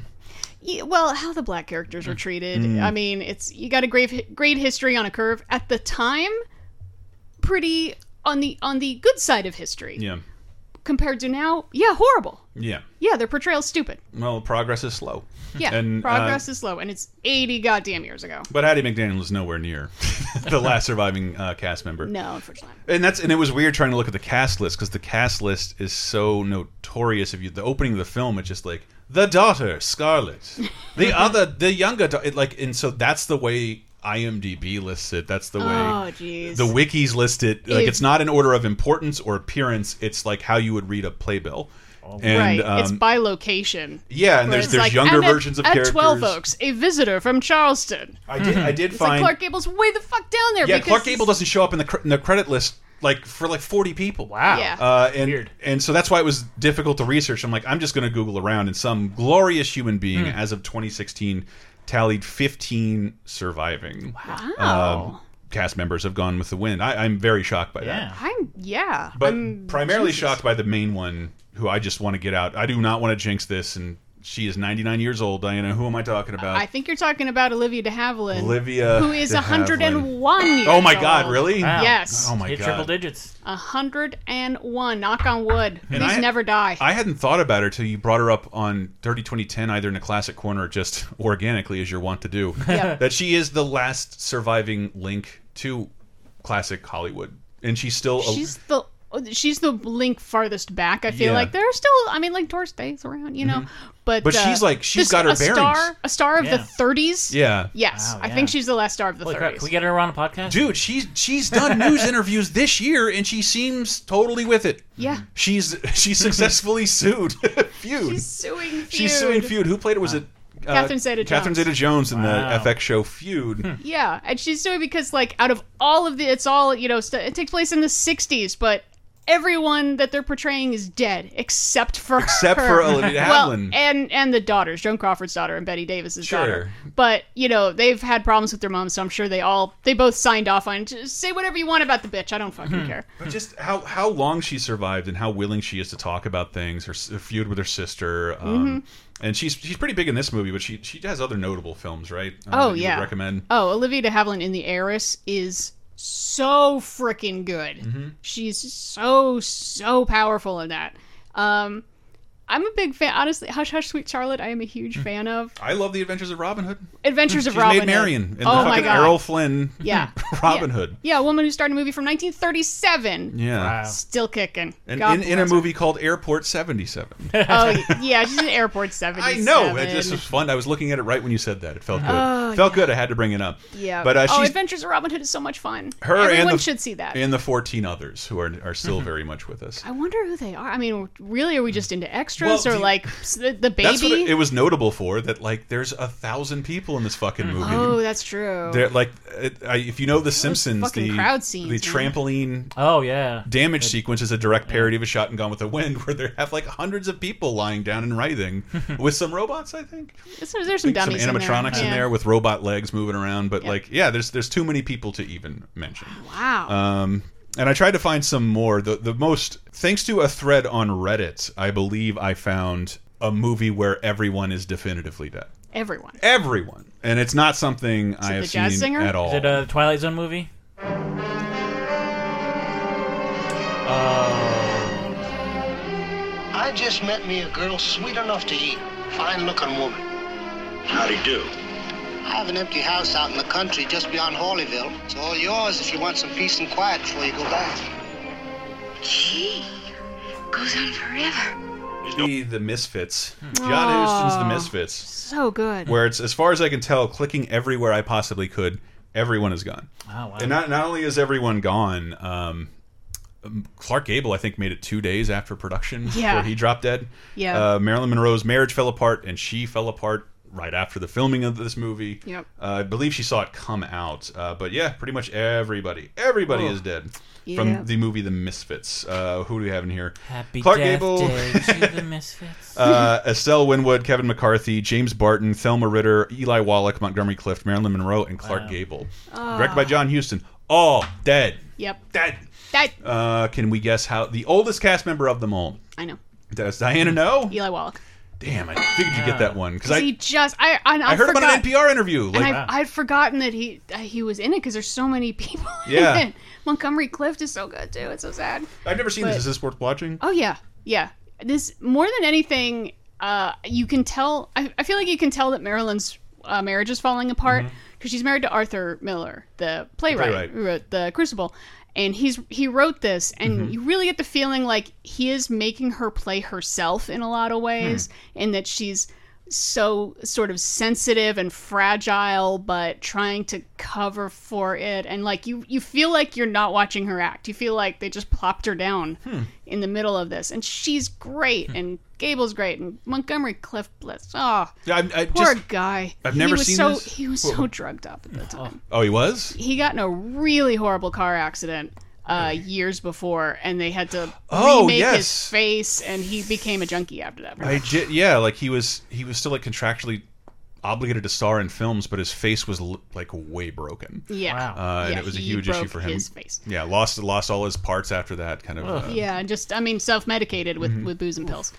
Speaker 3: Yeah, well, how the black characters were treated.
Speaker 1: Mm.
Speaker 3: I mean, it's you got a great great history on a curve at the time, pretty on the on the good side of history
Speaker 1: Yeah,
Speaker 3: compared to now. Yeah, horrible.
Speaker 1: yeah.
Speaker 3: Yeah, their portrayal's stupid.
Speaker 1: Well, progress is slow.
Speaker 3: Yeah,
Speaker 1: and,
Speaker 3: progress
Speaker 1: Uh,
Speaker 3: is slow, and it's eighty goddamn years ago.
Speaker 1: but Hattie McDaniel is nowhere near the last surviving uh, cast member.
Speaker 3: No, unfortunately.
Speaker 1: And that's and it was weird trying to look at the cast list because the cast list is so notorious. If you the opening of the film, it's just like the daughter Scarlett, the other the younger da- it, like, and so that's the way IMDb lists it. That's the way
Speaker 3: Oh, jeez.
Speaker 1: the wikis list it. Like
Speaker 3: If-
Speaker 1: it's not in order of importance or appearance. It's like how you would read a playbill. And,
Speaker 3: right, it's
Speaker 1: um,
Speaker 3: by location.
Speaker 1: Yeah, and
Speaker 3: Where
Speaker 1: there's-
Speaker 3: it's
Speaker 1: there's
Speaker 3: like,
Speaker 1: younger
Speaker 3: I'm at-
Speaker 1: versions of
Speaker 3: at
Speaker 1: characters.
Speaker 3: Twelve Oaks, a visitor from Charleston.
Speaker 1: I did- I did
Speaker 3: it's
Speaker 1: find-
Speaker 3: like Clark Gable's way the fuck down there.
Speaker 1: yeah,
Speaker 3: because
Speaker 1: Clark Gable doesn't show up in the cr in the credit list like for like 40 people.
Speaker 3: Wow. Yeah.
Speaker 1: Uh, and and so that's why it was difficult to research. I'm like I'm just going to Google around and some glorious human being
Speaker 3: Hmm.
Speaker 1: as of 2016 tallied 15 surviving.
Speaker 3: Wow.
Speaker 1: um, cast members have gone with the wind. I, I'm very shocked by that.
Speaker 3: I'm yeah,
Speaker 1: But uh,
Speaker 3: I'm-
Speaker 1: primarily
Speaker 3: Jesus.
Speaker 1: shocked by the main one who I just want to get out. I do not want to jinx this and she is 99 years old. Diana, who am I talking about?
Speaker 3: I think you're talking about Olivia De Havilland,
Speaker 1: Olivia
Speaker 3: who is
Speaker 1: de
Speaker 3: 101 years
Speaker 1: Oh my
Speaker 3: old.
Speaker 1: god, really?
Speaker 3: Yes,
Speaker 1: Oh my
Speaker 5: Hit
Speaker 1: god.
Speaker 5: triple digits.
Speaker 3: 101. Knock on wood.
Speaker 1: And
Speaker 3: Please
Speaker 1: I-
Speaker 3: never die.
Speaker 1: I hadn't thought about her till you brought her up on 30 2010 either in a classic corner or just organically as you're wont to do
Speaker 3: Yeah.
Speaker 1: that she is the last surviving link to classic Hollywood and she's still a-
Speaker 3: she's the she's the link farthest back. I feel
Speaker 1: Oh. Yeah.
Speaker 3: like there are still. I mean, like Doris Day's around, you know.
Speaker 1: Mhm.
Speaker 3: But
Speaker 1: But
Speaker 3: uh,
Speaker 1: she's like- she's
Speaker 3: this-
Speaker 1: got her
Speaker 3: a
Speaker 1: bearings.
Speaker 3: Star, a star of the
Speaker 1: Yeah.
Speaker 3: 30s.
Speaker 1: Yeah.
Speaker 3: Yes,
Speaker 1: Wow,
Speaker 3: I
Speaker 1: yeah.
Speaker 3: think she's the last star of the 30s.
Speaker 1: can we
Speaker 5: get her on a podcast?
Speaker 1: Dude, she's she's done news interviews this year and she seems totally with it.
Speaker 3: Yeah.
Speaker 1: She's she successfully sued Feud. She's
Speaker 3: suing Feud.
Speaker 1: She's suing Feud. Who played it? Was it uh,
Speaker 3: Catherine Zeta-Jones.
Speaker 1: Catherine Zeta-Jones in
Speaker 5: Wow.
Speaker 1: the FX show Feud.
Speaker 3: Yeah, and she's suing because like out of all of the, it's all you know. St- it takes place in the 60s, but. Everyone that they're portraying is dead except for
Speaker 1: Except
Speaker 3: her.
Speaker 1: for Olivia de
Speaker 3: well,
Speaker 1: Havilland.
Speaker 3: and and the daughters, Joan Crawford's daughter and Betty Davis's daughter.
Speaker 1: Sure.
Speaker 3: But you know they've had problems with their moms, so I'm sure they all they both signed off on just say whatever you want about the bitch. I don't fucking care.
Speaker 1: But just how how long she survived and how willing she is to talk about things. Her, s- her feud with her sister, um,
Speaker 3: Mhm.
Speaker 1: and she's she's pretty big in this movie, but she she has other notable films, right? Uh, that
Speaker 3: oh
Speaker 1: you would
Speaker 3: yeah,
Speaker 1: recommend.
Speaker 3: Oh, Olivia De Havilland in The Heiress is so freaking good.
Speaker 1: Mm-hmm.
Speaker 3: She's so so powerful in that. Um, I'm a big fan. Honestly, Hush Hush Sweet Charlotte, I am a huge fan of.
Speaker 1: Mm. I love the Adventures of Robin Hood.
Speaker 3: Adventures of
Speaker 1: She's
Speaker 3: Robin
Speaker 1: made
Speaker 3: Hood.
Speaker 1: Marion and
Speaker 3: Oh
Speaker 1: the
Speaker 3: my
Speaker 1: fucking
Speaker 3: God.
Speaker 1: Errol Flynn.
Speaker 3: Yeah.
Speaker 1: Robin Hood.
Speaker 3: Yeah, a woman who started a movie from 1937.
Speaker 1: Yeah. Wow.
Speaker 3: Still kicking.
Speaker 1: And
Speaker 3: God
Speaker 1: in, in a
Speaker 3: bless her.
Speaker 1: movie called Airport 77.
Speaker 3: oh yeah, she's in Airport 77.
Speaker 1: I know. It, this was fun. I was looking at it right when you said that. It felt good.
Speaker 3: Oh,
Speaker 1: felt good. I had to bring it up.
Speaker 3: Yeah.
Speaker 1: But uh,
Speaker 3: oh,
Speaker 1: she's
Speaker 3: Adventures of Robin Hood is so much fun.
Speaker 1: her
Speaker 3: Everyone
Speaker 1: and the,
Speaker 3: should see that. Mm-hmm.
Speaker 1: And the 14 others who are, are still very much with us.
Speaker 3: I wonder who they are. I mean, really, are we just into X extras
Speaker 5: Well,
Speaker 3: or
Speaker 5: do you-
Speaker 3: like s- the the baby?
Speaker 5: That's what it, it was notable for. That like there's a thousand people in this fucking movie.
Speaker 3: oh, that's true.
Speaker 5: They're like, it, I, if you know The Simpsons,
Speaker 3: fucking
Speaker 5: the
Speaker 3: crowd scenes,
Speaker 5: the
Speaker 3: man.
Speaker 5: trampoline. Oh yeah, damage sequence is a direct parody of a shot and gone with the wind, where they have like hundreds of people lying down and writhing with some robots. I think
Speaker 3: There's, there's some
Speaker 5: some
Speaker 3: dummies,
Speaker 5: animatronics in there,
Speaker 3: Yeah.
Speaker 5: with robot legs moving around. But like, yeah, there's there's too many people to even mention.
Speaker 3: Wow.
Speaker 5: Um, and I tried to find some more. The the most thanks to a thread on Reddit, I believe I found a movie where everyone is definitively dead.
Speaker 3: Everyone.
Speaker 5: Everyone, and it's not something I
Speaker 3: it
Speaker 5: have
Speaker 3: the jazz
Speaker 5: seen
Speaker 3: singer?
Speaker 5: at all.
Speaker 2: Is it a Twilight Zone movie? Oh,
Speaker 12: I just met me a girl sweet enough to eat. Fine looking woman.
Speaker 26: How'd he do?
Speaker 12: I have an empty house out in the country just beyond Hawleyville. It's all yours if you want some peace and quiet before you go back. Gee, goes on forever.
Speaker 5: The, the Misfits.
Speaker 2: Hmm.
Speaker 5: John Huston's The
Speaker 3: Aw.
Speaker 5: Misfits.
Speaker 3: So good.
Speaker 5: Where it's, as far as I can tell, clicking everywhere I possibly could, everyone is gone.
Speaker 2: Oh, wow.
Speaker 5: And not, not only is everyone gone, um, um, Clark Gable, I think, made it two days after production
Speaker 2: Yeah.
Speaker 5: before he dropped dead.
Speaker 2: Yeah.
Speaker 5: Uh, Marilyn Monroe's marriage fell apart, and she fell apart right after the filming of this movie.
Speaker 3: Yep.
Speaker 5: Uh, I believe she saw it come out. Uh, but yeah, pretty much everybody. Everybody
Speaker 2: Oh.
Speaker 5: is dead.
Speaker 2: Yeah.
Speaker 5: From the movie The Misfits. Uh, who do we have in here?
Speaker 2: Happy
Speaker 5: Clark
Speaker 2: Death
Speaker 5: Gable.
Speaker 2: Day to the Misfits.
Speaker 5: uh, Estelle Winwood, Kevin McCarthy, James Barton, Thelma Ritter, Eli Wallach, Montgomery Clift, Marilyn Monroe, and Clark Gable.
Speaker 3: Ah.
Speaker 5: Directed by John Huston. All dead.
Speaker 3: Yep.
Speaker 5: That.
Speaker 3: That.
Speaker 5: Uh, can we guess how the oldest cast member of them all?
Speaker 3: I know.
Speaker 5: Does Diana know?
Speaker 3: Eli Wallach.
Speaker 5: Damn, I figured you'd get that one because
Speaker 3: Because he
Speaker 5: I,
Speaker 3: just I I, I,
Speaker 5: I heard
Speaker 3: forgot,
Speaker 5: him on an NPR interview. Like,
Speaker 3: and I, I'd forgotten that he that he was in it because there's so many people. in
Speaker 5: Yeah.
Speaker 3: it. Montgomery Clift is so good too. It's so sad.
Speaker 5: I've never seen
Speaker 3: But-
Speaker 5: this. Is this worth watching?
Speaker 3: Oh yeah, yeah. This more than anything, uh, you can tell. I, I feel like you can tell that Marilyn's uh, marriage is falling apart because she's married to Arthur Miller, the playwright,
Speaker 27: Playwright.
Speaker 3: who wrote The Crucible, and he's he wrote this, and
Speaker 5: Mm-hmm.
Speaker 3: you really get the feeling like he is making her play herself in a lot of ways,
Speaker 5: Hmm.
Speaker 3: and that she's so sort of sensitive and fragile but trying to cover for it and like you you feel like you're not watching her act you feel like they just plopped her down
Speaker 5: Hmm.
Speaker 3: in the middle of this, and she's great, and Gable's great, and Montgomery Cliff Bliss. Oh,
Speaker 5: Yeah, I- I
Speaker 3: poor
Speaker 5: just-
Speaker 3: guy.
Speaker 5: I've
Speaker 3: He
Speaker 5: never
Speaker 3: was
Speaker 5: seen
Speaker 3: so,
Speaker 5: this.
Speaker 3: He was
Speaker 5: Whoa.
Speaker 3: so drugged up at the time.
Speaker 5: Oh, he was.
Speaker 3: He got in a really horrible car accident uh, years before, and they had to
Speaker 5: Oh,
Speaker 3: remake his
Speaker 5: yes.
Speaker 3: face, and he became a junkie after that.
Speaker 5: I j- yeah, like he was he was still like contractually obligated to star in films, but his face was l- like way broken.
Speaker 3: Yeah. Wow.
Speaker 5: uh, and
Speaker 3: Yeah,
Speaker 5: it was a
Speaker 3: he
Speaker 5: huge
Speaker 3: broke
Speaker 5: issue for him.
Speaker 3: his face.
Speaker 5: Yeah, lost lost all his parts after that kind of. uh,
Speaker 3: yeah, and just I mean, self-medicated with
Speaker 5: Mm-hmm.
Speaker 3: with booze and pills.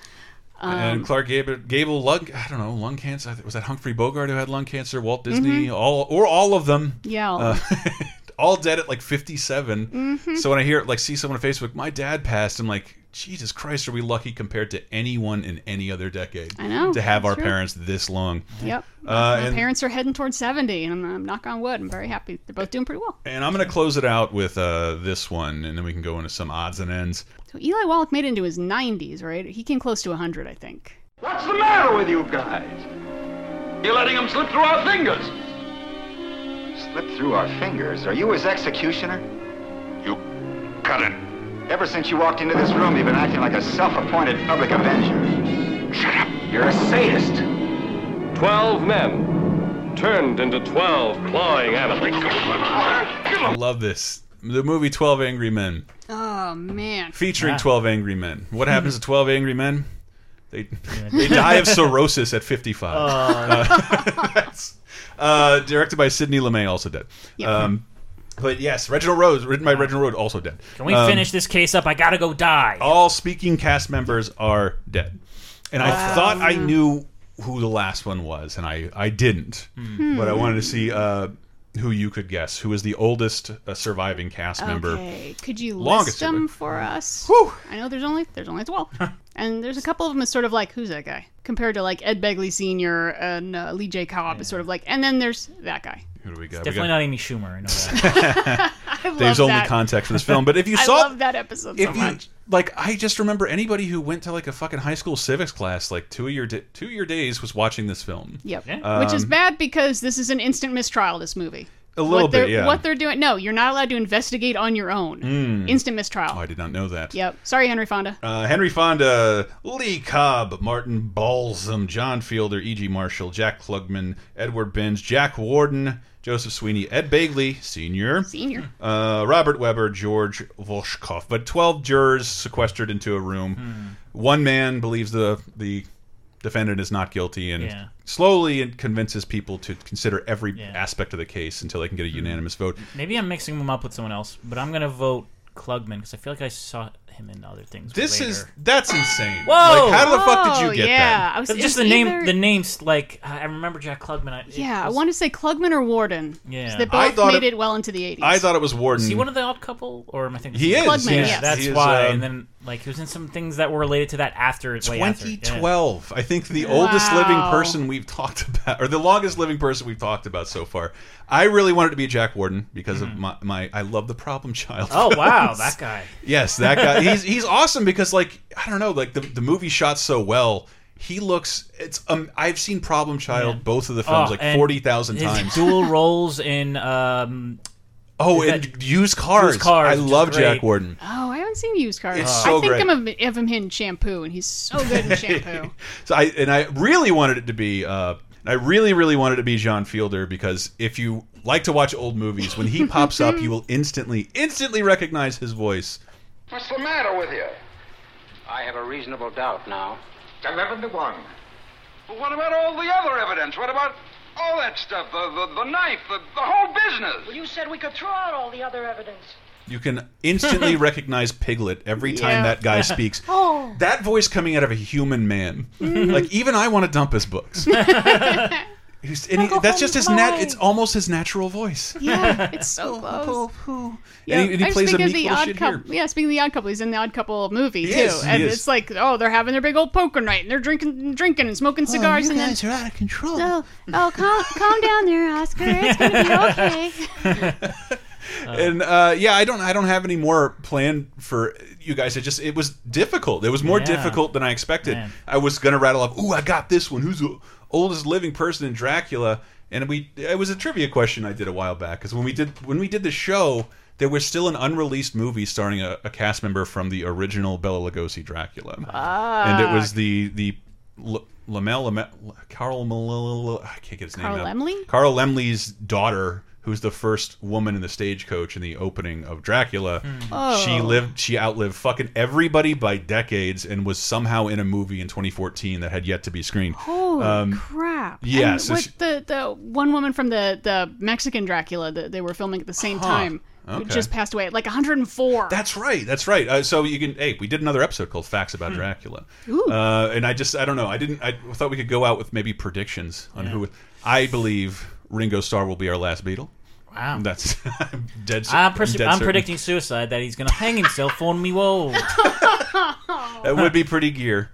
Speaker 3: Um,
Speaker 5: and Clark Gable, Gable lung I don't know lung cancer I think- was that Humphrey Bogart who had lung cancer Walt Disney
Speaker 3: Mhm.
Speaker 5: all or all of them
Speaker 3: Yeah, all
Speaker 5: Uh, all dead at like 57
Speaker 3: Mhm.
Speaker 5: so when I hear like see someone on Facebook my dad passed I'm like Jesus Christ are we lucky compared to anyone in any other decade
Speaker 3: I know,
Speaker 5: to have
Speaker 3: that's
Speaker 5: our
Speaker 3: true.
Speaker 5: parents this long
Speaker 3: Yep.
Speaker 5: uh,
Speaker 3: My
Speaker 5: and,
Speaker 3: parents are heading towards 70, and I'm, I'm knock on wood. I'm very happy. They're both doing pretty well.
Speaker 5: and I'm gonna close it out with uh, this one and then we can go into some odds and ends
Speaker 3: So Eli Wallach made it into his 90s, right? He came close to 100, I think.
Speaker 28: What's the matter with you guys? You're letting them slip through our fingers.
Speaker 29: Slip through our fingers. Are you his executioner? You cut it. Ever since you walked into this room, you've been acting like a self-appointed public avenger. Shut up. You're a sadist.
Speaker 13: Twelve men turned into twelve clawing animals.
Speaker 5: I love this the movie 12 Angry Men
Speaker 3: Oh, man.
Speaker 2: Ah.
Speaker 5: featuring 12 angry men. What happens to 12 angry men? They they die of cirrhosis at 55.
Speaker 2: Oh.
Speaker 5: Uh, that's- uh, directed by Sidney LeMay, also dead. Um, but yes, Reginald Rose, written by Reginald Rose, also dead.
Speaker 2: Can we
Speaker 5: Um, Oh,
Speaker 2: finish this case up? I gotta go die.
Speaker 5: All speaking cast members are dead. And I
Speaker 2: Wow.
Speaker 5: thought I knew who the last one was, and I, I didn't.
Speaker 2: Hmm.
Speaker 5: But I wanted to see uh, who you could guess. Who is the oldest uh, surviving cast member?
Speaker 3: Okay. Could you
Speaker 5: Longest
Speaker 3: list them
Speaker 5: surviving.
Speaker 3: for us? I know there's only there's only 12. and there's a couple of them that's sort of like, who's that guy? Compared to like Ed Begley Sr. and uh, Lee J. Cobb is sort of like, and then there's that guy.
Speaker 5: Who do we got?
Speaker 2: It's
Speaker 5: We
Speaker 2: definitely
Speaker 5: got-
Speaker 2: not Amy Schumer. I know that.
Speaker 3: I love
Speaker 5: Dave's only
Speaker 3: that.
Speaker 5: contact for this film. But if you
Speaker 3: I
Speaker 5: saw
Speaker 3: love that episode so
Speaker 5: if you,
Speaker 3: much.
Speaker 5: like I just remember anybody who went to like a fucking high school civics class like two of your da- two of your days was watching this film.
Speaker 3: Yep.
Speaker 5: Um,
Speaker 3: Which is bad because this is an instant mistrial, this movie.
Speaker 5: A little
Speaker 3: what they're,
Speaker 5: bit, yeah.
Speaker 3: What they're doing? No, you're not allowed to investigate on your own.
Speaker 5: Mm.
Speaker 3: Instant mistrial.
Speaker 5: Oh, I did not know that.
Speaker 3: Yep. Sorry, Henry Fonda.
Speaker 5: Uh, Henry Fonda, Lee Cobb, Martin Balsam, John Fielder, E.G. Marshall, Jack Klugman, Edward Benz, Jack Warden, Joseph Sweeney, Ed Bagley, Sr.,
Speaker 3: Senior.
Speaker 5: uh, Robert Weber, George Volshkov. But 12 jurors sequestered into a room.
Speaker 2: Hmm.
Speaker 5: One man believes the, the defendant is not guilty and
Speaker 2: Yeah.
Speaker 5: slowly it convinces people to consider every
Speaker 2: Yeah. Hmm.
Speaker 5: aspect of the case until they can get a unanimous vote.
Speaker 2: Maybe I'm mixing them up with someone else, but I'm gonna vote Klugman because I feel like I saw him in other things.
Speaker 5: This
Speaker 2: later.
Speaker 5: is that's insane.
Speaker 2: Whoa!
Speaker 5: Like, how the fuck did you get that?
Speaker 3: Oh, I was- it was
Speaker 2: just the name.
Speaker 3: either-
Speaker 2: The names like I remember Jack Klugman. I, it
Speaker 3: Yeah, I
Speaker 2: was-
Speaker 3: want to say Klugman or Warden. 'cause
Speaker 2: Yeah.
Speaker 3: They
Speaker 5: I
Speaker 3: both
Speaker 5: thought
Speaker 3: made
Speaker 5: it-
Speaker 3: it, well into the 80s.
Speaker 5: I thought it was Warden.
Speaker 2: Is he one of the odd couple, or am I thinking?
Speaker 5: He is,
Speaker 3: Klugman,
Speaker 5: yes.
Speaker 3: yes.
Speaker 2: That's
Speaker 5: He is,
Speaker 2: why.
Speaker 5: um,
Speaker 2: and then like he was in some things that were related to that after. way after, yeah.
Speaker 5: 2012. I think the
Speaker 2: Wow.
Speaker 5: oldest living person we've talked about, or the longest living person we've talked about so far. I really wanted to be Jack Warden because
Speaker 2: Hmm.
Speaker 5: of my, my I love the problem child.
Speaker 2: Oh wow,
Speaker 5: films.
Speaker 2: that guy.
Speaker 5: Yes, that guy. He's he's awesome because like I don't know, like the the movie shot so well. He looks. It's um. I've seen Problem Child, both of the films,
Speaker 2: Oh,
Speaker 5: like
Speaker 2: and
Speaker 5: forty thousand
Speaker 2: his
Speaker 5: times.
Speaker 2: Dual roles in um,
Speaker 5: Oh,
Speaker 2: is
Speaker 5: and
Speaker 2: that-
Speaker 5: used cars.
Speaker 2: Used cars,
Speaker 5: I
Speaker 2: which is
Speaker 5: love Jack
Speaker 2: great.
Speaker 5: Warden.
Speaker 3: Oh, I haven't seen used cars.
Speaker 5: It's so
Speaker 3: I think
Speaker 5: great.
Speaker 3: I'm of, of him in shampoo, and he's so good in shampoo.
Speaker 5: So I and I really wanted it to be. Uh, I really, really wanted it to be John Fielder because if you like to watch old movies, when he pops up, you will instantly, instantly recognize his voice.
Speaker 13: What's the matter with you?
Speaker 4: I have a reasonable doubt now.
Speaker 13: Eleven to one. But what about all the other evidence? What about all that stuff? The, the, the knife, the, the whole business.
Speaker 4: Well, you said we could throw out all the other evidence.
Speaker 5: You can instantly recognize Piglet every time
Speaker 4: Yeah.
Speaker 5: that guy speaks.
Speaker 4: Oh.
Speaker 5: That voice coming out of a human man.
Speaker 4: Mhm.
Speaker 5: like even I want to dump his books. He's- and he-
Speaker 4: Uncle
Speaker 5: that's just his nat.
Speaker 4: Fly.
Speaker 5: It's almost his natural voice.
Speaker 3: Yeah, it's so close.
Speaker 5: Oh, And he- and he
Speaker 3: I was
Speaker 5: plays a
Speaker 3: thinking of
Speaker 5: meek
Speaker 3: the
Speaker 5: little
Speaker 3: odd
Speaker 5: shit
Speaker 3: couple. Yeah, speaking of the odd couple, he's in the odd couple movie
Speaker 5: He
Speaker 3: too,
Speaker 5: is, he
Speaker 3: and
Speaker 5: is.
Speaker 3: it's like, oh, they're having their big old poker night, and they're drinking, drinking, and
Speaker 5: Oh,
Speaker 3: smoking cigars, and then
Speaker 5: out of control.
Speaker 3: Oh, oh, calm, calm down there, Oscar. It's gonna be okay.
Speaker 5: and uh, yeah, I don't I don't have any more plan for you guys. It just it was difficult. It was more
Speaker 2: Yeah.
Speaker 5: difficult than I expected.
Speaker 2: Man.
Speaker 5: I was gonna rattle up. Ooh, I got this one. Who's the oldest living person in Dracula? And we it was a trivia question I did a while back because when we did when we did the show. There was still an unreleased movie starring a, a cast member from the original Bela Lugosi Dracula, and it was the the L- Lamel Lamel Carl Malil, I can't get his
Speaker 3: Carl
Speaker 5: name. out.
Speaker 3: Lemley?
Speaker 5: Carl Lemley's daughter, who's the first woman in the stagecoach in the opening of Dracula.
Speaker 3: Oh.
Speaker 5: She lived. She outlived fucking everybody by decades, and was somehow in a movie in 2014 that had yet to be screened.
Speaker 3: Holy
Speaker 5: Um,
Speaker 3: crap!
Speaker 5: yeah,
Speaker 3: and
Speaker 5: so
Speaker 3: with
Speaker 5: she-
Speaker 3: the the one woman from the the Mexican Dracula that they were filming at the same
Speaker 5: Huh.
Speaker 3: time, who
Speaker 5: Okay.
Speaker 3: just passed away at like 104.
Speaker 5: That's right. That's right. Uh, so you can. Hey, we did another episode called "Facts About Dracula,"
Speaker 3: Ooh.
Speaker 5: Uh, and I just I don't know. I didn't. I thought we could go out with maybe predictions on who. I believe Ringo Starr will be our last Beatle.
Speaker 2: Wow.
Speaker 5: that's I'm dead. cer-
Speaker 2: I'm, pres-
Speaker 5: dead
Speaker 2: I'm
Speaker 5: certain.
Speaker 2: predicting suicide that he's gonna hang himself on me. Whoa.
Speaker 5: That would be pretty gear.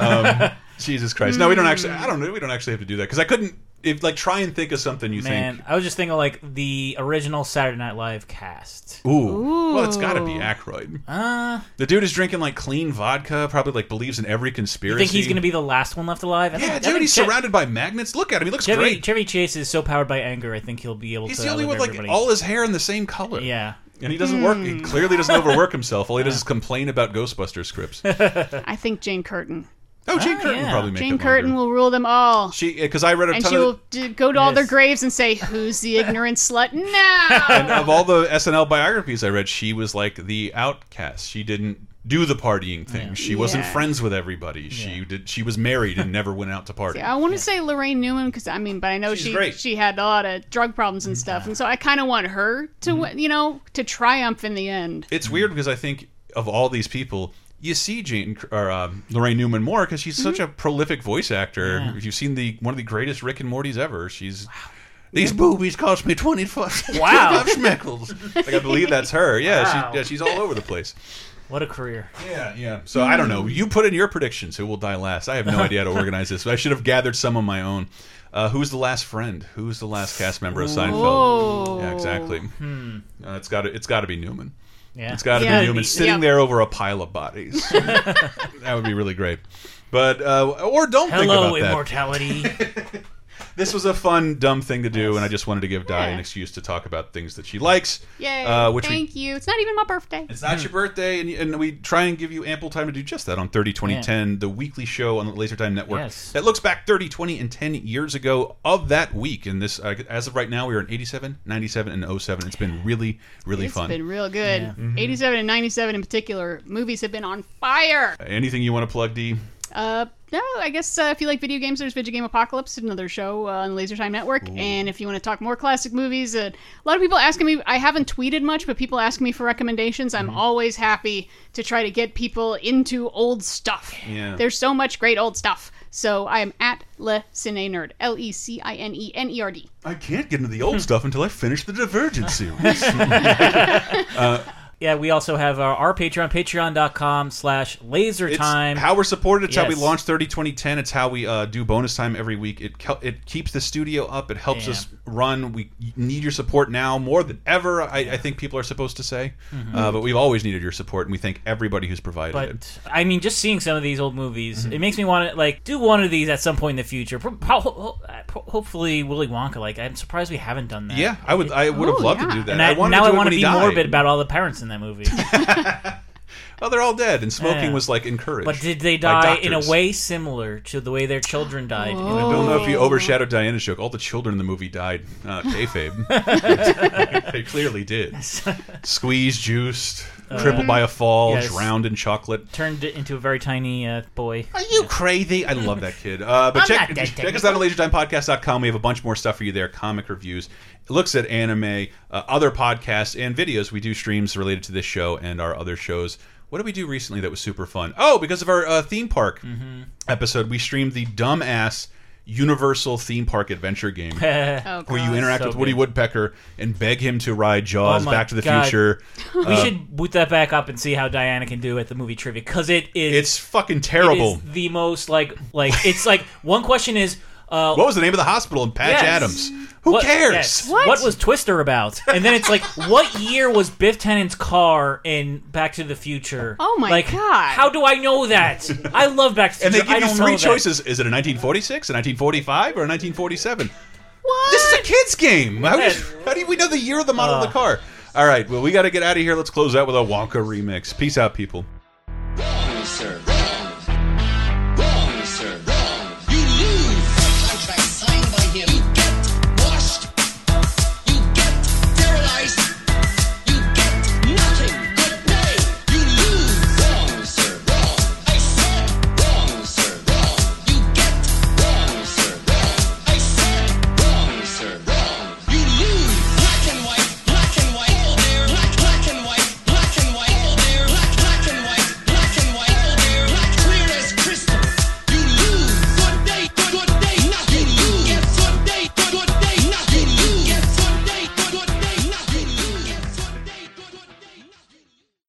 Speaker 5: Um, Jesus Christ! No, we don't actually. I don't know. We don't actually have to do that because I couldn't. If like try and think of something you
Speaker 2: Man, I was just thinking like the original Saturday Night Live cast.
Speaker 5: think. Ooh. Well, it's got to be Aykroyd.
Speaker 2: Uh,
Speaker 5: The dude is drinking like clean vodka. Probably like believes in every conspiracy.
Speaker 2: you think he's gonna be the last one left alive? I
Speaker 5: Yeah,
Speaker 2: think- I
Speaker 5: dude.
Speaker 2: think
Speaker 5: He's
Speaker 2: Che-
Speaker 5: surrounded by magnets. Look at him. He looks
Speaker 2: Chevy,
Speaker 5: great.
Speaker 2: Chevy Chase is so powered by anger. I think he'll be able
Speaker 5: He's
Speaker 2: to.
Speaker 5: the only one
Speaker 2: outlive
Speaker 5: with like
Speaker 2: everybody.
Speaker 5: all his hair in the same color.
Speaker 2: Yeah. Hmm.
Speaker 5: And he doesn't work. He clearly doesn't overwork himself. All he does is complain about Ghostbuster scripts.
Speaker 3: I think Jane Curtin.
Speaker 5: Oh, Jane Curtin will probably make
Speaker 3: Jane
Speaker 5: it
Speaker 3: Curtin will rule them all.
Speaker 5: She because I read a
Speaker 3: and
Speaker 5: ton
Speaker 3: she
Speaker 5: of,
Speaker 3: will d- go to all their graves and say, "Who's the ignorant slut now?"
Speaker 5: and of all the SNL biographies I read, she was like the outcast. She didn't do the partying thing. She wasn't
Speaker 3: Yeah.
Speaker 5: friends with everybody. She did. She was married and never went out to party.
Speaker 3: See, I want to say Lorraine Newman because I mean, but I know
Speaker 5: She's
Speaker 3: she
Speaker 5: great. Mm-hmm.
Speaker 3: she had a lot of drug problems and stuff, and so I kind of want her to wi- you know to triumph in the end.
Speaker 5: It's weird because I think of all these people, you see Jane or um, Lorraine Newman more because she's
Speaker 3: Mm-hmm.
Speaker 5: such a prolific voice actor.
Speaker 2: Yeah.
Speaker 5: If You've seen the one of the greatest Rick and Morty's ever. She's these boobies cost me twenty five
Speaker 2: Wow.
Speaker 5: schmeckles. Like I believe that's her. Yeah,
Speaker 2: Wow.
Speaker 5: she, yeah, she's all over the place.
Speaker 2: What a career.
Speaker 5: Yeah, yeah. So I don't know. You put in your predictions. Who will die last? I have no idea how to organize this. I should have gathered some of my own. Uh, who's the last friend? Who's the last cast member of Seinfeld?
Speaker 2: Ooh.
Speaker 5: Yeah, exactly.
Speaker 2: Hmm.
Speaker 5: Uh, it's got to. It's got to be Newman.
Speaker 2: Yeah.
Speaker 5: It's got to
Speaker 2: Yeah,
Speaker 5: be
Speaker 2: it'd
Speaker 5: Newman
Speaker 2: be-
Speaker 5: sitting
Speaker 2: yeah.
Speaker 5: there over a pile of bodies. that would be really great. But uh, or don't think
Speaker 2: Hello,
Speaker 5: about that.
Speaker 2: immortality.
Speaker 5: this was a fun, dumb thing to do, and I just wanted to give Di an excuse to talk about things that she likes.
Speaker 3: Yay!
Speaker 5: Uh, which we,
Speaker 3: Thank you. It's not even my birthday.
Speaker 5: it's not your birthday, and, and we try and give you ample time to do just that on 30, 20,
Speaker 3: Yeah.
Speaker 5: 10, the weekly show on the Laser Time Network
Speaker 2: Yes.
Speaker 5: that looks back 30, 20, and 10 years ago of that week. And this, uh, as of right now, we are in 87, 97, and 07. It's been really, really
Speaker 3: It's
Speaker 5: fun.
Speaker 3: been real good. 87 and 97 in particular, movies have been on fire.
Speaker 5: Anything you want to plug, D?
Speaker 3: Uh, no, I guess uh, if you like video games, there's Video Game Apocalypse, another show uh, on Laser Time Network. And if you want to talk more classic movies, uh, a lot of people asking me, I haven't tweeted much, but people ask me for recommendations.
Speaker 5: Mm-hmm.
Speaker 3: I'm always happy to try to get people into old stuff.
Speaker 5: Yeah.
Speaker 3: There's so much great old stuff. So I am at Le Cine Nerd, L E C I N E N E R D.
Speaker 5: I can't get into the
Speaker 3: Hmm.
Speaker 5: old stuff until I finish the Divergent series.
Speaker 2: yeah, we also have our, our Patreon, patreon.com slash
Speaker 5: It's
Speaker 2: lasertime.
Speaker 5: how we're supported. It's how we
Speaker 2: Yes.
Speaker 5: launch 30, 20, 10. It's how we uh, do bonus time every week. It ke- it keeps the studio up. It helps
Speaker 2: Yeah.
Speaker 5: us run. We need your support now more than ever. I, I think people are supposed to say,
Speaker 2: Mhm.
Speaker 5: uh, but we've always needed your support, and we thank everybody who's provided it.
Speaker 2: But I mean, just seeing some of these old
Speaker 5: Mm-hmm.
Speaker 2: movies, it makes me want to like do one of these at some point in the future. Pro- pro- ho- ho- uh, pro- Hopefully, Willy Wonka. Like, I'm surprised we haven't done that.
Speaker 5: Yeah, I would. I would have loved to do that.
Speaker 2: Oh, And I,
Speaker 5: wanted
Speaker 2: now
Speaker 5: to do
Speaker 2: I
Speaker 5: it
Speaker 2: want to
Speaker 5: when he
Speaker 2: be
Speaker 5: died.
Speaker 2: morbid about all the parents in that movie.
Speaker 5: Oh, they're all dead, and smoking
Speaker 2: Yeah.
Speaker 5: was like encouraged.
Speaker 2: But did they
Speaker 5: by
Speaker 2: die in a
Speaker 5: doctors.
Speaker 2: way similar to the way their children died? in the
Speaker 5: I don't know if
Speaker 2: movie?
Speaker 5: you overshadowed Diana's joke. All the children in the movie died. Uh, kayfabe. they clearly did. Squeezed, juiced,
Speaker 2: Uh,
Speaker 5: crippled by a fall,
Speaker 2: yes.
Speaker 5: drowned in chocolate.
Speaker 2: turned it into a very tiny uh, boy.
Speaker 5: Are you crazy? I love that kid. Uh, but
Speaker 2: I'm
Speaker 5: check,
Speaker 2: not that
Speaker 5: check us out on LaserTimePodcast.com. We have a bunch more stuff for you there. Comic reviews, looks at anime, uh, other podcasts, and videos. We do streams related to this show and our other shows. What did we do recently that was super fun? Oh, because of our uh, theme park
Speaker 2: Mm-hmm.
Speaker 5: episode, we streamed the dumbass Universal theme park adventure game,
Speaker 2: Oh,
Speaker 5: where you
Speaker 2: God.
Speaker 5: interact
Speaker 2: So
Speaker 5: with Woody
Speaker 2: good. Oh
Speaker 5: Woodpecker and beg him to ride Jaws,
Speaker 2: my
Speaker 5: Back to the
Speaker 2: God.
Speaker 5: Future.
Speaker 2: We
Speaker 5: Uh,
Speaker 2: should boot that back up and see how Diana can do at the movie trivia because it is
Speaker 5: It's fucking terrible.
Speaker 2: it is the most like like it's like one question is uh,
Speaker 5: What was the name of the hospital in
Speaker 2: Yes.
Speaker 5: Patch Adams? Who
Speaker 2: What-
Speaker 5: cares?
Speaker 2: yes. What? was Twister about? And then it's like, what year was Biff Tennant's car in Back to the Future?
Speaker 3: Oh my
Speaker 2: like,
Speaker 3: God.
Speaker 2: How do I know that? I love Back to the
Speaker 5: And they
Speaker 2: Future.
Speaker 5: give
Speaker 2: I
Speaker 5: you
Speaker 2: don't know
Speaker 5: three
Speaker 2: that.
Speaker 5: choices: is it a 1946, a 1945, or a 1947? What? This is a kids' game. How, how do
Speaker 2: Uh.
Speaker 5: we know the year of the model of the car? All right. Well, we got to get out of here. Let's close out with a Wonka remix. Peace out, people.